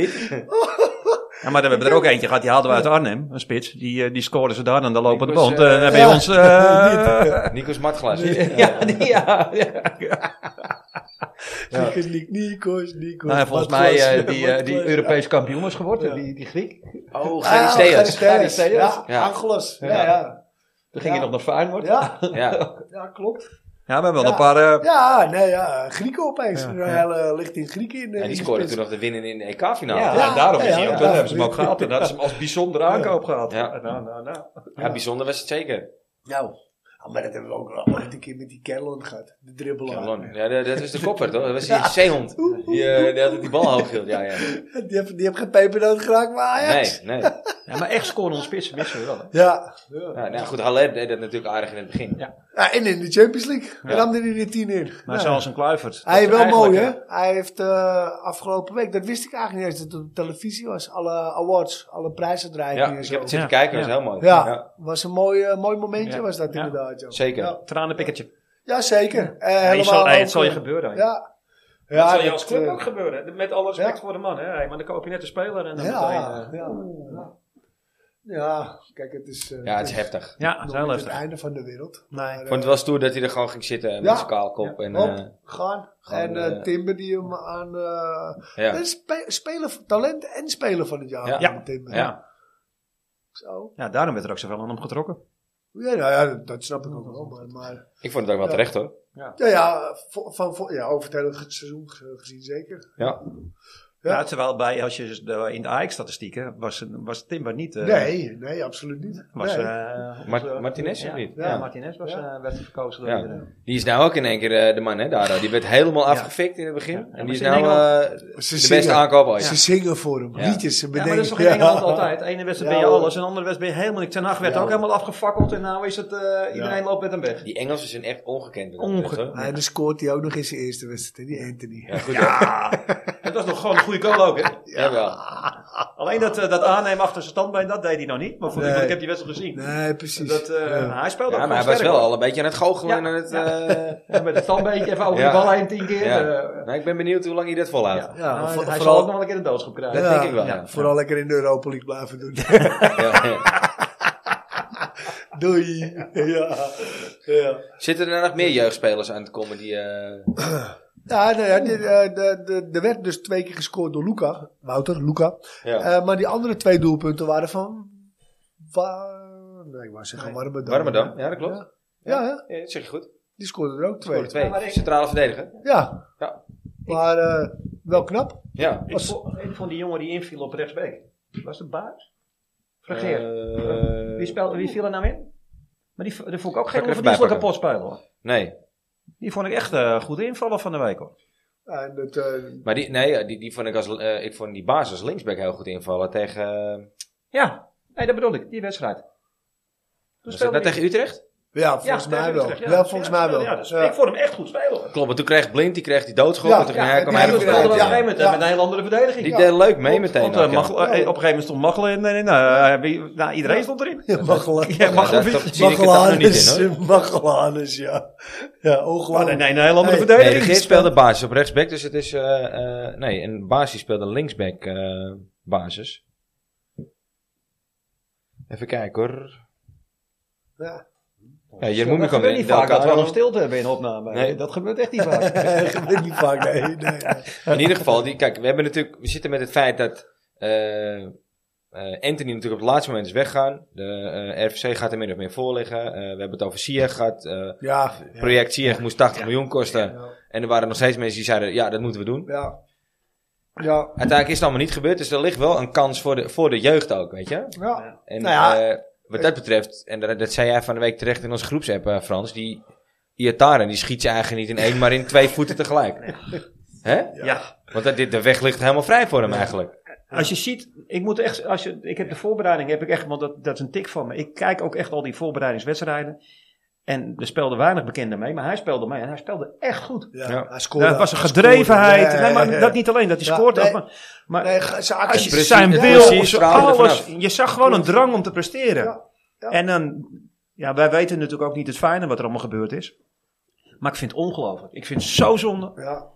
[SPEAKER 6] Ja, maar we hebben er ook eentje gehad, die haalden we uit Arnhem, een spits. Die, eh, die scoorden ze daar aan de lopende
[SPEAKER 1] Die was,
[SPEAKER 6] band.
[SPEAKER 1] eh,
[SPEAKER 6] Eh, en bij
[SPEAKER 3] ja.
[SPEAKER 6] ons... eh,
[SPEAKER 1] Nikos Matglas.
[SPEAKER 2] Ja, die- ja, ja.
[SPEAKER 3] Nikos, Nik- Nikos, Nikos.
[SPEAKER 2] Nou, en volgens mij
[SPEAKER 3] Matlas,
[SPEAKER 2] eh,
[SPEAKER 3] ja,
[SPEAKER 2] die, eh, die
[SPEAKER 3] Matlas.
[SPEAKER 2] Europees kampioen was geworden, die, die Griek.
[SPEAKER 1] Oh,
[SPEAKER 3] Ah,
[SPEAKER 1] geen Steas.
[SPEAKER 3] Gerrit Steers.
[SPEAKER 2] Gerrit
[SPEAKER 3] Ja,
[SPEAKER 2] Steers.
[SPEAKER 1] Ja.
[SPEAKER 3] Angelos. Ja,
[SPEAKER 1] Ja.
[SPEAKER 3] ja.
[SPEAKER 2] Toen ging
[SPEAKER 3] Ja.
[SPEAKER 2] hij nog naar Feyenoord.
[SPEAKER 3] Ja,
[SPEAKER 1] Ja.
[SPEAKER 3] ja, klopt.
[SPEAKER 2] Ja, we hebben wel
[SPEAKER 3] Ja.
[SPEAKER 2] een paar... eh,
[SPEAKER 3] Ja, nee, ja. Grieken opeens. Een hele ligt in Grieken in.
[SPEAKER 1] En
[SPEAKER 3] eh, in
[SPEAKER 1] die
[SPEAKER 3] de
[SPEAKER 1] scoorde
[SPEAKER 3] spits.
[SPEAKER 1] toen nog de winnen in de E EK-finale.
[SPEAKER 2] nou, ja,
[SPEAKER 1] Ja.
[SPEAKER 3] Ja,
[SPEAKER 2] daarom is
[SPEAKER 3] ja,
[SPEAKER 2] hij ook.
[SPEAKER 3] ja.
[SPEAKER 2] Toen hebben ze hem ook gehad. En dat is hem als bijzondere aankoop gehad.
[SPEAKER 1] Ja.
[SPEAKER 2] Nou, nou, nou.
[SPEAKER 1] bijzonder was het zeker.
[SPEAKER 3] Nou, ah, maar dat hebben we ook wel ooit een keer met die Kerlon gehad. De dribbelaar.
[SPEAKER 1] Cameron. Ja, dat, dat was de kopper, toch? Dat was die zeehond. Die, eh, die had die bal hoog hield. Ja, ja.
[SPEAKER 3] Die heeft, die heeft geen pepernoot geraakt, maar Ajax.
[SPEAKER 1] Nee, nee.
[SPEAKER 2] Ja, maar echt scoren onder spitsen missen we wel. hè.
[SPEAKER 3] Ja.
[SPEAKER 1] Ja, nou goed, Haller deed dat natuurlijk aardig in het begin.
[SPEAKER 2] Ja.
[SPEAKER 3] ja. En in de Champions League ramde hij er tien in.
[SPEAKER 6] Maar
[SPEAKER 3] Nou,
[SPEAKER 6] zoals een kluivert.
[SPEAKER 3] hij is
[SPEAKER 6] Dat
[SPEAKER 3] wel
[SPEAKER 6] eigenlijk,
[SPEAKER 3] mooi,
[SPEAKER 6] eh,
[SPEAKER 3] hè? Hij heeft eh, afgelopen week, dat wist ik eigenlijk niet eens, dat het op televisie was. Alle awards, alle prijsuitreikingen
[SPEAKER 1] Ja,
[SPEAKER 3] en
[SPEAKER 1] ik
[SPEAKER 3] zo.
[SPEAKER 1] heb het zitten
[SPEAKER 6] Ja,
[SPEAKER 1] kijken, dat
[SPEAKER 6] ja.
[SPEAKER 1] was heel mooi.
[SPEAKER 3] ja, was een mooi, eh, mooi momentje
[SPEAKER 6] Ja,
[SPEAKER 3] was dat
[SPEAKER 6] ja.
[SPEAKER 3] inderdaad. joh.
[SPEAKER 1] Zeker.
[SPEAKER 3] Ja,
[SPEAKER 6] Tranenpikkertje.
[SPEAKER 3] Ja, zeker. Eh,
[SPEAKER 6] Ja, je
[SPEAKER 3] helemaal
[SPEAKER 6] zal, hey,
[SPEAKER 3] ook,
[SPEAKER 6] het zal je
[SPEAKER 3] eh,
[SPEAKER 6] gebeuren. hè.
[SPEAKER 3] Ja.
[SPEAKER 6] Ja, dat zal
[SPEAKER 3] dat,
[SPEAKER 6] je als club
[SPEAKER 3] eh,
[SPEAKER 6] ook gebeuren. hè. Met alle respect
[SPEAKER 3] ja.
[SPEAKER 6] voor de man. Hè. Hey, Maar dan koop je net een speler en dan meteen...
[SPEAKER 3] Ja,
[SPEAKER 6] eh,
[SPEAKER 3] ja, ja. Ja, kijk, het is... eh,
[SPEAKER 1] Ja, het is heftig.
[SPEAKER 6] ja, dat
[SPEAKER 3] nog
[SPEAKER 6] is heel
[SPEAKER 3] niet het
[SPEAKER 6] lastig.
[SPEAKER 3] einde van de wereld. Maar,
[SPEAKER 1] Ik vond het wel stoer dat hij er gewoon ging zitten met
[SPEAKER 3] Ja.
[SPEAKER 1] zijn kaalkop. En,
[SPEAKER 3] Hop,
[SPEAKER 1] eh,
[SPEAKER 3] gaan.
[SPEAKER 1] gewoon,
[SPEAKER 3] en eh,
[SPEAKER 1] eh,
[SPEAKER 3] Timber die hem aan... eh
[SPEAKER 1] ja.
[SPEAKER 3] en spe- spelen van talent en spelen van het jaar.
[SPEAKER 1] Ja.
[SPEAKER 3] aan Timber.
[SPEAKER 1] Ja.
[SPEAKER 3] Zo.
[SPEAKER 6] Ja, daarom werd er ook zoveel aan hem getrokken.
[SPEAKER 3] Ja, nou ja, dat- dat snap ik ook wel. Maar, maar
[SPEAKER 1] Ik vond het ook wel
[SPEAKER 3] Ja.
[SPEAKER 1] terecht hoor.
[SPEAKER 3] ja, ja, vo- van, vo- ja, over het hele ge- seizoen ge- gezien zeker.
[SPEAKER 1] Ja.
[SPEAKER 3] Ja.
[SPEAKER 2] Ja, terwijl bij, als je dus de- in de Ajax-statistieken was, was Timber niet. eh,
[SPEAKER 3] nee, nee, absoluut niet.
[SPEAKER 2] Was,
[SPEAKER 3] nee.
[SPEAKER 2] eh,
[SPEAKER 1] Mart-
[SPEAKER 2] onze-
[SPEAKER 1] Martinez of
[SPEAKER 2] ja,
[SPEAKER 1] niet?
[SPEAKER 2] Ja,
[SPEAKER 1] Ja.
[SPEAKER 2] Martinez was,
[SPEAKER 3] Ja.
[SPEAKER 2] eh, werd verkozen door
[SPEAKER 1] Ja.
[SPEAKER 2] iedereen.
[SPEAKER 1] Die is nou ook in één keer eh, de man, hè, Daro. Die werd helemaal afgefikt in het begin. en die is
[SPEAKER 2] is
[SPEAKER 1] nou
[SPEAKER 2] in
[SPEAKER 1] eh,
[SPEAKER 3] ze,
[SPEAKER 1] de beste
[SPEAKER 3] zingen,
[SPEAKER 1] aankoop ooit.
[SPEAKER 3] ze zingen voor hem.
[SPEAKER 1] Ja.
[SPEAKER 3] Liedjes, ze
[SPEAKER 2] Ja, maar
[SPEAKER 3] bedenken.
[SPEAKER 2] dat is toch in Engeland
[SPEAKER 3] Ja.
[SPEAKER 2] altijd. Ene wedstrijd
[SPEAKER 3] Ja,
[SPEAKER 2] ben je
[SPEAKER 3] hoor.
[SPEAKER 2] alles, en andere wedstrijd ben je helemaal niet. Ten Hag werd
[SPEAKER 3] Ja,
[SPEAKER 2] ook
[SPEAKER 3] hoor.
[SPEAKER 2] helemaal afgefakkeld en nou is het, eh, iedereen loopt met hem weg.
[SPEAKER 1] Die Engelsen zijn echt ongekend. wat dat
[SPEAKER 2] Onge-
[SPEAKER 1] betreft, hoor.
[SPEAKER 3] Maar dan scoort hij ook nog in zijn eerste wedstrijd, hè, die Anthony.
[SPEAKER 1] Ja, goed hoor.
[SPEAKER 2] Ja, het was nog gewoon een goede goal ook. Hè?
[SPEAKER 1] Jawel.
[SPEAKER 2] Alleen dat, eh, dat aannemen achter zijn standbeen, dat deed hij nog niet. Maar voor
[SPEAKER 3] Nee.
[SPEAKER 2] want ik heb die wedstrijd gezien.
[SPEAKER 3] Nee, precies.
[SPEAKER 2] Dat, eh, Hij
[SPEAKER 3] Ja.
[SPEAKER 1] Ja,
[SPEAKER 2] speelde ook
[SPEAKER 1] maar
[SPEAKER 2] gewoon
[SPEAKER 1] hij was
[SPEAKER 2] sterk,
[SPEAKER 1] wel
[SPEAKER 2] hoor.
[SPEAKER 1] al een beetje aan het goochelen.
[SPEAKER 2] Ja.
[SPEAKER 1] En het, eh,
[SPEAKER 2] Ja, met het standbeentje even over
[SPEAKER 1] Ja.
[SPEAKER 2] die bal heen tien keer.
[SPEAKER 1] Ja.
[SPEAKER 2] eh,
[SPEAKER 1] nou, ik ben benieuwd hoe lang hij dat volhoudt.
[SPEAKER 2] Ja.
[SPEAKER 3] Ja,
[SPEAKER 2] Nou,
[SPEAKER 3] voor-
[SPEAKER 2] hij
[SPEAKER 3] vooral-
[SPEAKER 2] zal ook nog wel een keer de doodschap krijgen.
[SPEAKER 1] Dat denk ik wel.
[SPEAKER 3] Ja,
[SPEAKER 1] Ja.
[SPEAKER 3] Vooral lekker in de Europa League blijven doen.
[SPEAKER 1] Ja, ja.
[SPEAKER 3] Doei. ja. Ja.
[SPEAKER 1] Zitten er nog meer jeugdspelers aan te komen die... eh,
[SPEAKER 3] Ja, nou ja, die, eh, de- de- er werd dus twee keer gescoord door Luca. Wouter, Luca.
[SPEAKER 1] ja.
[SPEAKER 3] Eh, maar die andere twee doelpunten waren van... Wa- nee, ik wou zeggen Warmerdam.
[SPEAKER 1] Warmerdam, ja, dat klopt.
[SPEAKER 3] Ja, ja, hè?
[SPEAKER 1] Ja, dat zeg je goed.
[SPEAKER 3] die scoorde er ook twee.
[SPEAKER 1] Voor de twee.
[SPEAKER 2] Ja, maar ik-
[SPEAKER 1] Centrale verdediger.
[SPEAKER 3] Ja.
[SPEAKER 1] Ja.
[SPEAKER 3] Maar eh, wel knap.
[SPEAKER 1] Ja.
[SPEAKER 2] Ik vond, ik vond die jongen die inviel op rechtsbeek. Was de baas? Vergeer.
[SPEAKER 1] Eh,
[SPEAKER 2] wie, speel, wie viel er nou in? Maar die, v- die vond ik ook
[SPEAKER 1] Ga
[SPEAKER 2] geen
[SPEAKER 1] ik er even
[SPEAKER 2] onverdienstelijk
[SPEAKER 1] bij
[SPEAKER 2] kapot spelen hoor.
[SPEAKER 1] Nee,
[SPEAKER 2] Die vond ik echt eh goede invallen van de week hoor.
[SPEAKER 3] En het, eh,
[SPEAKER 1] maar die, nee, die, die vond ik als, eh, ik vond die basis als linksback heel goed invallen tegen, eh,
[SPEAKER 2] Ja, nee, dat bedoel ik. Die wedstrijd. Toen
[SPEAKER 1] was dat nou
[SPEAKER 2] speelde
[SPEAKER 1] tegen Utrecht?
[SPEAKER 3] ja, volgens
[SPEAKER 2] tegen
[SPEAKER 3] mij wel.
[SPEAKER 2] Utrecht,
[SPEAKER 3] Ja,
[SPEAKER 2] ja.
[SPEAKER 3] volgens
[SPEAKER 2] Ja,
[SPEAKER 3] mij
[SPEAKER 2] ja,
[SPEAKER 3] wel.
[SPEAKER 2] ja, dus
[SPEAKER 3] Ja.
[SPEAKER 2] Ik vond hem echt goed spelen hoor.
[SPEAKER 1] Klopt, maar toen kreeg Blind, die kreeg die doodschop.
[SPEAKER 3] Ja,
[SPEAKER 1] en toen
[SPEAKER 3] ja,
[SPEAKER 1] hij, kwam
[SPEAKER 3] die
[SPEAKER 1] hij
[SPEAKER 2] En toen
[SPEAKER 3] doodschop.
[SPEAKER 1] erbij.
[SPEAKER 2] speelden we op een
[SPEAKER 3] Ja.
[SPEAKER 2] gegeven moment
[SPEAKER 3] Ja.
[SPEAKER 2] met een heel andere verdediging.
[SPEAKER 1] Die deed leuk mee meteen.
[SPEAKER 2] Want, eh,
[SPEAKER 1] ook, ja.
[SPEAKER 2] Machel- eh, op een gegeven moment stond Machelen in. en nou, eh, wie- nou, iedereen stond erin.
[SPEAKER 3] Ja, Magellan-
[SPEAKER 2] Ja,
[SPEAKER 1] Ja, dat-
[SPEAKER 2] Machelen.
[SPEAKER 1] dat zie ik het daar nog niet in
[SPEAKER 3] Magellanes,
[SPEAKER 1] hoor.
[SPEAKER 3] Magellanes, ja. Ja,
[SPEAKER 2] Oh, nee,
[SPEAKER 3] ongelooflijk.
[SPEAKER 2] nee, een heel andere
[SPEAKER 3] Nee.
[SPEAKER 1] Nee, de
[SPEAKER 2] verdediging.
[SPEAKER 1] Geert speelde basis op rechtsback, dus het is... eh, eh, nee, en Baas die speelde linksback eh, basis. Even kijken hoor.
[SPEAKER 3] Ja.
[SPEAKER 1] Ja, Jermoen kwam
[SPEAKER 2] dat Dus, eh, gebeurt
[SPEAKER 1] in.
[SPEAKER 2] niet vaak dat we
[SPEAKER 1] Delcaro.
[SPEAKER 2] een stilte hebben in opname.
[SPEAKER 1] Nee.
[SPEAKER 2] Dat gebeurt echt niet vaak.
[SPEAKER 3] Nee, gebeurt niet vaak, nee. nee, nee.
[SPEAKER 1] In ieder geval, die, kijk, we, hebben natuurlijk, we zitten met het feit dat eh, eh, Anthony natuurlijk op het laatste moment is weggaan. De eh, RVC gaat er min of meer voor liggen. Eh, we hebben het over Sieg gehad. eh,
[SPEAKER 3] Ja,
[SPEAKER 1] project Sieg moest 80 miljoen kosten.
[SPEAKER 3] ja,
[SPEAKER 1] En er waren nog steeds mensen die zeiden, ja, dat moeten we doen.
[SPEAKER 3] ja. Ja,
[SPEAKER 1] Uiteindelijk is het allemaal niet gebeurd, dus er ligt wel een kans voor de, voor de jeugd ook, weet je.
[SPEAKER 3] ja.
[SPEAKER 1] En
[SPEAKER 3] Nou ja.
[SPEAKER 1] eh, wat dat betreft, en dat, dat zei jij van de week terecht in onze groepsapp, eh, Frans, die Iataren, die schiet je eigenlijk niet in één, maar in twee voeten tegelijk. Hè?
[SPEAKER 7] Ja.
[SPEAKER 1] Want dat, dit, de weg ligt helemaal vrij voor hem eigenlijk.
[SPEAKER 2] Als je ziet, ik moet echt, als je, ik heb de voorbereiding, heb ik echt, want dat, dat is een tik van me. Ik kijk ook echt al die voorbereidingswedstrijden. En er speelden weinig bekenden mee, maar hij speelde mee en hij speelde echt goed.
[SPEAKER 3] ja.
[SPEAKER 1] Ja.
[SPEAKER 3] Hij scoorde.
[SPEAKER 2] Dat was een
[SPEAKER 3] Hij
[SPEAKER 2] gedrevenheid.
[SPEAKER 3] scoorde.
[SPEAKER 2] nee, maar
[SPEAKER 3] Ja, ja,
[SPEAKER 2] dat niet alleen, dat hij
[SPEAKER 3] Ja,
[SPEAKER 2] scoort.
[SPEAKER 3] nee.
[SPEAKER 2] maar maar
[SPEAKER 3] Nee, ga- zijn
[SPEAKER 2] als je
[SPEAKER 3] acties.
[SPEAKER 1] precies,
[SPEAKER 2] zijn
[SPEAKER 1] ja.
[SPEAKER 2] wil,
[SPEAKER 1] precies,
[SPEAKER 2] zijn
[SPEAKER 1] straalde er
[SPEAKER 2] alles.
[SPEAKER 1] vanaf.
[SPEAKER 2] Je zag gewoon een drang om te presteren.
[SPEAKER 3] Ja, ja.
[SPEAKER 2] En dan, ja, wij weten natuurlijk ook niet het fijne wat er allemaal gebeurd is. Maar ik vind het ongelooflijk. Ik vind het zo zonde.
[SPEAKER 3] Ja,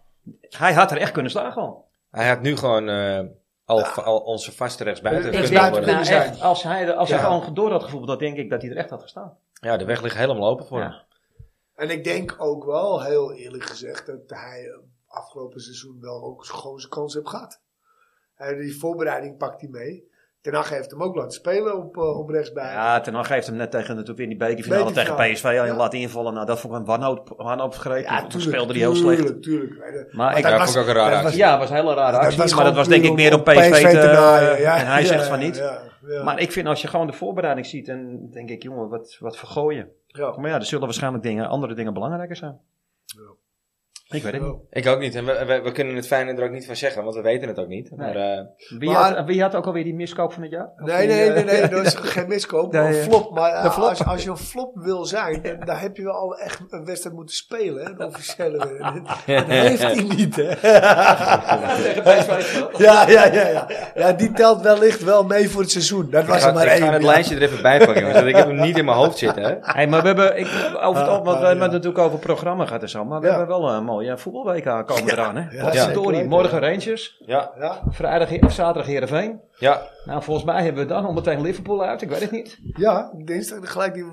[SPEAKER 2] Hij had er echt kunnen slaan gewoon.
[SPEAKER 1] Hij had nu gewoon eh, al, al onze vaste rechtsbuiten
[SPEAKER 3] Ik
[SPEAKER 2] Ik
[SPEAKER 1] kunnen
[SPEAKER 2] denk,
[SPEAKER 3] buiten
[SPEAKER 1] worden.
[SPEAKER 2] nou
[SPEAKER 3] zijn.
[SPEAKER 2] echt, als hij, er- als hij
[SPEAKER 3] Ja.
[SPEAKER 2] gewoon door had gevoeld, dat denk ik dat hij er echt had gestaan.
[SPEAKER 1] Ja, de weg ligt helemaal open voor
[SPEAKER 2] Ja.
[SPEAKER 1] hem.
[SPEAKER 3] en ik denk ook wel, heel eerlijk gezegd, dat hij eh, afgelopen seizoen wel ook gewoon zijn kans heeft gehad. En die voorbereiding pakt hij mee. Ten Hag heeft hem ook laten spelen op, eh, op rechtsbij.
[SPEAKER 2] Ja, Ten Hag heeft hem net tegen, natuurlijk in die bekerfinale tegen
[SPEAKER 3] Bekerfinale.
[SPEAKER 2] PSV al
[SPEAKER 3] Ja.
[SPEAKER 2] laten invallen. Nou, dat vond ik een wanhoop, wanhoopgreep. Ja, toen
[SPEAKER 3] tuurlijk,
[SPEAKER 2] speelde hij heel
[SPEAKER 3] tuurlijk,
[SPEAKER 2] slecht.
[SPEAKER 3] Tuurlijk, tuurlijk.
[SPEAKER 2] Maar ik,
[SPEAKER 1] dat
[SPEAKER 3] dat
[SPEAKER 1] vond ik ook een rare
[SPEAKER 3] dat
[SPEAKER 1] actie.
[SPEAKER 2] ja, het was een hele rare
[SPEAKER 3] dat
[SPEAKER 2] actie.
[SPEAKER 3] was
[SPEAKER 2] maar dat
[SPEAKER 3] gewoon
[SPEAKER 2] was denk
[SPEAKER 3] puur
[SPEAKER 2] ik meer om PSV, te...
[SPEAKER 3] naaien, ja.
[SPEAKER 2] en hij
[SPEAKER 3] Ja,
[SPEAKER 2] zegt
[SPEAKER 3] ja,
[SPEAKER 2] van niet.
[SPEAKER 3] ja, ja.
[SPEAKER 2] Maar ik vind als je gewoon de voorbereiding ziet, dan denk ik, jongen, wat, wat vergooien.
[SPEAKER 3] Ja.
[SPEAKER 2] Maar ja, er zullen waarschijnlijk dingen, andere dingen belangrijker zijn. Ik weet het niet.
[SPEAKER 1] Ik ook niet. En we, we, we kunnen het fijne er ook niet van zeggen, want we weten het ook niet. Maar, eh,
[SPEAKER 2] Wie,
[SPEAKER 3] Maar-
[SPEAKER 2] had, wie had ook alweer die miskoop van het jaar? Of
[SPEAKER 3] Nee,
[SPEAKER 2] die,
[SPEAKER 3] nee,
[SPEAKER 2] eh,
[SPEAKER 3] nee, nee, dat is geen miskoop. maar
[SPEAKER 2] Nee,
[SPEAKER 3] een
[SPEAKER 2] eh,
[SPEAKER 3] flop. Maar eh,
[SPEAKER 2] de flop.
[SPEAKER 3] Als, als je een flop wil zijn, dan, dan heb je wel al echt een wedstrijd moeten spelen. Hè, een officiële wedstrijd. Dat heeft hij niet, hè? Ja, ja, ja, ja. Ja, die telt wellicht wel mee voor het seizoen. Dat
[SPEAKER 1] ik
[SPEAKER 3] was er
[SPEAKER 1] ga,
[SPEAKER 3] maar
[SPEAKER 1] ik
[SPEAKER 3] één.
[SPEAKER 1] ga het
[SPEAKER 3] ja.
[SPEAKER 1] lijstje er even bij pakken, jongens, want ik heb hem niet in mijn hoofd zitten. Hè.
[SPEAKER 2] Hey, maar we hebben, ik, over het, al- want we
[SPEAKER 3] Ah, ja.
[SPEAKER 2] hebben het natuurlijk over het programma gaat en zo, maar we
[SPEAKER 3] Ja.
[SPEAKER 2] hebben wel een mooie voetbalweek aankomen eraan. Hè?
[SPEAKER 3] ja,
[SPEAKER 2] Ja,
[SPEAKER 3] zeker weten.
[SPEAKER 2] Morgen Rangers,
[SPEAKER 1] Ja,
[SPEAKER 3] Ja,
[SPEAKER 2] vrijdag Heer- of zaterdag Heerenveen.
[SPEAKER 1] ja.
[SPEAKER 2] Nou, volgens mij hebben we dan al meteen Liverpool uit, ik weet het niet.
[SPEAKER 3] ja, dinsdag gelijk die...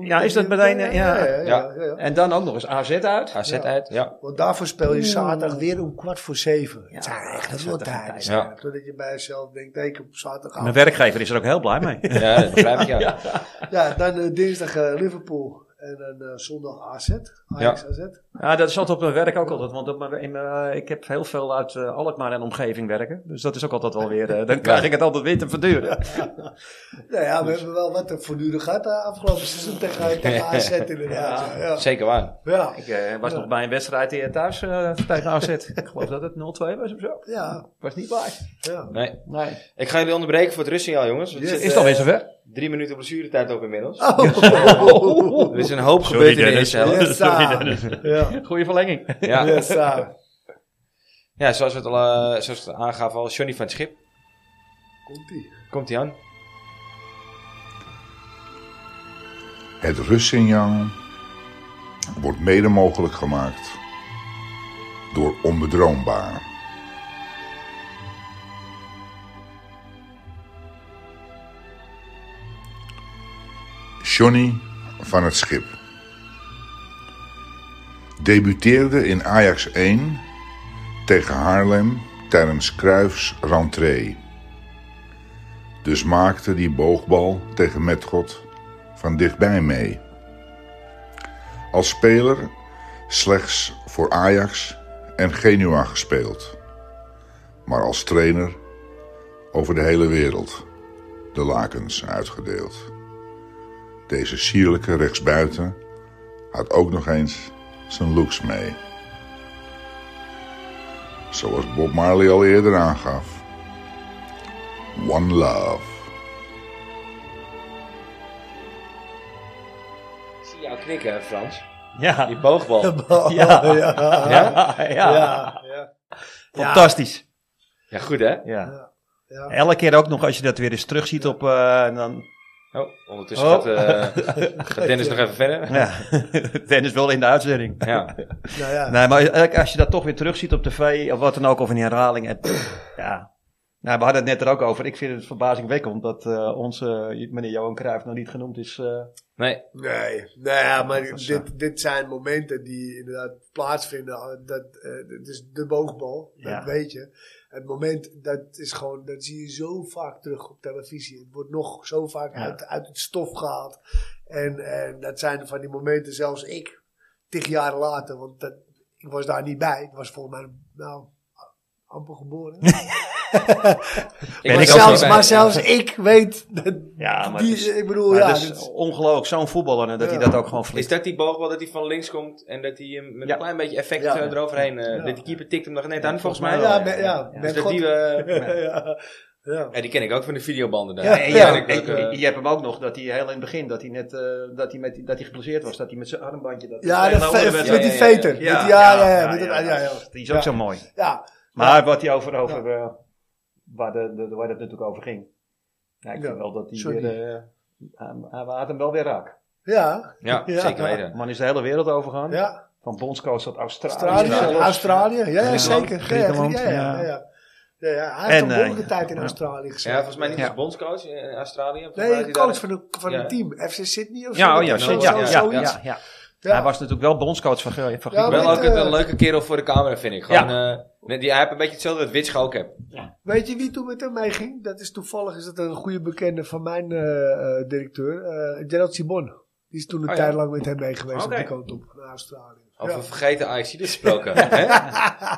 [SPEAKER 2] Ja, is dat meteen, eh, ja.
[SPEAKER 3] ja, ja, ja, ja.
[SPEAKER 2] En dan ook nog eens AZ uit.
[SPEAKER 1] AZ uit. Ja.
[SPEAKER 3] Want daarvoor speel je zaterdag weer om kwart voor zeven. het zijn echt
[SPEAKER 2] dat
[SPEAKER 3] veel
[SPEAKER 2] zijn toch
[SPEAKER 3] tijden.
[SPEAKER 1] tijden.
[SPEAKER 3] Ja. Totdat je bij jezelf denkt, nee, ik heb op zaterdag
[SPEAKER 2] Mijn werkgever is er ook heel blij mee.
[SPEAKER 1] ja, dat begrijp ik. Ja.
[SPEAKER 3] Ja, dan eh, dinsdag eh, Liverpool en dan eh, zondag AZ. Ajax Nou AZ.
[SPEAKER 2] Ja, dat is altijd op mijn werk ook altijd, want op mijn, in mijn- eh, ik heb heel veel uit eh, Alkmaar en omgeving werken. Dus dat is ook altijd wel weer, eh, dan krijg ik het altijd weer te verduren.
[SPEAKER 3] Nou ja, we hebben wel wat voortdurend gehad eh, afgelopen seizoen tegen, tegen AZ inderdaad. Ja, ja.
[SPEAKER 1] Zeker waar.
[SPEAKER 3] ja.
[SPEAKER 2] Ik eh, was nog bij een wedstrijd hier thuis eh, tegen AZ. Ik geloof dat het 0-2 was of zo.
[SPEAKER 3] ja,
[SPEAKER 2] Was niet blij.
[SPEAKER 3] ja.
[SPEAKER 1] Nee.
[SPEAKER 2] Nee.
[SPEAKER 1] Ik ga jullie onderbreken voor het rustsignaal, jongens. Het
[SPEAKER 3] Yes.
[SPEAKER 1] zit,
[SPEAKER 2] Is
[SPEAKER 1] eh,
[SPEAKER 2] het alweer zover?
[SPEAKER 1] drie minuten blessuretijd op inmiddels.
[SPEAKER 3] Oh.
[SPEAKER 1] Er is een hoop gebeurd in de
[SPEAKER 2] Dennis.
[SPEAKER 1] eerste helft.
[SPEAKER 3] Yes, ah. Ja,
[SPEAKER 2] Goeie verlenging.
[SPEAKER 1] Ja.
[SPEAKER 3] yes, ah.
[SPEAKER 1] ja, zoals we het al eh, zoals we het aangaven al, Johnny van het Schip.
[SPEAKER 3] Komt-ie.
[SPEAKER 1] Komt hij aan?
[SPEAKER 8] Het rustsignaal wordt mede mogelijk gemaakt door onbedroombaar. Johnny van het Schip debuteerde in Ajax 1 tegen Haarlem tijdens Cruijffs rentree. Dus maakte die boogbal tegen Metgod van dichtbij mee. Als speler slechts voor Ajax en Genua gespeeld. Maar als trainer over de hele wereld de lakens uitgedeeld. Deze sierlijke rechtsbuiten had ook nog eens zijn looks mee. Zoals Bob Marley al eerder aangaf. One love.
[SPEAKER 1] Ik zie jou knikken, Frans.
[SPEAKER 2] Ja.
[SPEAKER 1] Die boogbal.
[SPEAKER 2] Ja.
[SPEAKER 3] ja. ja.
[SPEAKER 1] ja?
[SPEAKER 2] ja.
[SPEAKER 3] ja.
[SPEAKER 2] Fantastisch.
[SPEAKER 1] ja, goed hè?
[SPEAKER 2] Ja.
[SPEAKER 3] Ja.
[SPEAKER 2] Elke keer ook nog als je dat weer eens terugziet op... eh, dan,
[SPEAKER 1] Oh, ondertussen
[SPEAKER 2] Oh.
[SPEAKER 1] Gaat, eh, gaat Dennis nog even verder.
[SPEAKER 2] ja. Dennis wel in de uitzending.
[SPEAKER 1] Ja.
[SPEAKER 3] Nou ja.
[SPEAKER 2] Nee, maar eigenlijk als je dat toch weer terugziet op tv of wat dan ook, of in herhaling. Het, ja. Nou, we hadden het net er ook over. Ik vind het verbazingwekkend dat eh, onze eh, meneer Johan Cruijff nog niet genoemd is. eh.
[SPEAKER 1] Nee,
[SPEAKER 3] Nee, nou ja, maar
[SPEAKER 2] Dat eh, was,
[SPEAKER 3] dit, dit zijn momenten die inderdaad plaatsvinden. Dat, eh, dit is de boogbal, dat
[SPEAKER 2] Ja.
[SPEAKER 3] weet je. Het moment, dat is gewoon, dat zie je zo vaak terug op televisie. Het wordt nog zo vaak
[SPEAKER 2] Ja.
[SPEAKER 3] uit, uit het stof gehaald. En, en dat zijn van die momenten, zelfs ik, tig jaar later, want dat, ik was daar niet bij. Ik was volgens mij, nou, amper geboren.
[SPEAKER 1] ik
[SPEAKER 3] maar,
[SPEAKER 1] was er ook
[SPEAKER 3] zelfs,
[SPEAKER 1] bij.
[SPEAKER 3] maar zelfs ik weet, dat,
[SPEAKER 2] ja, maar
[SPEAKER 3] die,
[SPEAKER 2] het is,
[SPEAKER 3] ik bedoel,
[SPEAKER 2] maar
[SPEAKER 3] ja,
[SPEAKER 2] het is
[SPEAKER 3] dat is-
[SPEAKER 2] ongelooflijk. Zo'n voetballer en dat
[SPEAKER 3] Ja.
[SPEAKER 2] hij dat ook gewoon
[SPEAKER 1] Is
[SPEAKER 2] flikt.
[SPEAKER 1] dat die boogbal dat hij van links komt en dat hij hem met
[SPEAKER 2] Ja.
[SPEAKER 1] een klein beetje effect
[SPEAKER 3] Ja.
[SPEAKER 1] eh, eroverheen... eh
[SPEAKER 3] Ja.
[SPEAKER 1] dat De keeper tikt hem nog net aan, volgens mij.
[SPEAKER 2] volgens
[SPEAKER 3] ja,
[SPEAKER 2] wel,
[SPEAKER 3] ben-
[SPEAKER 2] ja.
[SPEAKER 3] ja,
[SPEAKER 2] Ja.
[SPEAKER 3] ben
[SPEAKER 1] Dus dat
[SPEAKER 3] God-
[SPEAKER 1] die we...
[SPEAKER 3] ja. ja.
[SPEAKER 1] Ja, die ken ik ook van de videobanden daar.
[SPEAKER 2] Ja,
[SPEAKER 1] Die
[SPEAKER 2] en
[SPEAKER 1] ken
[SPEAKER 2] je,
[SPEAKER 1] ik ook, eh,
[SPEAKER 2] je hebt hem ook nog dat hij heel in het begin, dat hij net, eh, dat hij, met, dat hij geblesseerd was, dat hij met zijn armbandje. Dat
[SPEAKER 3] Ja,
[SPEAKER 2] dat
[SPEAKER 3] dat ve- met,
[SPEAKER 1] ja,
[SPEAKER 3] die
[SPEAKER 1] ja,
[SPEAKER 3] veter.
[SPEAKER 1] ja.
[SPEAKER 3] Met die- Ja, ja, ja, met dat- ja, ja,
[SPEAKER 2] dat is- Die is ook
[SPEAKER 3] Ja.
[SPEAKER 2] zo mooi.
[SPEAKER 3] ja.
[SPEAKER 2] Maar wat hij over, over eh, waar, de, de, waar dat natuurlijk over ging. Ja, ik
[SPEAKER 3] Ja,
[SPEAKER 2] vind wel dat hij
[SPEAKER 3] sorry.
[SPEAKER 2] weer, eh, hij, hij had hem wel weer raak.
[SPEAKER 3] Ja,
[SPEAKER 1] ja,
[SPEAKER 3] Ja.
[SPEAKER 1] zeker weten.
[SPEAKER 2] De man is de hele wereld overgegaan.
[SPEAKER 3] ja.
[SPEAKER 2] Van bondscoach tot Australië.
[SPEAKER 3] Australië,
[SPEAKER 2] Zelfs.
[SPEAKER 3] Australië. Ja, ja,
[SPEAKER 2] Griekenland,
[SPEAKER 3] zeker. Ja, ja,
[SPEAKER 2] Griekenland,
[SPEAKER 3] ja, ja,
[SPEAKER 2] ja.
[SPEAKER 3] ja. Ja, ja, Hij heeft
[SPEAKER 2] En,
[SPEAKER 3] een
[SPEAKER 2] eh,
[SPEAKER 3] behoorlijke tijd in
[SPEAKER 2] ja.
[SPEAKER 3] Australië
[SPEAKER 1] Ja,
[SPEAKER 3] gezeten.
[SPEAKER 1] volgens mij niet
[SPEAKER 2] Ja.
[SPEAKER 1] als bondscoach in Australië. Volgens mij
[SPEAKER 3] Nee,
[SPEAKER 1] had hij
[SPEAKER 3] coach
[SPEAKER 1] daar-
[SPEAKER 3] van een, van
[SPEAKER 1] Ja.
[SPEAKER 3] een team. FC Sydney of zo.
[SPEAKER 2] Ja, oh ja,
[SPEAKER 3] Dat-
[SPEAKER 2] zo,
[SPEAKER 1] Sydney,
[SPEAKER 3] zo-
[SPEAKER 2] ja,
[SPEAKER 3] zo-
[SPEAKER 2] ja, ja,
[SPEAKER 3] zoiets.
[SPEAKER 2] ja, ja.
[SPEAKER 3] Ja.
[SPEAKER 2] Hij was natuurlijk wel bondscoach van, Ge- van
[SPEAKER 3] Ja,
[SPEAKER 2] Griekenland.
[SPEAKER 1] Wel ook
[SPEAKER 3] Met, eh,
[SPEAKER 1] een leuke kerel voor de camera, vind ik. Gewoon, eh, net die, hij heeft een beetje hetzelfde dat Witsch ook heeft.
[SPEAKER 3] Weet je wie toen met hem meeging? Dat is toevallig is dat een goede bekende van mijn eh, eh, directeur. eh Gerald Sibon. Die is toen een
[SPEAKER 1] Oh, ja.
[SPEAKER 3] tijd lang met hem mee geweest
[SPEAKER 1] Oké.
[SPEAKER 3] op die kant op naar Australië.
[SPEAKER 1] Over
[SPEAKER 3] Ja.
[SPEAKER 1] vergeten AXI gesproken. hè?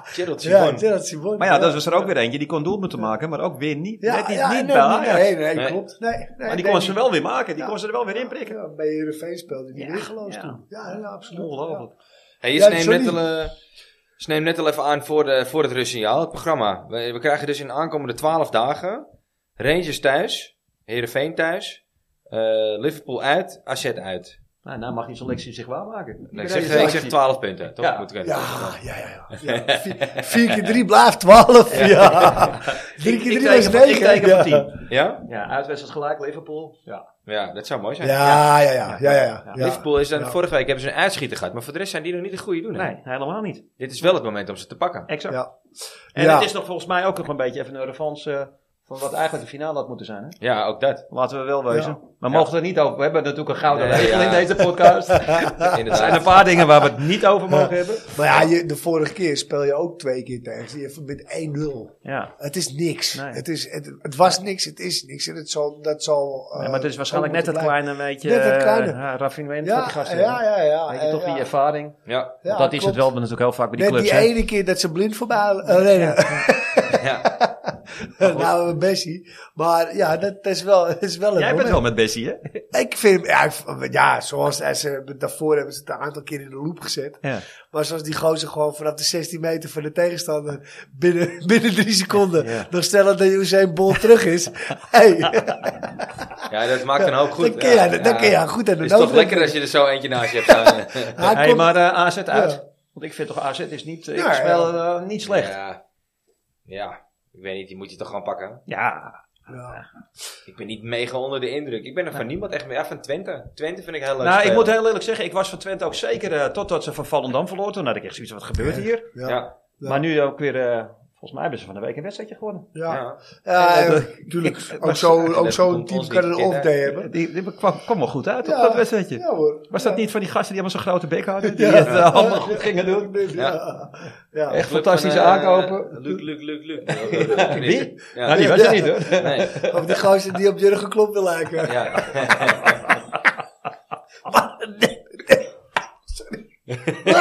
[SPEAKER 1] Gerald
[SPEAKER 3] Ja,
[SPEAKER 1] Simon.
[SPEAKER 3] Gerald Sibon.
[SPEAKER 2] Maar ja, dat was er ook weer eentje. Die kon doel moeten maken, maar ook weer niet.
[SPEAKER 3] Ja,
[SPEAKER 2] net niet,
[SPEAKER 3] ja,
[SPEAKER 2] niet
[SPEAKER 3] nee,
[SPEAKER 2] bij
[SPEAKER 3] nee,
[SPEAKER 2] Ajax.
[SPEAKER 3] Nee, nee,
[SPEAKER 1] Nee.
[SPEAKER 3] klopt. Nee, nee,
[SPEAKER 2] Maar die
[SPEAKER 3] nee,
[SPEAKER 2] kon ze wel weer maken. Die
[SPEAKER 3] Ja.
[SPEAKER 2] kon ze er wel weer in prikken.
[SPEAKER 3] Ja, bij Heerenveen speelde die
[SPEAKER 2] Ja,
[SPEAKER 3] weggeloosd
[SPEAKER 2] ja.
[SPEAKER 3] toen. Ja, ja, absoluut.
[SPEAKER 2] Ongelooflijk.
[SPEAKER 1] Hey, je
[SPEAKER 3] Ja,
[SPEAKER 1] neemt net,
[SPEAKER 3] sorry.
[SPEAKER 1] al, eh, je neemt net al even aan voor, de, voor het rustsignaal, het programma. We, we krijgen dus in de aankomende 12 dagen Rangers thuis, Heerenveen thuis, eh, Liverpool uit, AZ uit.
[SPEAKER 2] Nou, nou mag die selectie zich waarmaken.
[SPEAKER 1] Nee, ik,
[SPEAKER 2] Iedereen
[SPEAKER 1] zeg, ik
[SPEAKER 2] is
[SPEAKER 1] zeg
[SPEAKER 2] actief.
[SPEAKER 1] 12 punten, toch?
[SPEAKER 2] Ja.
[SPEAKER 1] Moet kunnen.
[SPEAKER 3] Ja, ja, ja. ja. ja. Vier, vier keer drie blijft twaalf. Ja. Drie
[SPEAKER 2] Ik-
[SPEAKER 3] keer
[SPEAKER 2] ik
[SPEAKER 3] drie is
[SPEAKER 2] teken voor-
[SPEAKER 3] negen.
[SPEAKER 2] Ik teken voor
[SPEAKER 3] ja.
[SPEAKER 2] 10.
[SPEAKER 1] Ja?
[SPEAKER 2] Ja, uitwedstrijd gelijk, Liverpool. Ja.
[SPEAKER 1] Ja, dat zou mooi zijn.
[SPEAKER 3] Ja, ja, ja, ja, ja, ja.
[SPEAKER 2] Ja.
[SPEAKER 1] Liverpool is dan
[SPEAKER 3] Ja.
[SPEAKER 1] vorige week hebben ze een uitschieter gehad, maar voor de rest zijn die nog niet de goede doen. hè?
[SPEAKER 2] Nee, helemaal niet.
[SPEAKER 1] Dit is wel het moment om ze te pakken.
[SPEAKER 2] Exact.
[SPEAKER 3] Ja.
[SPEAKER 2] En
[SPEAKER 3] Ja.
[SPEAKER 2] het is nog volgens mij ook nog een beetje even een revanche eh, van wat eigenlijk de finale had moeten zijn. Hè?
[SPEAKER 1] Ja, ook dat.
[SPEAKER 2] Laten we wel wezen.
[SPEAKER 3] Ja.
[SPEAKER 2] We mogen het er niet over. We hebben natuurlijk een gouden
[SPEAKER 1] Nee,
[SPEAKER 2] regel
[SPEAKER 1] ja.
[SPEAKER 2] in deze podcast. er zijn een
[SPEAKER 1] Inderdaad.
[SPEAKER 2] paar dingen waar we het niet over mogen hebben.
[SPEAKER 3] Maar ja, je, de vorige keer speel je ook twee keer tegen. ze. Je verbindt 1-0.
[SPEAKER 2] Ja.
[SPEAKER 3] Het is niks.
[SPEAKER 2] Nee.
[SPEAKER 3] Het, is, het, het was niks, het is niks. En het zal, dat zal... eh,
[SPEAKER 2] Nee, maar het is waarschijnlijk
[SPEAKER 3] zo
[SPEAKER 2] net het
[SPEAKER 3] moeten
[SPEAKER 2] kleine beetje
[SPEAKER 3] Net het kleine.
[SPEAKER 2] eh, ja, raffinement
[SPEAKER 3] blijven.
[SPEAKER 2] wat die gasten
[SPEAKER 3] Ja,
[SPEAKER 2] hebben.
[SPEAKER 3] ja, ja. ja,
[SPEAKER 2] Weet je,
[SPEAKER 3] ja,
[SPEAKER 2] toch
[SPEAKER 3] ja.
[SPEAKER 2] die ervaring.
[SPEAKER 1] Ja,
[SPEAKER 3] Ja,
[SPEAKER 2] Want dat is
[SPEAKER 3] klopt.
[SPEAKER 2] het wel natuurlijk heel vaak bij die
[SPEAKER 3] Net
[SPEAKER 2] clubs.
[SPEAKER 3] die
[SPEAKER 2] hè.
[SPEAKER 3] ene keer dat ze blind voorbij eh, rennen.
[SPEAKER 1] ja.
[SPEAKER 3] nou, Bessie. Maar ja, dat is wel, dat is wel een
[SPEAKER 2] Jij bent
[SPEAKER 3] moment.
[SPEAKER 2] wel met Bessie, hè?
[SPEAKER 3] Ik vind, ja, ik v- ja zoals hij ze, daarvoor hebben ze het een aantal keer in de loop gezet.
[SPEAKER 2] Ja.
[SPEAKER 3] Maar zoals die gozer gewoon vanaf de 16 meter van de tegenstander binnen, binnen drie seconden
[SPEAKER 2] Ja.
[SPEAKER 3] nog stellen dat Usain Bolt terug is. Hey,
[SPEAKER 1] ja, dat maakt een hoop goed.
[SPEAKER 3] dan ken je, dan ken je haar goed aan de
[SPEAKER 1] Het is toch
[SPEAKER 3] nood.
[SPEAKER 1] lekker als je er zo eentje naast je hebt staan.
[SPEAKER 3] Hij
[SPEAKER 2] Hey,
[SPEAKER 3] komt-
[SPEAKER 2] maar eh, AZ uit.
[SPEAKER 3] Ja.
[SPEAKER 2] Want ik vind toch AZ is niet, eh,
[SPEAKER 3] Ja,
[SPEAKER 2] ik
[SPEAKER 3] ja.
[SPEAKER 2] spel eh, niet slecht. Ja.
[SPEAKER 1] Ja. ja, ik weet niet, die moet je toch gewoon pakken.
[SPEAKER 3] Ja.
[SPEAKER 1] Ik ben niet mega onder de indruk. Ik ben er van niemand echt meer. Ja, van Twente. Twente vind ik heel leuk.
[SPEAKER 2] Nou, ik
[SPEAKER 1] spelen.
[SPEAKER 2] moet heel eerlijk zeggen, ik was van Twente ook zeker eh, totdat ze van Vallendam verloor. Toen had ik echt zoiets wat gebeurt hier.
[SPEAKER 3] Ja. Ja.
[SPEAKER 1] Ja,
[SPEAKER 3] Ja.
[SPEAKER 2] Maar nu ook weer, eh, volgens mij hebben ze van de week een wedstrijdje gewonnen.
[SPEAKER 3] Ja.
[SPEAKER 1] ja.
[SPEAKER 3] Ja,
[SPEAKER 2] dat-
[SPEAKER 3] eh, tuurlijk.
[SPEAKER 2] ik-
[SPEAKER 3] ook
[SPEAKER 2] maar-
[SPEAKER 3] zo- ook
[SPEAKER 1] dat
[SPEAKER 3] zo'n
[SPEAKER 1] komt
[SPEAKER 3] team
[SPEAKER 1] ons niet
[SPEAKER 3] kan een
[SPEAKER 1] kennen.
[SPEAKER 3] off-day hebben.
[SPEAKER 2] Die, die kwam, kwam wel goed uit op
[SPEAKER 3] Ja.
[SPEAKER 2] dat wedstrijdje.
[SPEAKER 3] Ja hoor.
[SPEAKER 2] Was dat
[SPEAKER 3] Ja.
[SPEAKER 2] niet van die gasten die allemaal zo'n grote bek hadden? Die
[SPEAKER 3] Ja.
[SPEAKER 2] het eh, allemaal
[SPEAKER 3] Ja.
[SPEAKER 2] goed gingen doen.
[SPEAKER 3] Ja. Ja.
[SPEAKER 2] Echt
[SPEAKER 1] Club
[SPEAKER 2] fantastische
[SPEAKER 1] van, eh,
[SPEAKER 2] aankopen.
[SPEAKER 1] Luc, Luc, Luc, Luc.
[SPEAKER 2] Wie?
[SPEAKER 1] Ja.
[SPEAKER 2] Nou, die was er niet hoor.
[SPEAKER 1] Nee.
[SPEAKER 3] Of die gozer die op Jurgen Klopp wil lijken.
[SPEAKER 1] Ja. Nee,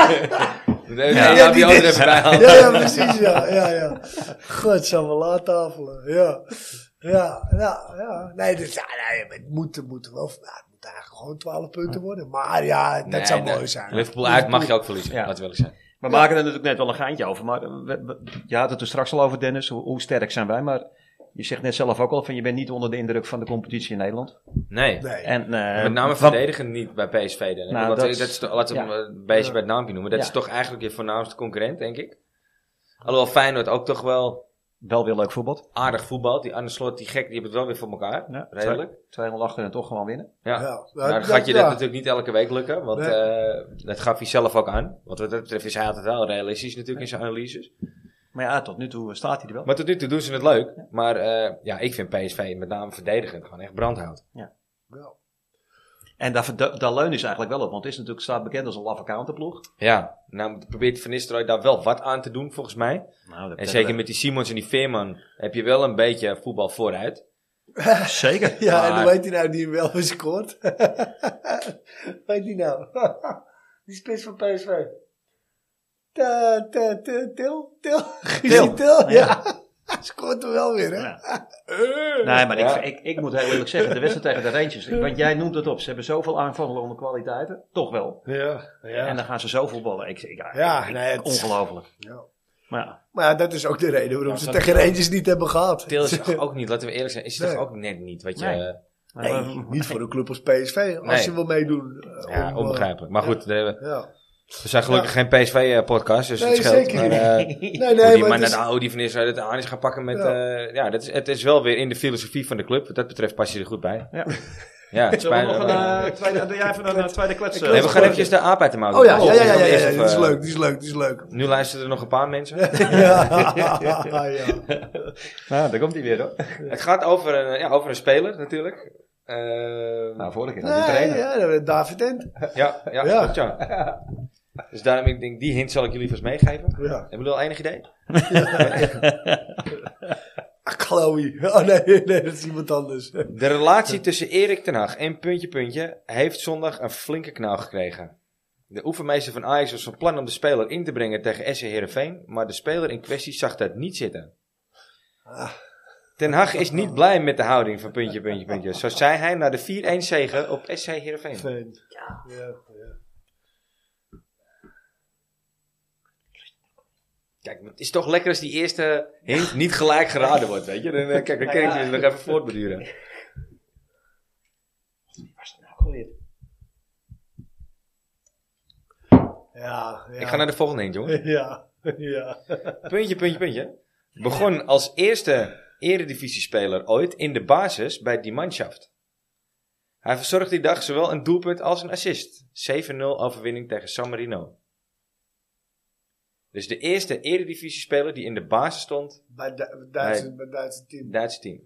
[SPEAKER 2] Ja,
[SPEAKER 1] ja,
[SPEAKER 3] ja,
[SPEAKER 1] ja, die
[SPEAKER 3] die
[SPEAKER 1] andere
[SPEAKER 3] is-
[SPEAKER 1] even bijhalen.
[SPEAKER 3] Ja, ja, precies, ja. ja, ja. Godsamme, laadtafelen. Ja. Ja, ja, ja. Nee, dus, ja, nee, maar het moet, het moet wel. nou, het moet eigenlijk gewoon 12 punten worden. Maar ja, dat zou
[SPEAKER 1] Nee,
[SPEAKER 3] mooi
[SPEAKER 1] nee.
[SPEAKER 3] zijn.
[SPEAKER 1] Liverpool uit mag je ook verliezen,
[SPEAKER 9] Ja.
[SPEAKER 1] laten we eerlijk zijn.
[SPEAKER 9] We maken er natuurlijk net wel een geintje over. Maar eh, we- we- je had het er straks al over, Dennis. Hoe, hoe sterk zijn wij? Maar je zegt net zelf ook al van je bent niet onder de indruk van de competitie in Nederland.
[SPEAKER 1] Nee.
[SPEAKER 3] Nee.
[SPEAKER 9] En, eh,
[SPEAKER 1] Met name
[SPEAKER 9] van-
[SPEAKER 1] verdedigen niet bij PSV. Dan, hè?
[SPEAKER 9] Nou,
[SPEAKER 1] Want
[SPEAKER 9] dat
[SPEAKER 1] dat,
[SPEAKER 9] is-
[SPEAKER 1] is, toch- laten we hem
[SPEAKER 9] ja.
[SPEAKER 1] een beetje bij het naampje noemen. Dat
[SPEAKER 9] Ja.
[SPEAKER 1] is toch eigenlijk je voornaamste concurrent, denk ik. Alhoewel Feyenoord ook toch wel
[SPEAKER 9] Wel weer leuk voetbal.
[SPEAKER 1] aardig voetbalt. Die Arne Slot, die gek, die hebben het wel weer voor elkaar.
[SPEAKER 9] Ja,
[SPEAKER 1] Redelijk.
[SPEAKER 9] 2-0 achter en toch gewoon winnen.
[SPEAKER 1] Ja.
[SPEAKER 3] Ja,
[SPEAKER 1] Nou, dan
[SPEAKER 3] dat-
[SPEAKER 1] gaat je
[SPEAKER 3] ja.
[SPEAKER 1] dat natuurlijk niet elke week lukken, want
[SPEAKER 3] Nee.
[SPEAKER 1] eh, dat gaf hij zelf ook aan. Want wat dat betreft is hij altijd wel realistisch natuurlijk in zijn analyses.
[SPEAKER 9] Maar ja, tot nu toe eh, staat hij er wel.
[SPEAKER 1] Maar tot nu toe doen ze het leuk. Maar eh, ja, ik vind PSV met name verdedigend gewoon echt brandhout.
[SPEAKER 9] En daar, verdu- daar leunen is eigenlijk wel op. Want het is natuurlijk, staat bekend als een laffe counterploeg.
[SPEAKER 1] Ja, nou probeert Van Nistelrooy daar wel wat aan te doen volgens mij.
[SPEAKER 9] Nou, dat
[SPEAKER 1] En zeker met die Simons en die Veerman heb je wel een beetje voetbal vooruit.
[SPEAKER 9] Zeker.
[SPEAKER 3] Ja, en
[SPEAKER 1] Maar-
[SPEAKER 3] hoe heet die nou die hem wel eens scoort? Hoe heet die nou? die spits van PSV. Ta- ta- ta- Til? Til? Guusje Til? Ja. Scoort er wel weer, hè? Eh.
[SPEAKER 9] Ja. Nee, maar
[SPEAKER 1] Ja.
[SPEAKER 9] ik, ik, ik moet heel eerlijk zeggen, de wedstrijd tegen de Rangers. Want jij noemt het op. Ze hebben zoveel aanvallende kwaliteiten. Toch wel.
[SPEAKER 3] Ja,
[SPEAKER 9] En dan gaan ze zo voetballen. Ik, ik, ja,
[SPEAKER 3] Ja,
[SPEAKER 9] ik-
[SPEAKER 3] nee, het-
[SPEAKER 9] ongelooflijk.
[SPEAKER 3] Ja.
[SPEAKER 9] Maar ja,
[SPEAKER 3] Maar ja, dat is ook de reden waarom
[SPEAKER 1] Ja,
[SPEAKER 3] ze
[SPEAKER 1] dat-
[SPEAKER 3] tegen Rangers niet hebben gehad.
[SPEAKER 1] Til is Oh, toch ook niet, laten we eerlijk zijn, is het
[SPEAKER 3] Nee.
[SPEAKER 1] toch ook net niet wat je...
[SPEAKER 9] Nee.
[SPEAKER 1] eh,
[SPEAKER 3] Nee, niet voor een club als PSV. Als
[SPEAKER 1] Nee.
[SPEAKER 3] je wil meedoen. eh, om,
[SPEAKER 1] ja,
[SPEAKER 3] eh,
[SPEAKER 1] onbegrijpelijk. Maar goed, eh,
[SPEAKER 3] Ja.
[SPEAKER 1] we zijn gelukkig geen PSV-podcast, dus
[SPEAKER 3] Nee,
[SPEAKER 1] het scheelt. Maar,
[SPEAKER 3] zeker niet.
[SPEAKER 1] eh,
[SPEAKER 3] Nee,
[SPEAKER 1] Hoe
[SPEAKER 3] nee,
[SPEAKER 1] die
[SPEAKER 3] maar
[SPEAKER 1] man
[SPEAKER 3] het
[SPEAKER 1] naar de
[SPEAKER 3] is,
[SPEAKER 1] Audi van Israël het aan is gaan pakken met...
[SPEAKER 3] Ja.
[SPEAKER 1] Ja, ja dat is, het is wel weer in de filosofie van de club. Wat dat betreft pas je er goed bij.
[SPEAKER 9] Ja.
[SPEAKER 1] ja het
[SPEAKER 2] Zullen we
[SPEAKER 1] spijt
[SPEAKER 2] nog
[SPEAKER 1] me.
[SPEAKER 2] een eh, tweede, doe jij even een eh, tweede klets? eh,
[SPEAKER 1] Nee, we gaan eventjes de aap uit de mouw
[SPEAKER 3] oh ja,
[SPEAKER 1] doen.
[SPEAKER 3] ja, ja, ja, ja,
[SPEAKER 1] Dus
[SPEAKER 3] ja,
[SPEAKER 1] eerst
[SPEAKER 3] die
[SPEAKER 1] even-
[SPEAKER 3] is leuk, die is leuk, die is leuk.
[SPEAKER 1] Nu luisteren er nog een paar mensen.
[SPEAKER 3] ja, ja.
[SPEAKER 9] nou, daar komt hij weer hoor.
[SPEAKER 1] Het gaat over een, ja, over een speler natuurlijk. Eh,
[SPEAKER 9] Nou, vorige keer had hij
[SPEAKER 3] Nee,
[SPEAKER 9] trainer.
[SPEAKER 3] ja, David Ent.
[SPEAKER 1] ja, ja,
[SPEAKER 3] Ja.
[SPEAKER 1] klopt, ja. Dus daarom, ik denk, die hint zal ik jullie vast meegeven.
[SPEAKER 3] Ja.
[SPEAKER 1] Hebben jullie al enig idee?
[SPEAKER 3] Ah, Chloe. Oh nee, nee, dat is iemand anders.
[SPEAKER 1] De relatie tussen Erik ten Hag en puntje puntje heeft zondag een flinke knauw gekregen. De oefenmeester van Ajax was van plan om de speler in te brengen tegen SC Heerenveen, maar de speler in kwestie zag dat niet zitten. Ten Hag is niet blij met de houding van puntje puntje puntje. Zo zei hij na de 4-1 zegen op SC Heerenveen.
[SPEAKER 3] Fijn. Ja. ja.
[SPEAKER 1] Kijk, het is toch lekker als die eerste hint niet gelijk geraden wordt, weet je. Dan, eh, kijk, dan kan ik het nog even voortbeduren.
[SPEAKER 3] Ja, ja.
[SPEAKER 1] Ik ga naar de volgende hint, jongen.
[SPEAKER 3] Ja, ja.
[SPEAKER 1] Puntje, puntje, puntje. Begon als eerste eredivisiespeler ooit in de basis bij die manschaft. Hij verzorgde die dag zowel een doelpunt als een assist. 7-0 overwinning tegen San Marino. Dus de eerste eredivisiespeler die in de basis stond,
[SPEAKER 3] Bij het Duitse, bij het Duitse team.
[SPEAKER 1] Duitse team.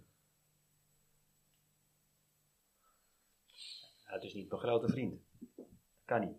[SPEAKER 9] Ja, het is niet mijn grote vriend. Kan niet.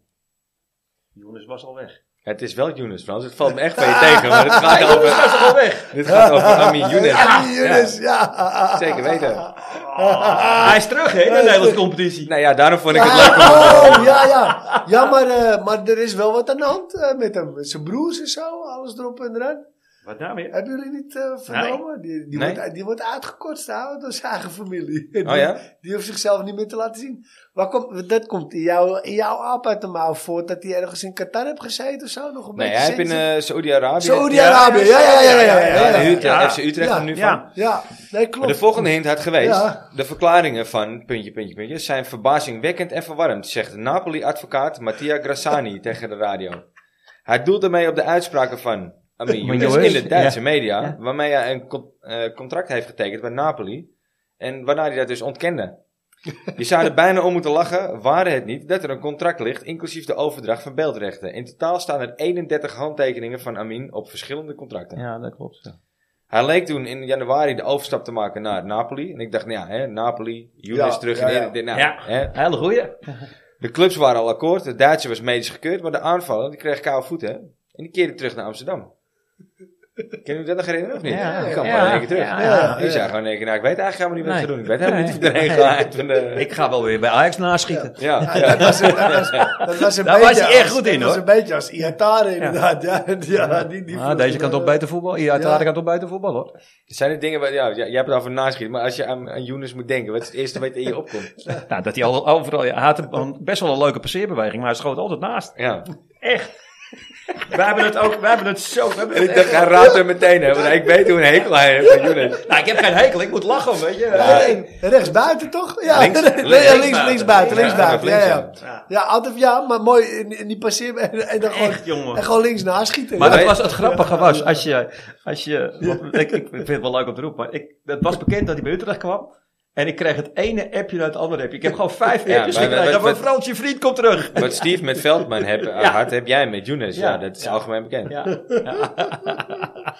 [SPEAKER 9] Jonas was al weg.
[SPEAKER 1] Het is wel Younes, Frans. Het valt me echt van je tegen, maar het gaat over... Dit gaat over Ami Younes.
[SPEAKER 3] Ja, Younes, ja.
[SPEAKER 1] Zeker weten.
[SPEAKER 2] Ah,
[SPEAKER 9] hij is terug, hè, in de Nederlandse competitie.
[SPEAKER 1] Nou ja, daarom vond ik het leuk.
[SPEAKER 3] Oh, ja, ja. Ja, maar, eh, maar er is wel wat aan de hand eh, met hem. Met zijn broers en zo, alles erop en eraan.
[SPEAKER 9] Wat nou weer?
[SPEAKER 3] Hebben jullie niet eh, vernomen? Die, die,
[SPEAKER 1] Nee.
[SPEAKER 3] wordt, die wordt uitgekotst hè, door zijn eigen familie.
[SPEAKER 1] Oh ja?
[SPEAKER 3] Die hoeft zichzelf niet meer te laten zien. Waar komt, dat komt in, jou, in jouw aap uit de mouw voort dat hij ergens in Qatar heeft gezeten of zo. Nog een
[SPEAKER 1] Nee,
[SPEAKER 3] beetje
[SPEAKER 1] hij heeft in
[SPEAKER 3] zin-
[SPEAKER 1] eh, Saoedi-Arabië...
[SPEAKER 3] Saoedi-Arabië, ja, ja, ja, ja. ja, ja,
[SPEAKER 1] Ja,
[SPEAKER 3] ja,
[SPEAKER 1] de huurt,
[SPEAKER 9] Ja.
[SPEAKER 1] eh, FC Utrecht
[SPEAKER 3] Ja.
[SPEAKER 1] er nu
[SPEAKER 9] Ja.
[SPEAKER 1] van.
[SPEAKER 3] Ja, nee,
[SPEAKER 1] Maar
[SPEAKER 3] klopt.
[SPEAKER 1] de volgende hint had geweest.
[SPEAKER 3] Ja.
[SPEAKER 1] De verklaringen van puntje, puntje, puntje zijn verbazingwekkend en verwarrend, zegt Napoli-advocaat Mattia Grassani tegen de radio. Hij doelt daarmee op de uitspraken van Amin
[SPEAKER 9] Maar
[SPEAKER 1] Younes in
[SPEAKER 9] jongens,
[SPEAKER 1] de Duitse
[SPEAKER 9] ja.
[SPEAKER 1] media,
[SPEAKER 9] Ja.
[SPEAKER 1] waarmee hij een con- eh, contract heeft getekend bij Napoli en waarna hij dat dus ontkende. Je zou er bijna om moeten lachen, ware het niet dat er een contract ligt, inclusief de overdracht van beeldrechten. In totaal staan er 31 handtekeningen van Amin op verschillende contracten.
[SPEAKER 9] Ja, dat klopt. ja.
[SPEAKER 1] Hij leek toen in januari de overstap te maken naar Napoli. En ik dacht, nou ja, hè, Napoli, Younes
[SPEAKER 3] Ja,
[SPEAKER 1] terug
[SPEAKER 3] ja,
[SPEAKER 1] in
[SPEAKER 3] ja.
[SPEAKER 1] Eredivisie. Nou,
[SPEAKER 9] Ja.
[SPEAKER 1] hè.
[SPEAKER 9] Hele goeie.
[SPEAKER 1] De clubs waren al akkoord. De Duitser was medisch gekeurd. Maar de aanvaller, die kreeg koude voeten. hè. En die keerde terug naar Amsterdam. Kan u dat nog herinneren of niet?
[SPEAKER 2] Ja.
[SPEAKER 1] Ik kan
[SPEAKER 2] Ja.
[SPEAKER 1] wel in één keer terug.
[SPEAKER 2] Ja.
[SPEAKER 1] Ja,
[SPEAKER 2] Ja.
[SPEAKER 1] Die zei gewoon in één keer, nou, ik weet eigenlijk helemaal niet wat
[SPEAKER 2] Nee.
[SPEAKER 1] ze doen. Ik weet helemaal
[SPEAKER 2] Nee.
[SPEAKER 1] niet of iedereen gaat. En, eh,
[SPEAKER 2] Ik ga wel weer bij Ajax naschieten.
[SPEAKER 1] ja,
[SPEAKER 3] Ja,
[SPEAKER 1] ja.
[SPEAKER 3] dat was, dat was, dat was een
[SPEAKER 2] Daar
[SPEAKER 3] beetje
[SPEAKER 2] was hij echt
[SPEAKER 3] als-
[SPEAKER 2] goed in,
[SPEAKER 3] Dat was
[SPEAKER 2] hoor.
[SPEAKER 3] een beetje als Iatare inderdaad. Ja, ja, die, eh, die
[SPEAKER 2] Ah, deze kan toch
[SPEAKER 3] bij
[SPEAKER 2] beter voetbal? Ja, Tade
[SPEAKER 3] Ja.
[SPEAKER 2] kan toch beter voetbal hoor.
[SPEAKER 1] Zijn er dingen waar, ja, jij jij hebt het over naschieten, maar als je aan, aan Younes moet denken, wat is het eerste wat in je opkomt?
[SPEAKER 2] Nou, dat hij al, overal, hij had een, best wel een leuke passeerbeweging, maar hij schoot altijd naast.
[SPEAKER 1] Ja.
[SPEAKER 10] Wij hebben het ook, wij hebben het zo. wij hebben
[SPEAKER 1] En
[SPEAKER 10] het
[SPEAKER 1] ik dacht, hij raadt hem meteen, hè, want ik weet hoe een hekel hij heeft aan Younes.
[SPEAKER 2] Nou, ik heb geen hekel, ik moet lachen, weet je.
[SPEAKER 3] Rechts buiten toch? Ja,
[SPEAKER 1] Links-
[SPEAKER 3] links,
[SPEAKER 1] links-
[SPEAKER 3] links, links,
[SPEAKER 10] linksbuiten.
[SPEAKER 3] buiten, links
[SPEAKER 1] Ja,
[SPEAKER 3] buiten. Ja, ja, ja.
[SPEAKER 1] links,
[SPEAKER 10] ja.
[SPEAKER 3] altijd ja, maar mooi in, in die passeer en, en dan gewoon,
[SPEAKER 10] Echt, jongen.
[SPEAKER 3] en gewoon links naschieten.
[SPEAKER 2] Maar
[SPEAKER 3] Ja.
[SPEAKER 2] dat was het grappige was, als je, als je want ik, ik vind het wel leuk om te roepen, maar ik, het was bekend dat hij bij Utrecht kwam. En ik kreeg het ene appje naar het andere appje. Ik heb gewoon vijf
[SPEAKER 1] Ja,
[SPEAKER 2] appjes
[SPEAKER 1] maar-
[SPEAKER 2] gekregen.
[SPEAKER 1] maar-
[SPEAKER 2] Van
[SPEAKER 1] maar-
[SPEAKER 2] Frans, je vriend komt terug.
[SPEAKER 1] Wat Steve met Veldman heb, had, heb jij met Younes. Ja,
[SPEAKER 2] Ja.
[SPEAKER 1] dat is algemeen bekend.
[SPEAKER 2] Ja. Ja.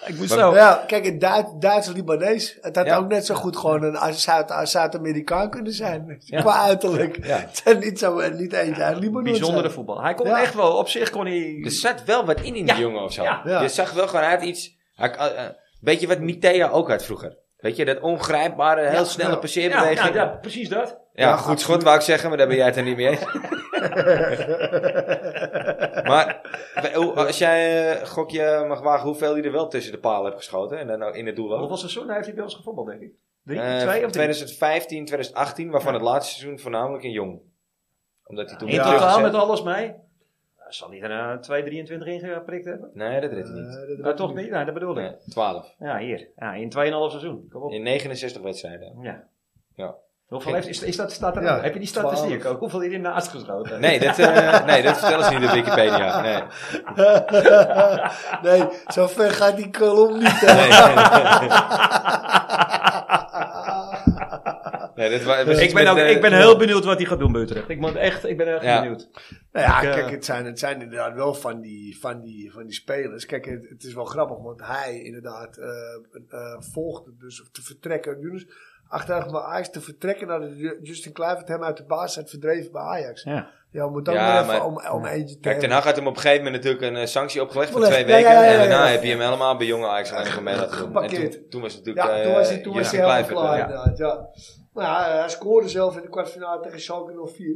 [SPEAKER 2] ik moest zo.
[SPEAKER 3] Maar ja, kijk, een Duits, Duits-Libanees, het had
[SPEAKER 1] Oh. Ja.
[SPEAKER 3] ook net zo goed gewoon een A- Zuid- A- Zuid-Amerikaan kunnen zijn.
[SPEAKER 1] Ja.
[SPEAKER 3] Qua uiterlijk.
[SPEAKER 1] Ja.
[SPEAKER 3] Het zijn niet, zo, eh, niet eentje uit Libanon.
[SPEAKER 2] Bijzondere
[SPEAKER 3] zijn.
[SPEAKER 2] voetbal. Hij kon
[SPEAKER 3] Ja.
[SPEAKER 2] echt wel, op zich kon hij...
[SPEAKER 1] Er zat wel wat in in die
[SPEAKER 2] Ja.
[SPEAKER 1] jongen of zo.
[SPEAKER 2] Ja.
[SPEAKER 3] Ja.
[SPEAKER 1] Je zag wel gewoon, hij had iets... Hij, eh, eh, weet je wat Mitea ook had vroeger? Weet je, dat ongrijpbare, heel snelle
[SPEAKER 3] Ja.
[SPEAKER 2] ja,
[SPEAKER 1] passeerbeweging.
[SPEAKER 2] nou, ja, precies dat.
[SPEAKER 1] Ja, goed schot wou ik zeggen, maar daar ben jij het er niet mee eens. maar we- hoe- als jij eh, gokje mag wagen hoeveel je er wel tussen de palen hebt geschoten en dan ook in het doel ook.
[SPEAKER 2] Hoeveel seizoenen heeft Nou, hij bij ons gevoetbald, denk ik? Drie,
[SPEAKER 1] Eh,
[SPEAKER 2] twee of drie?
[SPEAKER 1] 2015, 2018, waarvan het laatste seizoen voornamelijk in Jong. Omdat hij toen
[SPEAKER 2] In
[SPEAKER 1] werd
[SPEAKER 2] totaal
[SPEAKER 1] teruggezet.
[SPEAKER 2] met alles mee? Nou, Zal hij er 2, 23 ingeprikt hebben?
[SPEAKER 1] Nee, dat redt hij niet.
[SPEAKER 3] Eh, dat-
[SPEAKER 2] Nou, toch niet? Nou, dat bedoelde ik.
[SPEAKER 1] Nee, 12.
[SPEAKER 2] Ja, hier. Ja, in 2,5 seizoen. Kom op.
[SPEAKER 1] In 69 wedstrijden.
[SPEAKER 2] Ja.
[SPEAKER 1] Ja.
[SPEAKER 2] Hoeveel heeft, is, is dat, staat er,
[SPEAKER 3] Ja,
[SPEAKER 2] heb je die statistiek ook? Hoeveel hierin naast geschoten?
[SPEAKER 1] Nee, dat, eh, nee, dat vertellen ze niet op Wikipedia. Nee.
[SPEAKER 3] nee, zo ver gaat die kolom niet. hè.
[SPEAKER 1] Nee, nee, nee, dat
[SPEAKER 3] Dus
[SPEAKER 1] wa- was iets
[SPEAKER 2] Ik ben,
[SPEAKER 1] met,
[SPEAKER 2] ook,
[SPEAKER 1] eh,
[SPEAKER 2] ik ben heel benieuwd wat hij gaat doen bij Utrecht. Ik, moet echt, ik ben echt
[SPEAKER 1] Ja.
[SPEAKER 2] benieuwd.
[SPEAKER 3] Nou ja,
[SPEAKER 2] Ik, eh,
[SPEAKER 3] kijk, het zijn, het zijn inderdaad wel van die, van die, van die spelers. Kijk, het, het is wel grappig, want hij inderdaad eh eh, volgde dus te vertrekken. Yunus achteruit maar Ajax te vertrekken nadat Ju- Justin Kluivert hem uit de baas had verdreven bij Ajax.
[SPEAKER 2] Ja.
[SPEAKER 3] Ja, we moeten ook
[SPEAKER 1] Ja,
[SPEAKER 3] maar even
[SPEAKER 1] maar-
[SPEAKER 3] om, om eentje
[SPEAKER 1] Kijk,
[SPEAKER 3] te
[SPEAKER 1] Ten
[SPEAKER 3] hebben.
[SPEAKER 1] Hag had hem op een gegeven moment natuurlijk een eh, sanctie opgelegd voor
[SPEAKER 3] Oleg,
[SPEAKER 1] twee
[SPEAKER 3] ja,
[SPEAKER 1] weken.
[SPEAKER 3] ja, ja,
[SPEAKER 1] En
[SPEAKER 3] ja,
[SPEAKER 1] daarna
[SPEAKER 3] ja.
[SPEAKER 1] heb je hem helemaal bij jonge Ajax alleen nog gemeld laten doen. En
[SPEAKER 3] Geparkeerd.
[SPEAKER 1] toen, toen was het natuurlijk...
[SPEAKER 3] Ja,
[SPEAKER 1] eh,
[SPEAKER 3] toen was hij, toen was
[SPEAKER 1] Justin
[SPEAKER 3] hij helemaal
[SPEAKER 1] Kluivert,
[SPEAKER 3] klaar
[SPEAKER 1] ja.
[SPEAKER 3] inderdaad, ja. Maar ja, eh, hij scoorde zelf in de kwartfinale tegen Schalke 04.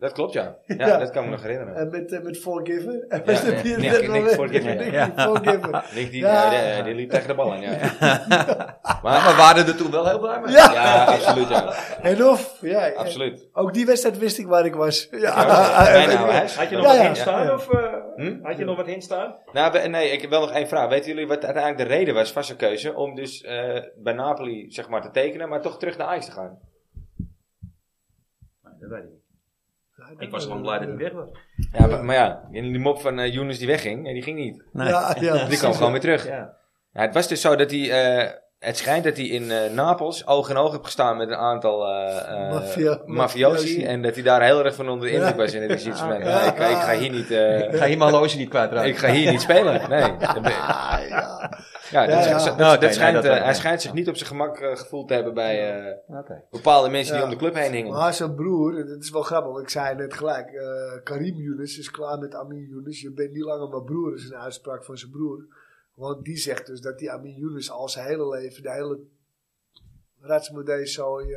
[SPEAKER 1] Dat klopt, ja. Ja,
[SPEAKER 3] Ja.
[SPEAKER 1] dat kan me nog herinneren.
[SPEAKER 3] En met, eh, met Forgiven. En
[SPEAKER 1] Ja,
[SPEAKER 3] met
[SPEAKER 1] ja.
[SPEAKER 3] die-
[SPEAKER 1] Nick-
[SPEAKER 3] dat
[SPEAKER 1] Nick
[SPEAKER 3] moment.
[SPEAKER 1] Forgiven,
[SPEAKER 3] Nick
[SPEAKER 2] ja.
[SPEAKER 3] Forgiven.
[SPEAKER 1] Nick, die,
[SPEAKER 3] Ja.
[SPEAKER 1] eh, die- die liep tegen de bal aan, ja.
[SPEAKER 2] Maar
[SPEAKER 1] Maar,
[SPEAKER 2] we waren er toen wel heel blij mee.
[SPEAKER 3] Ja,
[SPEAKER 1] ja, absoluut, ja.
[SPEAKER 3] en of. Ja, ja.
[SPEAKER 1] Absoluut.
[SPEAKER 3] Ook die wedstrijd wist ik waar ik was. Ja,
[SPEAKER 1] Ja, bijna wel, hè?
[SPEAKER 10] Had je
[SPEAKER 3] Ja,
[SPEAKER 10] nog wat
[SPEAKER 3] ja.
[SPEAKER 10] hints staan? Of, eh,
[SPEAKER 1] Hm?
[SPEAKER 10] Had je nog wat hints staan?
[SPEAKER 1] Nou, we- nee, ik heb wel nog één vraag. Weten jullie wat uiteindelijk de reden was van zijn keuze om dus eh, bij Napoli zeg maar, te tekenen, maar toch terug naar Ajax te gaan?
[SPEAKER 2] Nee, dat weet ik niet.
[SPEAKER 10] Ik was lang blij dat hij weg was.
[SPEAKER 1] Ja, maar, maar ja, in die mop van eh Younes die wegging, nee, die ging niet.
[SPEAKER 2] Nee.
[SPEAKER 3] Ja, ja.
[SPEAKER 1] Die kwam gewoon weer terug.
[SPEAKER 2] Ja.
[SPEAKER 1] Ja, het was dus zo dat hij. eh, het schijnt dat hij in eh, Napels oog in oog heeft gestaan met een aantal eh eh,
[SPEAKER 3] Maffia-
[SPEAKER 1] mafiosi.
[SPEAKER 3] mafiosi.
[SPEAKER 1] En dat hij daar heel erg van onder de indruk was. En dat hij zoiets van: nee, ik, ik ga hier niet. eh,
[SPEAKER 2] Ik ga hier mijn horloge niet kwijtraken.
[SPEAKER 1] ik ga hier niet spelen. Nee. Dan ben-
[SPEAKER 3] Ah, ja.
[SPEAKER 1] Ja, dat,
[SPEAKER 3] ja.
[SPEAKER 1] dat- dat-
[SPEAKER 2] Nou, Oké,
[SPEAKER 1] dat
[SPEAKER 2] nee,
[SPEAKER 1] schijnt,
[SPEAKER 2] dat
[SPEAKER 1] eh,
[SPEAKER 2] wel,
[SPEAKER 1] hij
[SPEAKER 2] ja.
[SPEAKER 1] schijnt zich niet op zijn gemak eh, gevoeld te hebben bij eh,
[SPEAKER 2] Oké.
[SPEAKER 1] bepaalde mensen die
[SPEAKER 3] Ja.
[SPEAKER 1] om de club heen hingen.
[SPEAKER 3] Maar zijn broer, dat is wel grappig, want ik zei net gelijk. eh, Karim Younes is klaar met Amin Younes. Je bent niet langer mijn broer, is een uitspraak van zijn broer. Want die zegt dus dat die Amin Younes al zijn hele leven de hele ratsmodee zo eh,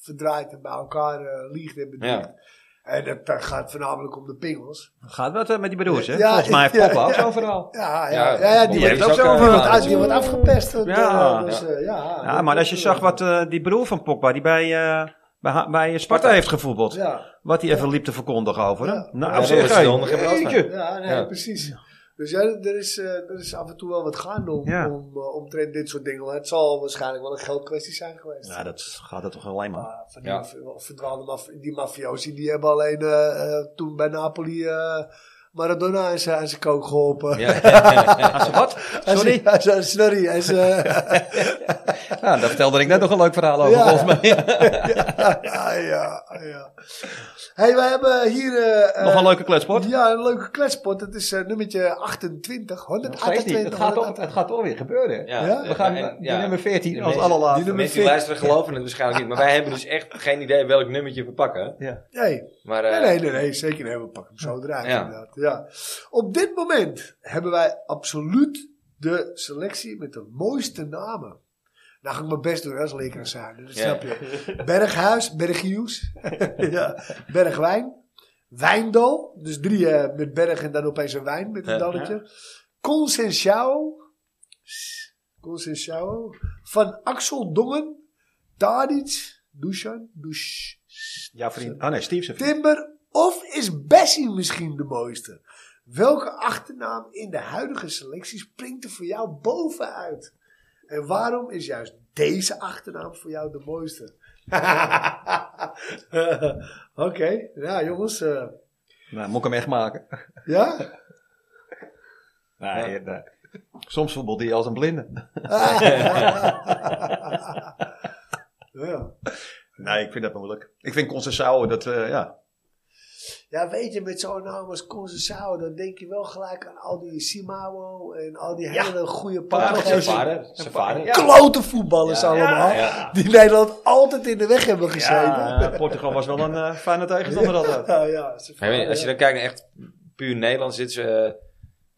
[SPEAKER 3] verdraaid en bij elkaar eh, liegt en bedriegt.
[SPEAKER 1] Ja.
[SPEAKER 3] En dat eh, gaat voornamelijk om de pingels.
[SPEAKER 2] Gaat wat eh, met die broers, hè?
[SPEAKER 3] Ja,
[SPEAKER 2] Volgens mij heeft
[SPEAKER 3] ja,
[SPEAKER 2] Poppa ook
[SPEAKER 3] ja.
[SPEAKER 2] zo'n verhaal.
[SPEAKER 1] Ja,
[SPEAKER 3] Ja, ja, ja, ja, die
[SPEAKER 1] die
[SPEAKER 3] wordt
[SPEAKER 1] is
[SPEAKER 3] ook
[SPEAKER 1] ook,
[SPEAKER 3] zo
[SPEAKER 1] eh,
[SPEAKER 3] over
[SPEAKER 1] ja,
[SPEAKER 3] uit, die wordt afgepest. Dat, eh,
[SPEAKER 2] Ja.
[SPEAKER 3] dus, eh, ja,
[SPEAKER 2] Ja, maar als je zag wat eh, die broer van Pogba, die bij, eh, bij, Ha- bij Sparta heeft gevoetbald.
[SPEAKER 3] Ja,
[SPEAKER 2] Wat hij even liep te verkondigen over hem.
[SPEAKER 3] Ja.
[SPEAKER 2] Nou,
[SPEAKER 1] Ja,
[SPEAKER 2] zeg
[SPEAKER 1] dat is
[SPEAKER 2] hé.
[SPEAKER 1] de ondergrip wel van.
[SPEAKER 2] Jeetje.
[SPEAKER 3] ja, nee,
[SPEAKER 1] Ja.
[SPEAKER 3] precies. Dus ja, er is, eh, er is af en toe wel wat gaande om,
[SPEAKER 2] Ja.
[SPEAKER 3] om, eh, omtrent dit soort dingen. Maar het zal waarschijnlijk wel een geldkwestie zijn geweest.
[SPEAKER 2] Ja, dat gaat het toch alleen maar.
[SPEAKER 3] Maar van die
[SPEAKER 1] Ja.
[SPEAKER 3] maf- verdwaalde maf die mafiosi, die hebben alleen eh, eh, toen bij Napoli eh, Maradona aan zijn aan zijn kook geholpen.
[SPEAKER 1] Ja.
[SPEAKER 2] Ah, ze wat?
[SPEAKER 3] Aan
[SPEAKER 2] Sorry?
[SPEAKER 3] zijn- aan zijn- eh, Sorry. aan zijn-
[SPEAKER 2] Nou, daar vertelde ik net nog een leuk verhaal over,
[SPEAKER 3] Ja.
[SPEAKER 2] Oh, volgens mij.
[SPEAKER 3] ja, ja, ja. hey, wij hebben hier... eh,
[SPEAKER 2] nog
[SPEAKER 3] eh,
[SPEAKER 2] een leuke kletsport.
[SPEAKER 3] Ja, een leuke kletspot. Dat is eh, nummertje 28.
[SPEAKER 2] Nog steeds niet.
[SPEAKER 3] 128.
[SPEAKER 2] Het gaat, toch, het gaat toch weer gebeuren.
[SPEAKER 3] Ja?
[SPEAKER 2] We gaan
[SPEAKER 1] en-
[SPEAKER 2] naar
[SPEAKER 1] ja.
[SPEAKER 2] nummer 14 als
[SPEAKER 1] mensen-
[SPEAKER 2] allerlaatste.
[SPEAKER 1] De mensen die luisteren geloven het waarschijnlijk niet. Maar wij hebben dus echt geen idee welk nummertje we pakken.
[SPEAKER 3] Nee,
[SPEAKER 1] Maar,
[SPEAKER 3] nee,
[SPEAKER 1] eh,
[SPEAKER 3] nee, nee, nee, zeker. Nee, we pakken hem zo eruit
[SPEAKER 1] Ja.
[SPEAKER 3] inderdaad. Ja. Op dit moment hebben wij absoluut de selectie met de mooiste namen. Nou ga ik mijn best doen als leraar zijn. Dat
[SPEAKER 1] Ja.
[SPEAKER 3] snap je. Berghuis, Berghius. ja. Bergwijn. Wijndal. Dus drie eh, met berg en dan opeens een wijn met een
[SPEAKER 1] Ja.
[SPEAKER 3] dalletje. Consensual. Consensual. Van Axel Dongen. Tadic. Dusan. Dush.
[SPEAKER 2] Ja, vriend. Ah nee, Steve zijn vriend.
[SPEAKER 3] Timber. Of is Bessie misschien de mooiste? Welke achternaam in de huidige selectie springt er voor jou bovenuit? En waarom is juist deze achternaam voor jou de mooiste? Oké, ja jongens. eh,
[SPEAKER 2] Nou, moet ik hem echt maken.
[SPEAKER 3] ja?
[SPEAKER 2] Nee, nee. Soms voetbalt hij als een blinde.
[SPEAKER 3] ja.
[SPEAKER 2] Nee, ik vind dat moeilijk. Ik vind Concessao dat, eh, ja.
[SPEAKER 3] Ja, weet je, met zo'n naam als Concessao, dan denk je wel gelijk aan al die Simao en al die hele goede
[SPEAKER 1] Zijn
[SPEAKER 3] paardjes.
[SPEAKER 1] vader. Zijn vader. Ja.
[SPEAKER 3] Klote voetballers
[SPEAKER 1] Ja.
[SPEAKER 3] allemaal.
[SPEAKER 1] Ja.
[SPEAKER 3] Die Nederland altijd in de weg hebben gezeten.
[SPEAKER 2] ja
[SPEAKER 3] Ja,
[SPEAKER 2] eh, Portugal was wel een eh, fijne tegenstander altijd.
[SPEAKER 3] ja, ze-
[SPEAKER 1] Ja, maar als je dan kijkt naar echt puur Nederlands, dit is, eh,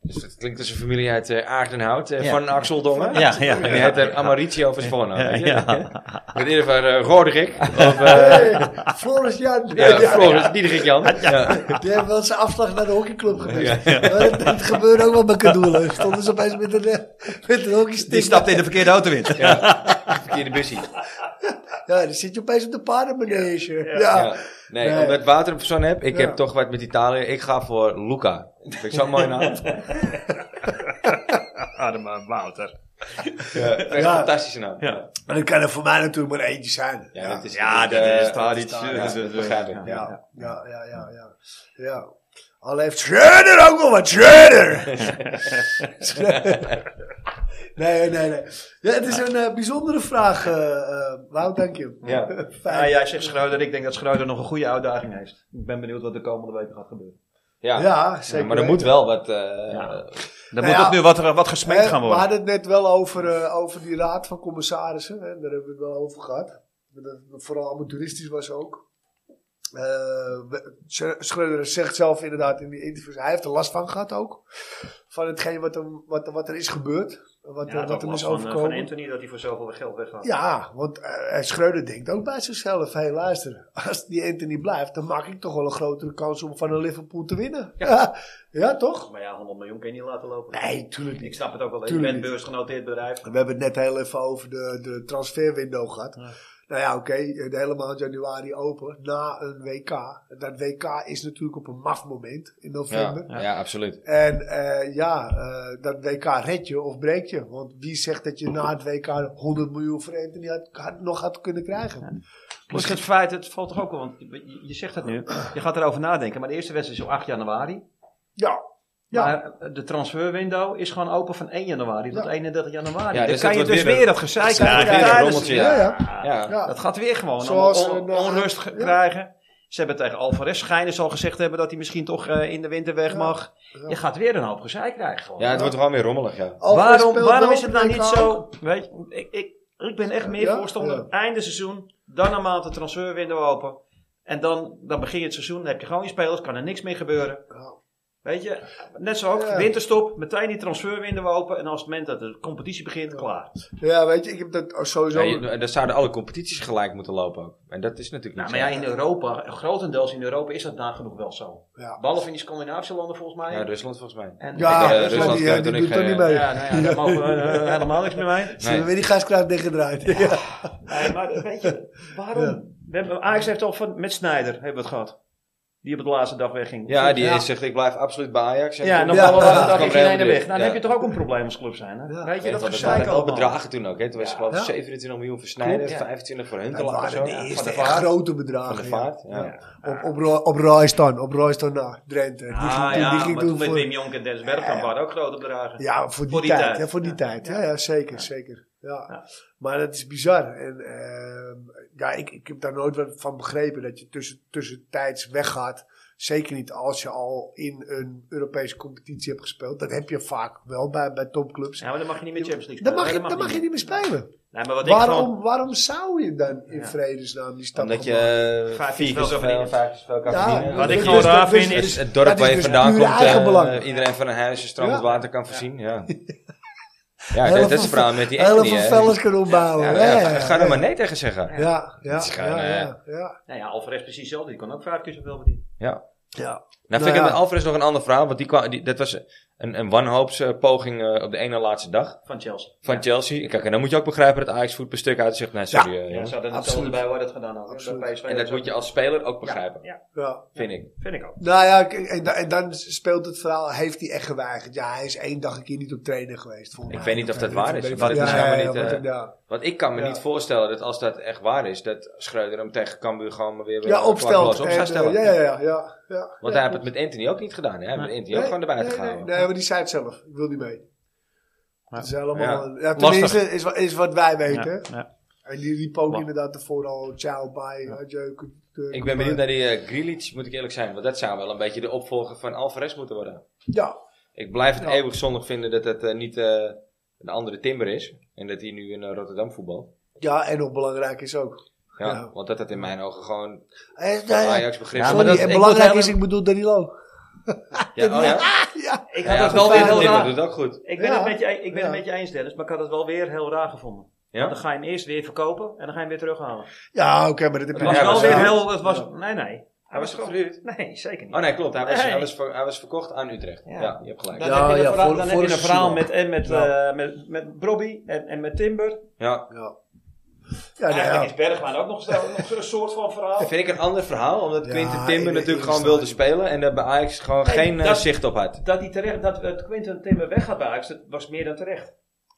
[SPEAKER 1] dus het klinkt als een familie uit eh Aardenhout, eh,
[SPEAKER 2] Ja.
[SPEAKER 1] van Axel Dongen.
[SPEAKER 2] Ja, ja.
[SPEAKER 1] En die heet eh, Amaritio van Svono.
[SPEAKER 2] Ja,
[SPEAKER 1] weet je?
[SPEAKER 2] ja.
[SPEAKER 1] In ieder geval eh, Roderick. Of, eh
[SPEAKER 3] Hey, Floris Jan.
[SPEAKER 1] ja,
[SPEAKER 3] Ja.
[SPEAKER 1] Floris, Diederik Jan. Ja.
[SPEAKER 3] Die hebben wel zijn afslag naar de hockeyclub geweest. Maar dat, dat gebeurde ook wel bij Kadoelen. Stonden ze opeens met een, eh, met een hockeystick.
[SPEAKER 2] Die stapte in de verkeerde auto in.
[SPEAKER 1] Verkeerde bussie.
[SPEAKER 3] Ja, dan zit je opeens op de paardenmanege. Ja.
[SPEAKER 1] Ja. Nee,
[SPEAKER 3] Nee.
[SPEAKER 1] omdat Wouter op zo'n heb, ik
[SPEAKER 3] Ja.
[SPEAKER 1] heb toch wat met Italië. Ik ga voor Luca. Vind ik zo'n mooie naam.
[SPEAKER 11] Arme eh, Wouter.
[SPEAKER 1] Ja, echt een
[SPEAKER 3] Ja.
[SPEAKER 1] fantastische naam. Ja,
[SPEAKER 2] Ja.
[SPEAKER 3] Maar dat kan er voor mij natuurlijk maar eentje zijn. Ja,
[SPEAKER 1] dat is,
[SPEAKER 2] Ja, dat
[SPEAKER 1] eh,
[SPEAKER 2] is daar iets.
[SPEAKER 1] ja, dat is begrijpelijk. Ja.
[SPEAKER 3] ja, ja, ja, ja. ja. ja. Al heeft Schreuder ook wel wat Schreuder. nee, nee, nee. Ja, het is een eh, bijzondere vraag, eh eh, Wout, dank je.
[SPEAKER 1] Ja.
[SPEAKER 3] Fijn.
[SPEAKER 2] Ah, jij zegt Schreuder. Ik denk dat Schreuder nog een goede uitdaging heeft. Ik ben benieuwd wat de komende weken gaat gebeuren.
[SPEAKER 1] Ja.
[SPEAKER 3] Ah, Ja, zeker.
[SPEAKER 1] maar er moet wel wat. eh,
[SPEAKER 2] Dan
[SPEAKER 3] Nou
[SPEAKER 2] moet
[SPEAKER 3] ja.
[SPEAKER 2] ook nu wat, wat gesmeed
[SPEAKER 3] Eh,
[SPEAKER 2] gaan
[SPEAKER 3] We
[SPEAKER 2] worden.
[SPEAKER 3] hadden het net wel over, eh, over die raad van commissarissen. Hè? Daar hebben we het wel over gehad. Dat het vooral amateuristisch was ook. Eh, we- Sch- Schreuder zegt zelf inderdaad in die interviews, hij heeft er last van gehad ook. Van hetgeen wat er, wat, er- wat er is gebeurd. Wat,
[SPEAKER 11] Ja,
[SPEAKER 3] er- wat
[SPEAKER 11] dat
[SPEAKER 3] hem
[SPEAKER 11] was
[SPEAKER 3] is
[SPEAKER 11] van, eh, van
[SPEAKER 3] overkomen.
[SPEAKER 11] Anthony dat hij voor zoveel geld weggaat.
[SPEAKER 3] ja, want eh, Schreuder denkt ook bij zichzelf: hé, hey, luister, als die Anthony blijft, dan maak ik toch wel een grotere kans om van een Liverpool te winnen. Ja, toch?
[SPEAKER 11] Maar ja, 100 miljoen kan je niet laten lopen.
[SPEAKER 3] Nee, tuurlijk niet.
[SPEAKER 11] Ik snap het ook wel. Je
[SPEAKER 3] Tuurlijk
[SPEAKER 11] bent
[SPEAKER 3] niet.
[SPEAKER 11] beursgenoteerd bedrijf.
[SPEAKER 3] We hebben het net heel even over de, de transferwindow gehad. Nou ja, oké, de hele maand januari open na een WK. Dat WK is natuurlijk op een maf moment in november.
[SPEAKER 1] ja. Ja. absoluut.
[SPEAKER 3] En eh, ja, eh, dat WK red je of breek je. Want wie zegt dat je na het WK 100 miljoen voor Anthony had, had- nog had kunnen krijgen?
[SPEAKER 2] Plus het feit, het valt toch ook wel, want je, je zegt dat nu, je gaat erover nadenken, maar de eerste wedstrijd is op 8 januari.
[SPEAKER 3] Ja, Ja.
[SPEAKER 2] Maar eh, de transferwindow is gewoon open van 1 januari tot
[SPEAKER 3] Ja.
[SPEAKER 2] 31 januari.
[SPEAKER 1] Ja,
[SPEAKER 2] dan
[SPEAKER 1] dus
[SPEAKER 2] kan
[SPEAKER 1] dat
[SPEAKER 2] je
[SPEAKER 1] wordt
[SPEAKER 2] dus
[SPEAKER 1] weer
[SPEAKER 2] weer,
[SPEAKER 1] een-
[SPEAKER 2] dat gezeik
[SPEAKER 1] Ja,
[SPEAKER 2] krijgen
[SPEAKER 1] weer een
[SPEAKER 2] tijdens-
[SPEAKER 1] rommeltje.
[SPEAKER 3] ja, ja.
[SPEAKER 1] Ja.
[SPEAKER 3] ja.
[SPEAKER 2] Dat gaat weer gewoon
[SPEAKER 3] Zoals
[SPEAKER 2] on- on-
[SPEAKER 3] een, eh,
[SPEAKER 2] onrust ge-
[SPEAKER 3] ja.
[SPEAKER 2] krijgen. Ze hebben tegen Alvarez schijnen ze al gezegd hebben dat hij misschien toch eh, in de winter weg
[SPEAKER 3] Ja.
[SPEAKER 2] mag.
[SPEAKER 3] Ja.
[SPEAKER 2] Je gaat weer een hoop gezeik krijgen gewoon.
[SPEAKER 1] Ja, het wordt gewoon weer rommelig. Ja.
[SPEAKER 3] Alvarez
[SPEAKER 2] waarom
[SPEAKER 3] speelt
[SPEAKER 2] waarom
[SPEAKER 3] wel
[SPEAKER 2] is het nou
[SPEAKER 3] WK
[SPEAKER 2] niet
[SPEAKER 3] ook.
[SPEAKER 2] zo, weet je, ik, ik, ik ben echt meer
[SPEAKER 3] Ja?
[SPEAKER 2] voorstander
[SPEAKER 3] Ja.
[SPEAKER 2] einde seizoen, dan een maand de transferwindow open. En dan, dan begin je het seizoen, dan heb je gewoon je spelers, kan er niks meer gebeuren.
[SPEAKER 3] Ja.
[SPEAKER 2] Weet je, net zo ook,
[SPEAKER 3] Ja.
[SPEAKER 2] winterstop, meteen die transferwindow open. En als het moment dat de competitie begint, klaar.
[SPEAKER 3] Ja, weet je, ik heb dat oh, sowieso...
[SPEAKER 1] Ja, je- dan eh, zouden alle competities gelijk moeten lopen ook. En dat is natuurlijk
[SPEAKER 2] Nou,
[SPEAKER 1] niet
[SPEAKER 2] maar ja,
[SPEAKER 1] zo.
[SPEAKER 2] in Europa, grotendeels in Europa is dat nagenoeg wel zo.
[SPEAKER 3] Ja.
[SPEAKER 2] Behalve in die Scandinavische landen volgens mij.
[SPEAKER 1] Ja, Rusland volgens mij.
[SPEAKER 2] en,
[SPEAKER 3] Ja,
[SPEAKER 1] Eh,
[SPEAKER 2] ja,
[SPEAKER 3] Rusland,
[SPEAKER 1] Rusland
[SPEAKER 3] die, eh,
[SPEAKER 1] doet
[SPEAKER 3] die
[SPEAKER 1] er
[SPEAKER 3] doet
[SPEAKER 1] geen-
[SPEAKER 3] er niet mee.
[SPEAKER 2] ja, nou ja, daar mogen we eh, helemaal niks meer mee.
[SPEAKER 3] Ze hebben weer die gaskraat dichtgedraaid. Ja.
[SPEAKER 2] Nee, Eh, maar weet je, waarom? We hebben, Ajax heeft al van, met Snijder hebben we het gehad. Die op de laatste dag wegging.
[SPEAKER 1] Ja, die
[SPEAKER 3] Ja.
[SPEAKER 1] zegt ik blijf absoluut bij Ajax.
[SPEAKER 2] Ja, en dan
[SPEAKER 3] Ja.
[SPEAKER 2] vallen we
[SPEAKER 3] Ja.
[SPEAKER 2] de
[SPEAKER 1] Dat
[SPEAKER 2] dag
[SPEAKER 1] kwam
[SPEAKER 2] in geen ene
[SPEAKER 1] Real
[SPEAKER 2] weg. Nou, dan
[SPEAKER 1] Ja.
[SPEAKER 2] heb je toch ook een probleem als club zijn. Hè?
[SPEAKER 3] Ja.
[SPEAKER 2] Weet je,
[SPEAKER 1] Ja,
[SPEAKER 2] dat
[SPEAKER 1] want
[SPEAKER 2] gezeik
[SPEAKER 1] waren wel
[SPEAKER 2] allemaal.
[SPEAKER 1] bedragen toen ook. Hè. Toen was het geloof ik
[SPEAKER 3] Ja.
[SPEAKER 1] 27 miljoen voor Snijder,
[SPEAKER 2] Klopt, ja.
[SPEAKER 1] 25 voor
[SPEAKER 3] Dat
[SPEAKER 1] Huntelaar of zo.
[SPEAKER 3] waren de
[SPEAKER 1] Ja,
[SPEAKER 3] eerste
[SPEAKER 1] Vaart.
[SPEAKER 3] grote
[SPEAKER 1] Van
[SPEAKER 3] bedragen.
[SPEAKER 1] de
[SPEAKER 3] ja.
[SPEAKER 1] vaart, ja.
[SPEAKER 3] Op, op, Ro- op Royston, op Royston naar Drenthe. Die ging
[SPEAKER 2] Ah
[SPEAKER 3] toen-
[SPEAKER 2] ja,
[SPEAKER 3] die ging
[SPEAKER 2] maar
[SPEAKER 3] toen
[SPEAKER 2] toen met
[SPEAKER 3] voor-
[SPEAKER 2] Wim Jonk en Dennis Bergkamp waren ook grote bedragen.
[SPEAKER 3] Ja, voor die,
[SPEAKER 2] Voor die
[SPEAKER 3] tijd.
[SPEAKER 2] tijd.
[SPEAKER 3] Ja, voor die tijd. Ja, ja zeker, zeker. Ja.
[SPEAKER 2] Ja.
[SPEAKER 3] Maar dat is bizar. En, ehm, ja, ik, ik heb daar nooit wat van begrepen dat je tussen, tussentijds weggaat. Zeker niet als je al in een Europese competitie hebt gespeeld. Dat heb je vaak wel bij, bij topclubs.
[SPEAKER 2] Ja, maar dan mag je niet meer Champions League
[SPEAKER 3] Dan
[SPEAKER 2] spelen.
[SPEAKER 3] mag,
[SPEAKER 2] Nee,
[SPEAKER 3] je, dan mag je niet meer spelen.
[SPEAKER 2] Nee, maar wat ik
[SPEAKER 3] Waarom,
[SPEAKER 2] gewoon...
[SPEAKER 3] waarom zou je dan in
[SPEAKER 2] Ja.
[SPEAKER 3] vredesnaam die stap
[SPEAKER 1] Omdat
[SPEAKER 3] maken?
[SPEAKER 1] je eh,
[SPEAKER 2] Vijf
[SPEAKER 1] vier keer
[SPEAKER 2] keer zoveel
[SPEAKER 1] zoveel,
[SPEAKER 2] verdienen.
[SPEAKER 1] vijf keer zoveel kan
[SPEAKER 3] Ja,
[SPEAKER 1] verdienen.
[SPEAKER 2] Wat
[SPEAKER 3] dat
[SPEAKER 2] ik
[SPEAKER 3] is
[SPEAKER 2] gewoon
[SPEAKER 3] dus-
[SPEAKER 2] raar
[SPEAKER 3] dat is
[SPEAKER 2] vind
[SPEAKER 3] dus-
[SPEAKER 1] Het, het dorp
[SPEAKER 3] dat is
[SPEAKER 1] waar je
[SPEAKER 3] dus
[SPEAKER 1] vandaan
[SPEAKER 3] puur
[SPEAKER 1] komt, eh,
[SPEAKER 3] eigenbelang.
[SPEAKER 1] iedereen van een huis, strand,
[SPEAKER 3] Ja.
[SPEAKER 1] water kan voorzien. Ja. Ja, dat,
[SPEAKER 3] Heel
[SPEAKER 1] dat is
[SPEAKER 3] veel-
[SPEAKER 1] het verhaal met die
[SPEAKER 3] Heel
[SPEAKER 1] Anthony.
[SPEAKER 3] veel
[SPEAKER 1] hè.
[SPEAKER 3] vellers kunnen opbouwen.
[SPEAKER 1] Ja,
[SPEAKER 3] Ja,
[SPEAKER 1] ja,
[SPEAKER 3] ja,
[SPEAKER 1] ga- Ga er maar nee tegen zeggen.
[SPEAKER 3] Ja, ja,
[SPEAKER 1] Het is gewoon,
[SPEAKER 3] ja,
[SPEAKER 1] eh,
[SPEAKER 3] ja, ja.
[SPEAKER 2] Nou ja, Alvarez precies hetzelfde. Die kan ook vijf keer zoveel verdienen.
[SPEAKER 3] ja.
[SPEAKER 1] Nou, vind
[SPEAKER 3] Nou
[SPEAKER 1] ik
[SPEAKER 3] ja.
[SPEAKER 1] met Alvarez nog een ander verhaal. Want die kwam, die, dat was een, een wanhoopspoging eh, op de ene laatste dag
[SPEAKER 2] Van Chelsea.
[SPEAKER 1] van Chelsea. Kijk, en dan moet je ook begrijpen dat Ajax voet per stuk uit zegt. Nee, sorry. eh,
[SPEAKER 2] Ja,
[SPEAKER 1] jongens.
[SPEAKER 2] ze hadden
[SPEAKER 3] absoluut.
[SPEAKER 2] hetzelfde bij waar dat gedaan ook.
[SPEAKER 3] Absoluut.
[SPEAKER 2] Bij PSV
[SPEAKER 1] en dat moet je als speler ook begrijpen,
[SPEAKER 2] Ja,
[SPEAKER 3] ja.
[SPEAKER 1] vind ik.
[SPEAKER 2] vind ik ook.
[SPEAKER 3] Nou ja, k- en, da- en dan speelt het verhaal, heeft hij echt geweigerd? Ja, hij is één dag een keer niet op trainen geweest. volgens
[SPEAKER 1] Ik
[SPEAKER 3] mij.
[SPEAKER 1] weet niet of
[SPEAKER 3] Hij
[SPEAKER 1] dat
[SPEAKER 3] heeft
[SPEAKER 1] waar
[SPEAKER 3] een
[SPEAKER 1] is,
[SPEAKER 3] beetje-
[SPEAKER 1] want het is helemaal niet,
[SPEAKER 3] want
[SPEAKER 1] eh,
[SPEAKER 3] het- ja.
[SPEAKER 1] Want ik kan me
[SPEAKER 3] Ja.
[SPEAKER 1] niet voorstellen dat als dat echt waar is, dat Schreuder hem tegen Cambuur gewoon maar weer weer
[SPEAKER 3] ja,
[SPEAKER 1] een
[SPEAKER 3] opstelt.
[SPEAKER 1] plakblaas op zou
[SPEAKER 3] en,
[SPEAKER 1] stellen.
[SPEAKER 3] eh, ja, ja, ja, ja, ja.
[SPEAKER 1] Want hij heeft het met Anthony ook niet gedaan. Hè? Hij heeft Anthony ook gewoon erbij
[SPEAKER 3] nee,
[SPEAKER 1] gehouden.
[SPEAKER 3] nee, nee, maar die zei het zelf. Ik wil niet mee.
[SPEAKER 2] Ja.
[SPEAKER 3] Het is helemaal... Ja,
[SPEAKER 1] Lastig.
[SPEAKER 3] tenminste, is, wa- is wat wij weten.
[SPEAKER 2] Ja, ja.
[SPEAKER 3] En die riep ook
[SPEAKER 2] Wa-
[SPEAKER 3] inderdaad ervoor al, ciao, bye, adieu. k- k-
[SPEAKER 1] Ik ben benieuwd naar die eh, Grealish, moet ik eerlijk zijn. Want dat zou wel een beetje de opvolger van Alvarez moeten worden.
[SPEAKER 3] Ja,
[SPEAKER 1] Ik blijf het
[SPEAKER 3] Ja.
[SPEAKER 1] eeuwig zondig vinden dat het eh, niet eh, een andere Timber is. En dat hij nu in eh, Rotterdam voetbalt.
[SPEAKER 3] ja, en nog belangrijk is ook.
[SPEAKER 1] Ja,
[SPEAKER 3] Ja.
[SPEAKER 1] Want dat had in mijn ogen gewoon
[SPEAKER 3] Eh, nee,
[SPEAKER 1] Ajax begrip.
[SPEAKER 2] Ah, Ja, maar
[SPEAKER 3] sorry,
[SPEAKER 2] dat-
[SPEAKER 3] en
[SPEAKER 2] ik
[SPEAKER 3] belangrijk
[SPEAKER 2] moet
[SPEAKER 3] is, ik bedoel Danilo.
[SPEAKER 1] Ja, oh ja.
[SPEAKER 3] Ja,
[SPEAKER 2] Ik
[SPEAKER 1] Ja,
[SPEAKER 2] had
[SPEAKER 1] ja,
[SPEAKER 2] het wel
[SPEAKER 1] wel
[SPEAKER 2] weer heel
[SPEAKER 1] Timber
[SPEAKER 2] raar.
[SPEAKER 1] doet ook goed.
[SPEAKER 2] Ik ben
[SPEAKER 3] Ja.
[SPEAKER 2] het met je, e- ik ben
[SPEAKER 3] Ja.
[SPEAKER 2] het met je eens, Dennis, maar ik had het wel weer heel raar gevonden.
[SPEAKER 1] Ja?
[SPEAKER 2] Dan ga je hem eerst weer verkopen en dan ga je hem weer terughalen.
[SPEAKER 3] ja oké, maar dat heb
[SPEAKER 2] Het
[SPEAKER 3] je
[SPEAKER 2] was
[SPEAKER 1] hij
[SPEAKER 2] wel
[SPEAKER 1] was
[SPEAKER 2] weer
[SPEAKER 1] wel-
[SPEAKER 2] heel. Het was, Nee, nee.
[SPEAKER 1] Hij was verhuurd.
[SPEAKER 2] Nee, zeker niet.
[SPEAKER 1] Oh nee, klopt. Hij was,
[SPEAKER 2] Nee.
[SPEAKER 1] hij was, ver- hij was verkocht aan Utrecht. Ja,
[SPEAKER 2] Ja.
[SPEAKER 1] je hebt gelijk.
[SPEAKER 2] Dan
[SPEAKER 1] Ja,
[SPEAKER 3] Ja,
[SPEAKER 2] heb je
[SPEAKER 3] ja,
[SPEAKER 2] een verhaal,
[SPEAKER 3] voor-
[SPEAKER 2] dan
[SPEAKER 3] voor
[SPEAKER 2] heb je
[SPEAKER 3] de
[SPEAKER 2] een verhaal
[SPEAKER 3] Sula.
[SPEAKER 2] met, en met,
[SPEAKER 3] Ja.
[SPEAKER 2] eh, met, met Bobby en, en met Timber.
[SPEAKER 1] ja.
[SPEAKER 3] Ja, nou
[SPEAKER 2] Eigenlijk
[SPEAKER 3] ja.
[SPEAKER 2] is Bergman ook nog, zo- nog een soort van verhaal.
[SPEAKER 1] Dat vind ik een ander verhaal. Omdat
[SPEAKER 3] Ja,
[SPEAKER 1] Quinten
[SPEAKER 3] in de-
[SPEAKER 1] Timber
[SPEAKER 3] in de
[SPEAKER 1] natuurlijk gewoon
[SPEAKER 3] stadion.
[SPEAKER 1] wilde spelen. En daar bij Ajax gewoon
[SPEAKER 2] Nee,
[SPEAKER 1] geen eh,
[SPEAKER 2] dat-
[SPEAKER 1] zicht op had.
[SPEAKER 2] Dat hij terecht, dat eh, Quinten Timber weggaat bij Ajax, dat was meer dan terecht.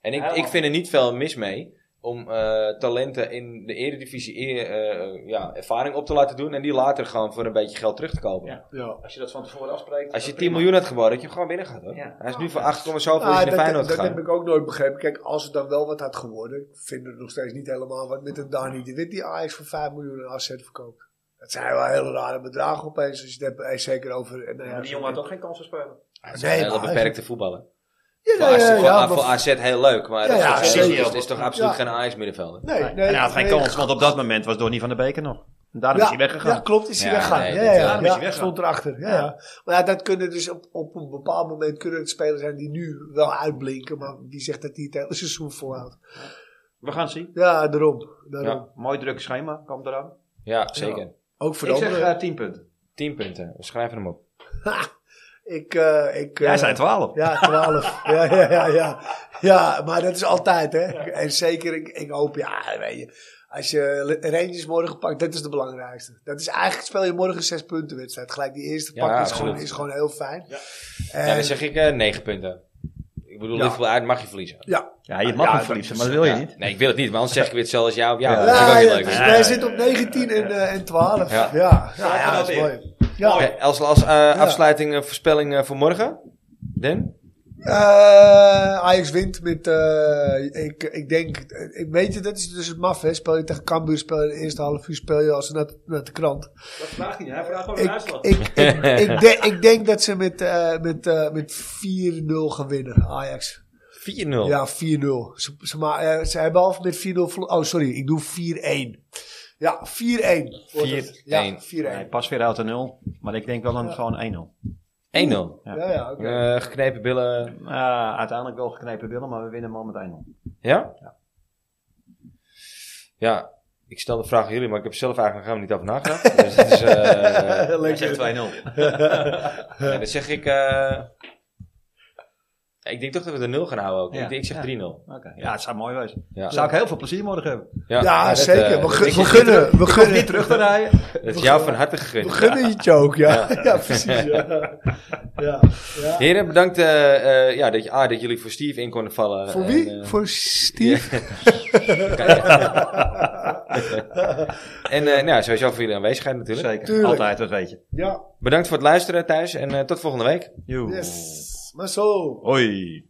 [SPEAKER 1] En ik,
[SPEAKER 2] Helemaal.
[SPEAKER 1] ik vind er niet veel mis mee om eh, talenten in de eredivisie eh, eh, ja, ervaring op te laten doen. En die later gewoon voor een beetje geld terug te kopen.
[SPEAKER 2] Ja.
[SPEAKER 3] Ja.
[SPEAKER 2] Als je dat van tevoren afspreekt.
[SPEAKER 1] Als je 10
[SPEAKER 2] prima.
[SPEAKER 1] miljoen had geboden, had je hem gewoon binnen gehad hoor.
[SPEAKER 2] Ja.
[SPEAKER 1] Hij is nu voor 8, zoveel
[SPEAKER 3] Ah,
[SPEAKER 1] is hij naar
[SPEAKER 3] dat,
[SPEAKER 1] Feyenoord
[SPEAKER 3] dat heb
[SPEAKER 1] gegaan.
[SPEAKER 3] ik ook nooit begrepen. Kijk, als het dan wel wat had geworden, ik vind het nog steeds niet helemaal wat met een Dani de Wit die Ajax voor 5 miljoen aan afzet verkoopt. Dat zijn wel hele rare bedragen opeens. Dus je hebt er zeker over. Nou
[SPEAKER 2] Ja,
[SPEAKER 3] ja,
[SPEAKER 2] maar die jongen had ook geen kans gespeeld.
[SPEAKER 3] nee,
[SPEAKER 1] Hele
[SPEAKER 3] maar-
[SPEAKER 1] beperkte voetballen.
[SPEAKER 3] Ja,
[SPEAKER 1] Voor,
[SPEAKER 3] nee,
[SPEAKER 1] AZ,
[SPEAKER 3] ja,
[SPEAKER 1] voor,
[SPEAKER 3] ja,
[SPEAKER 1] A- voor
[SPEAKER 3] maar-
[SPEAKER 1] AZ heel leuk, maar
[SPEAKER 3] Ja,
[SPEAKER 1] dat
[SPEAKER 3] ja,
[SPEAKER 1] is,
[SPEAKER 3] zeker.
[SPEAKER 1] het is toch absoluut
[SPEAKER 3] Ja.
[SPEAKER 1] geen Ajax middenvelder.
[SPEAKER 3] Nee, nee,
[SPEAKER 2] en hij had geen
[SPEAKER 3] nee.
[SPEAKER 2] kans, want op dat moment was Donny van der Beken nog. Daarom is
[SPEAKER 3] Ja,
[SPEAKER 2] hij weggegaan.
[SPEAKER 3] ja, klopt, is hij
[SPEAKER 1] Ja,
[SPEAKER 3] weggegaan.
[SPEAKER 1] nee,
[SPEAKER 3] ja,
[SPEAKER 1] dit-
[SPEAKER 3] ja,
[SPEAKER 1] daarom
[SPEAKER 3] ja,
[SPEAKER 2] is hij weggegaan.
[SPEAKER 3] stond erachter. Ja,
[SPEAKER 2] Ja.
[SPEAKER 3] ja. Maar ja, dat kunnen dus op, op een bepaald moment kunnen het spelers zijn die nu wel uitblinken, maar die zegt dat hij het hele seizoen volhoudt.
[SPEAKER 2] We gaan zien.
[SPEAKER 3] Ja, daarom. daarom.
[SPEAKER 1] Ja.
[SPEAKER 2] Mooi druk schema, kwam eraan.
[SPEAKER 1] Ja, zeker.
[SPEAKER 3] Ook voor de
[SPEAKER 2] Ik zeg eh,
[SPEAKER 3] anderen.
[SPEAKER 2] 10 punten.
[SPEAKER 1] 10 punten, we schrijven hem op.
[SPEAKER 3] Ik, eh ik,
[SPEAKER 2] Jij
[SPEAKER 3] eh,
[SPEAKER 2] zei 12.
[SPEAKER 3] Ja, 12. ja, ja, ja, ja. Ja, maar dat is altijd, hè. En zeker, ik, ik hoop, ja, weet je. Als je Rangers morgen pakt, dat is de belangrijkste. Dat is eigenlijk, speel je morgen een zes punten wedstrijd. Gelijk die eerste
[SPEAKER 1] Ja,
[SPEAKER 3] pak is, gewoon,
[SPEAKER 1] absoluut.
[SPEAKER 3] is gewoon heel fijn. Ja.
[SPEAKER 1] Ja, dan zeg ik eh 9 punten. Ik bedoel,
[SPEAKER 3] Ja.
[SPEAKER 1] Liverpool uit mag je verliezen.
[SPEAKER 2] Ja, je mag
[SPEAKER 3] Ah, Ja,
[SPEAKER 2] hem
[SPEAKER 3] dat
[SPEAKER 2] verliezen,
[SPEAKER 3] is-
[SPEAKER 2] maar dat wil je
[SPEAKER 1] Ja.
[SPEAKER 2] niet.
[SPEAKER 1] Nee, ik wil het niet, maar anders zeg ik weer hetzelfde als jou of jou.
[SPEAKER 2] Ja.
[SPEAKER 1] Dat vind ik ook
[SPEAKER 3] ja,
[SPEAKER 1] niet
[SPEAKER 3] ja,
[SPEAKER 1] leuk.
[SPEAKER 3] dus
[SPEAKER 1] hè.
[SPEAKER 2] Nee,
[SPEAKER 3] wij
[SPEAKER 2] nee,
[SPEAKER 3] zitten op 19 en, eh, en 12.
[SPEAKER 1] Ja.
[SPEAKER 3] Ja, ja, ja,
[SPEAKER 2] Laten we
[SPEAKER 3] dat
[SPEAKER 2] dat
[SPEAKER 3] is
[SPEAKER 2] in.
[SPEAKER 3] mooi. Ja.
[SPEAKER 1] Oké, als als eh, afsluiting eh, voorspelling eh, voor morgen? Den?
[SPEAKER 3] Eh, Ajax wint met, eh, ik, ik denk, eh, ik weet je, dat is dus het maf, hè. Speel je tegen Cambuur, speel je de eerste half uur, speel je als naar, naar de krant.
[SPEAKER 2] Dat vraagt hij. Hij vraagt gewoon
[SPEAKER 3] Ik, ik, ik, ik, denk- ik denk dat ze met, eh, met, eh, met 4-0 gaan winnen, Ajax.
[SPEAKER 1] 4-0.
[SPEAKER 3] Ja, 4-0. Ze, ze, ma- eh, ze hebben al met 4-0 verlo- Oh, sorry, ik doe 4-1. Ja, 4-1. wordt het.
[SPEAKER 1] 4-1.
[SPEAKER 3] Ja, 4-1.
[SPEAKER 2] pas weer uit een 0, maar ik denk wel een, gewoon 1-0.
[SPEAKER 1] 1-0.
[SPEAKER 3] Ja, ja, oké.
[SPEAKER 1] Eh, geknepen billen.
[SPEAKER 2] Ah, uiteindelijk wel geknepen willen, maar we winnen hem al met 1-0.
[SPEAKER 1] Ja? ja? ik stel de vraag aan jullie, maar ik heb zelf eigenlijk nog helemaal niet over nagedacht. dus het is, eh,
[SPEAKER 2] Hij zegt 2-0.
[SPEAKER 1] ja, dan zeg ik... eh, ik denk toch dat we de 0 gaan houden ook.
[SPEAKER 2] Ja.
[SPEAKER 1] Ik, ik zeg
[SPEAKER 2] Ja.
[SPEAKER 1] 3-0.
[SPEAKER 2] Oké. Ja, het zou mooi zijn.
[SPEAKER 1] Ja.
[SPEAKER 2] Zou ik heel veel plezier morgen hebben.
[SPEAKER 1] Ja,
[SPEAKER 3] Ja,
[SPEAKER 1] dat,
[SPEAKER 3] zeker.
[SPEAKER 1] eh,
[SPEAKER 3] we, gun-
[SPEAKER 1] ik-
[SPEAKER 3] we gunnen, we
[SPEAKER 2] Om niet
[SPEAKER 3] gunnen,
[SPEAKER 2] terug te rijden.
[SPEAKER 1] Het is jou van harte gegund.
[SPEAKER 3] we gunnen het je ook, ja. Ja, precies. Ja. Ja. Ja.
[SPEAKER 1] Heren, bedankt eh, eh, ja, dat, je, ah, dat jullie voor Steve in konden vallen.
[SPEAKER 3] Voor
[SPEAKER 1] En,
[SPEAKER 3] wie?
[SPEAKER 1] eh,
[SPEAKER 3] Voor Steve?
[SPEAKER 1] en eh, nou, sowieso voor jullie aanwezigheid natuurlijk.
[SPEAKER 2] Zeker.
[SPEAKER 3] Tuurlijk.
[SPEAKER 2] Altijd, dat weet je.
[SPEAKER 3] Ja.
[SPEAKER 1] Bedankt voor het luisteren thuis en eh, tot volgende week.
[SPEAKER 2] Joe.
[SPEAKER 3] Yes. Maar zo.
[SPEAKER 2] Hoi.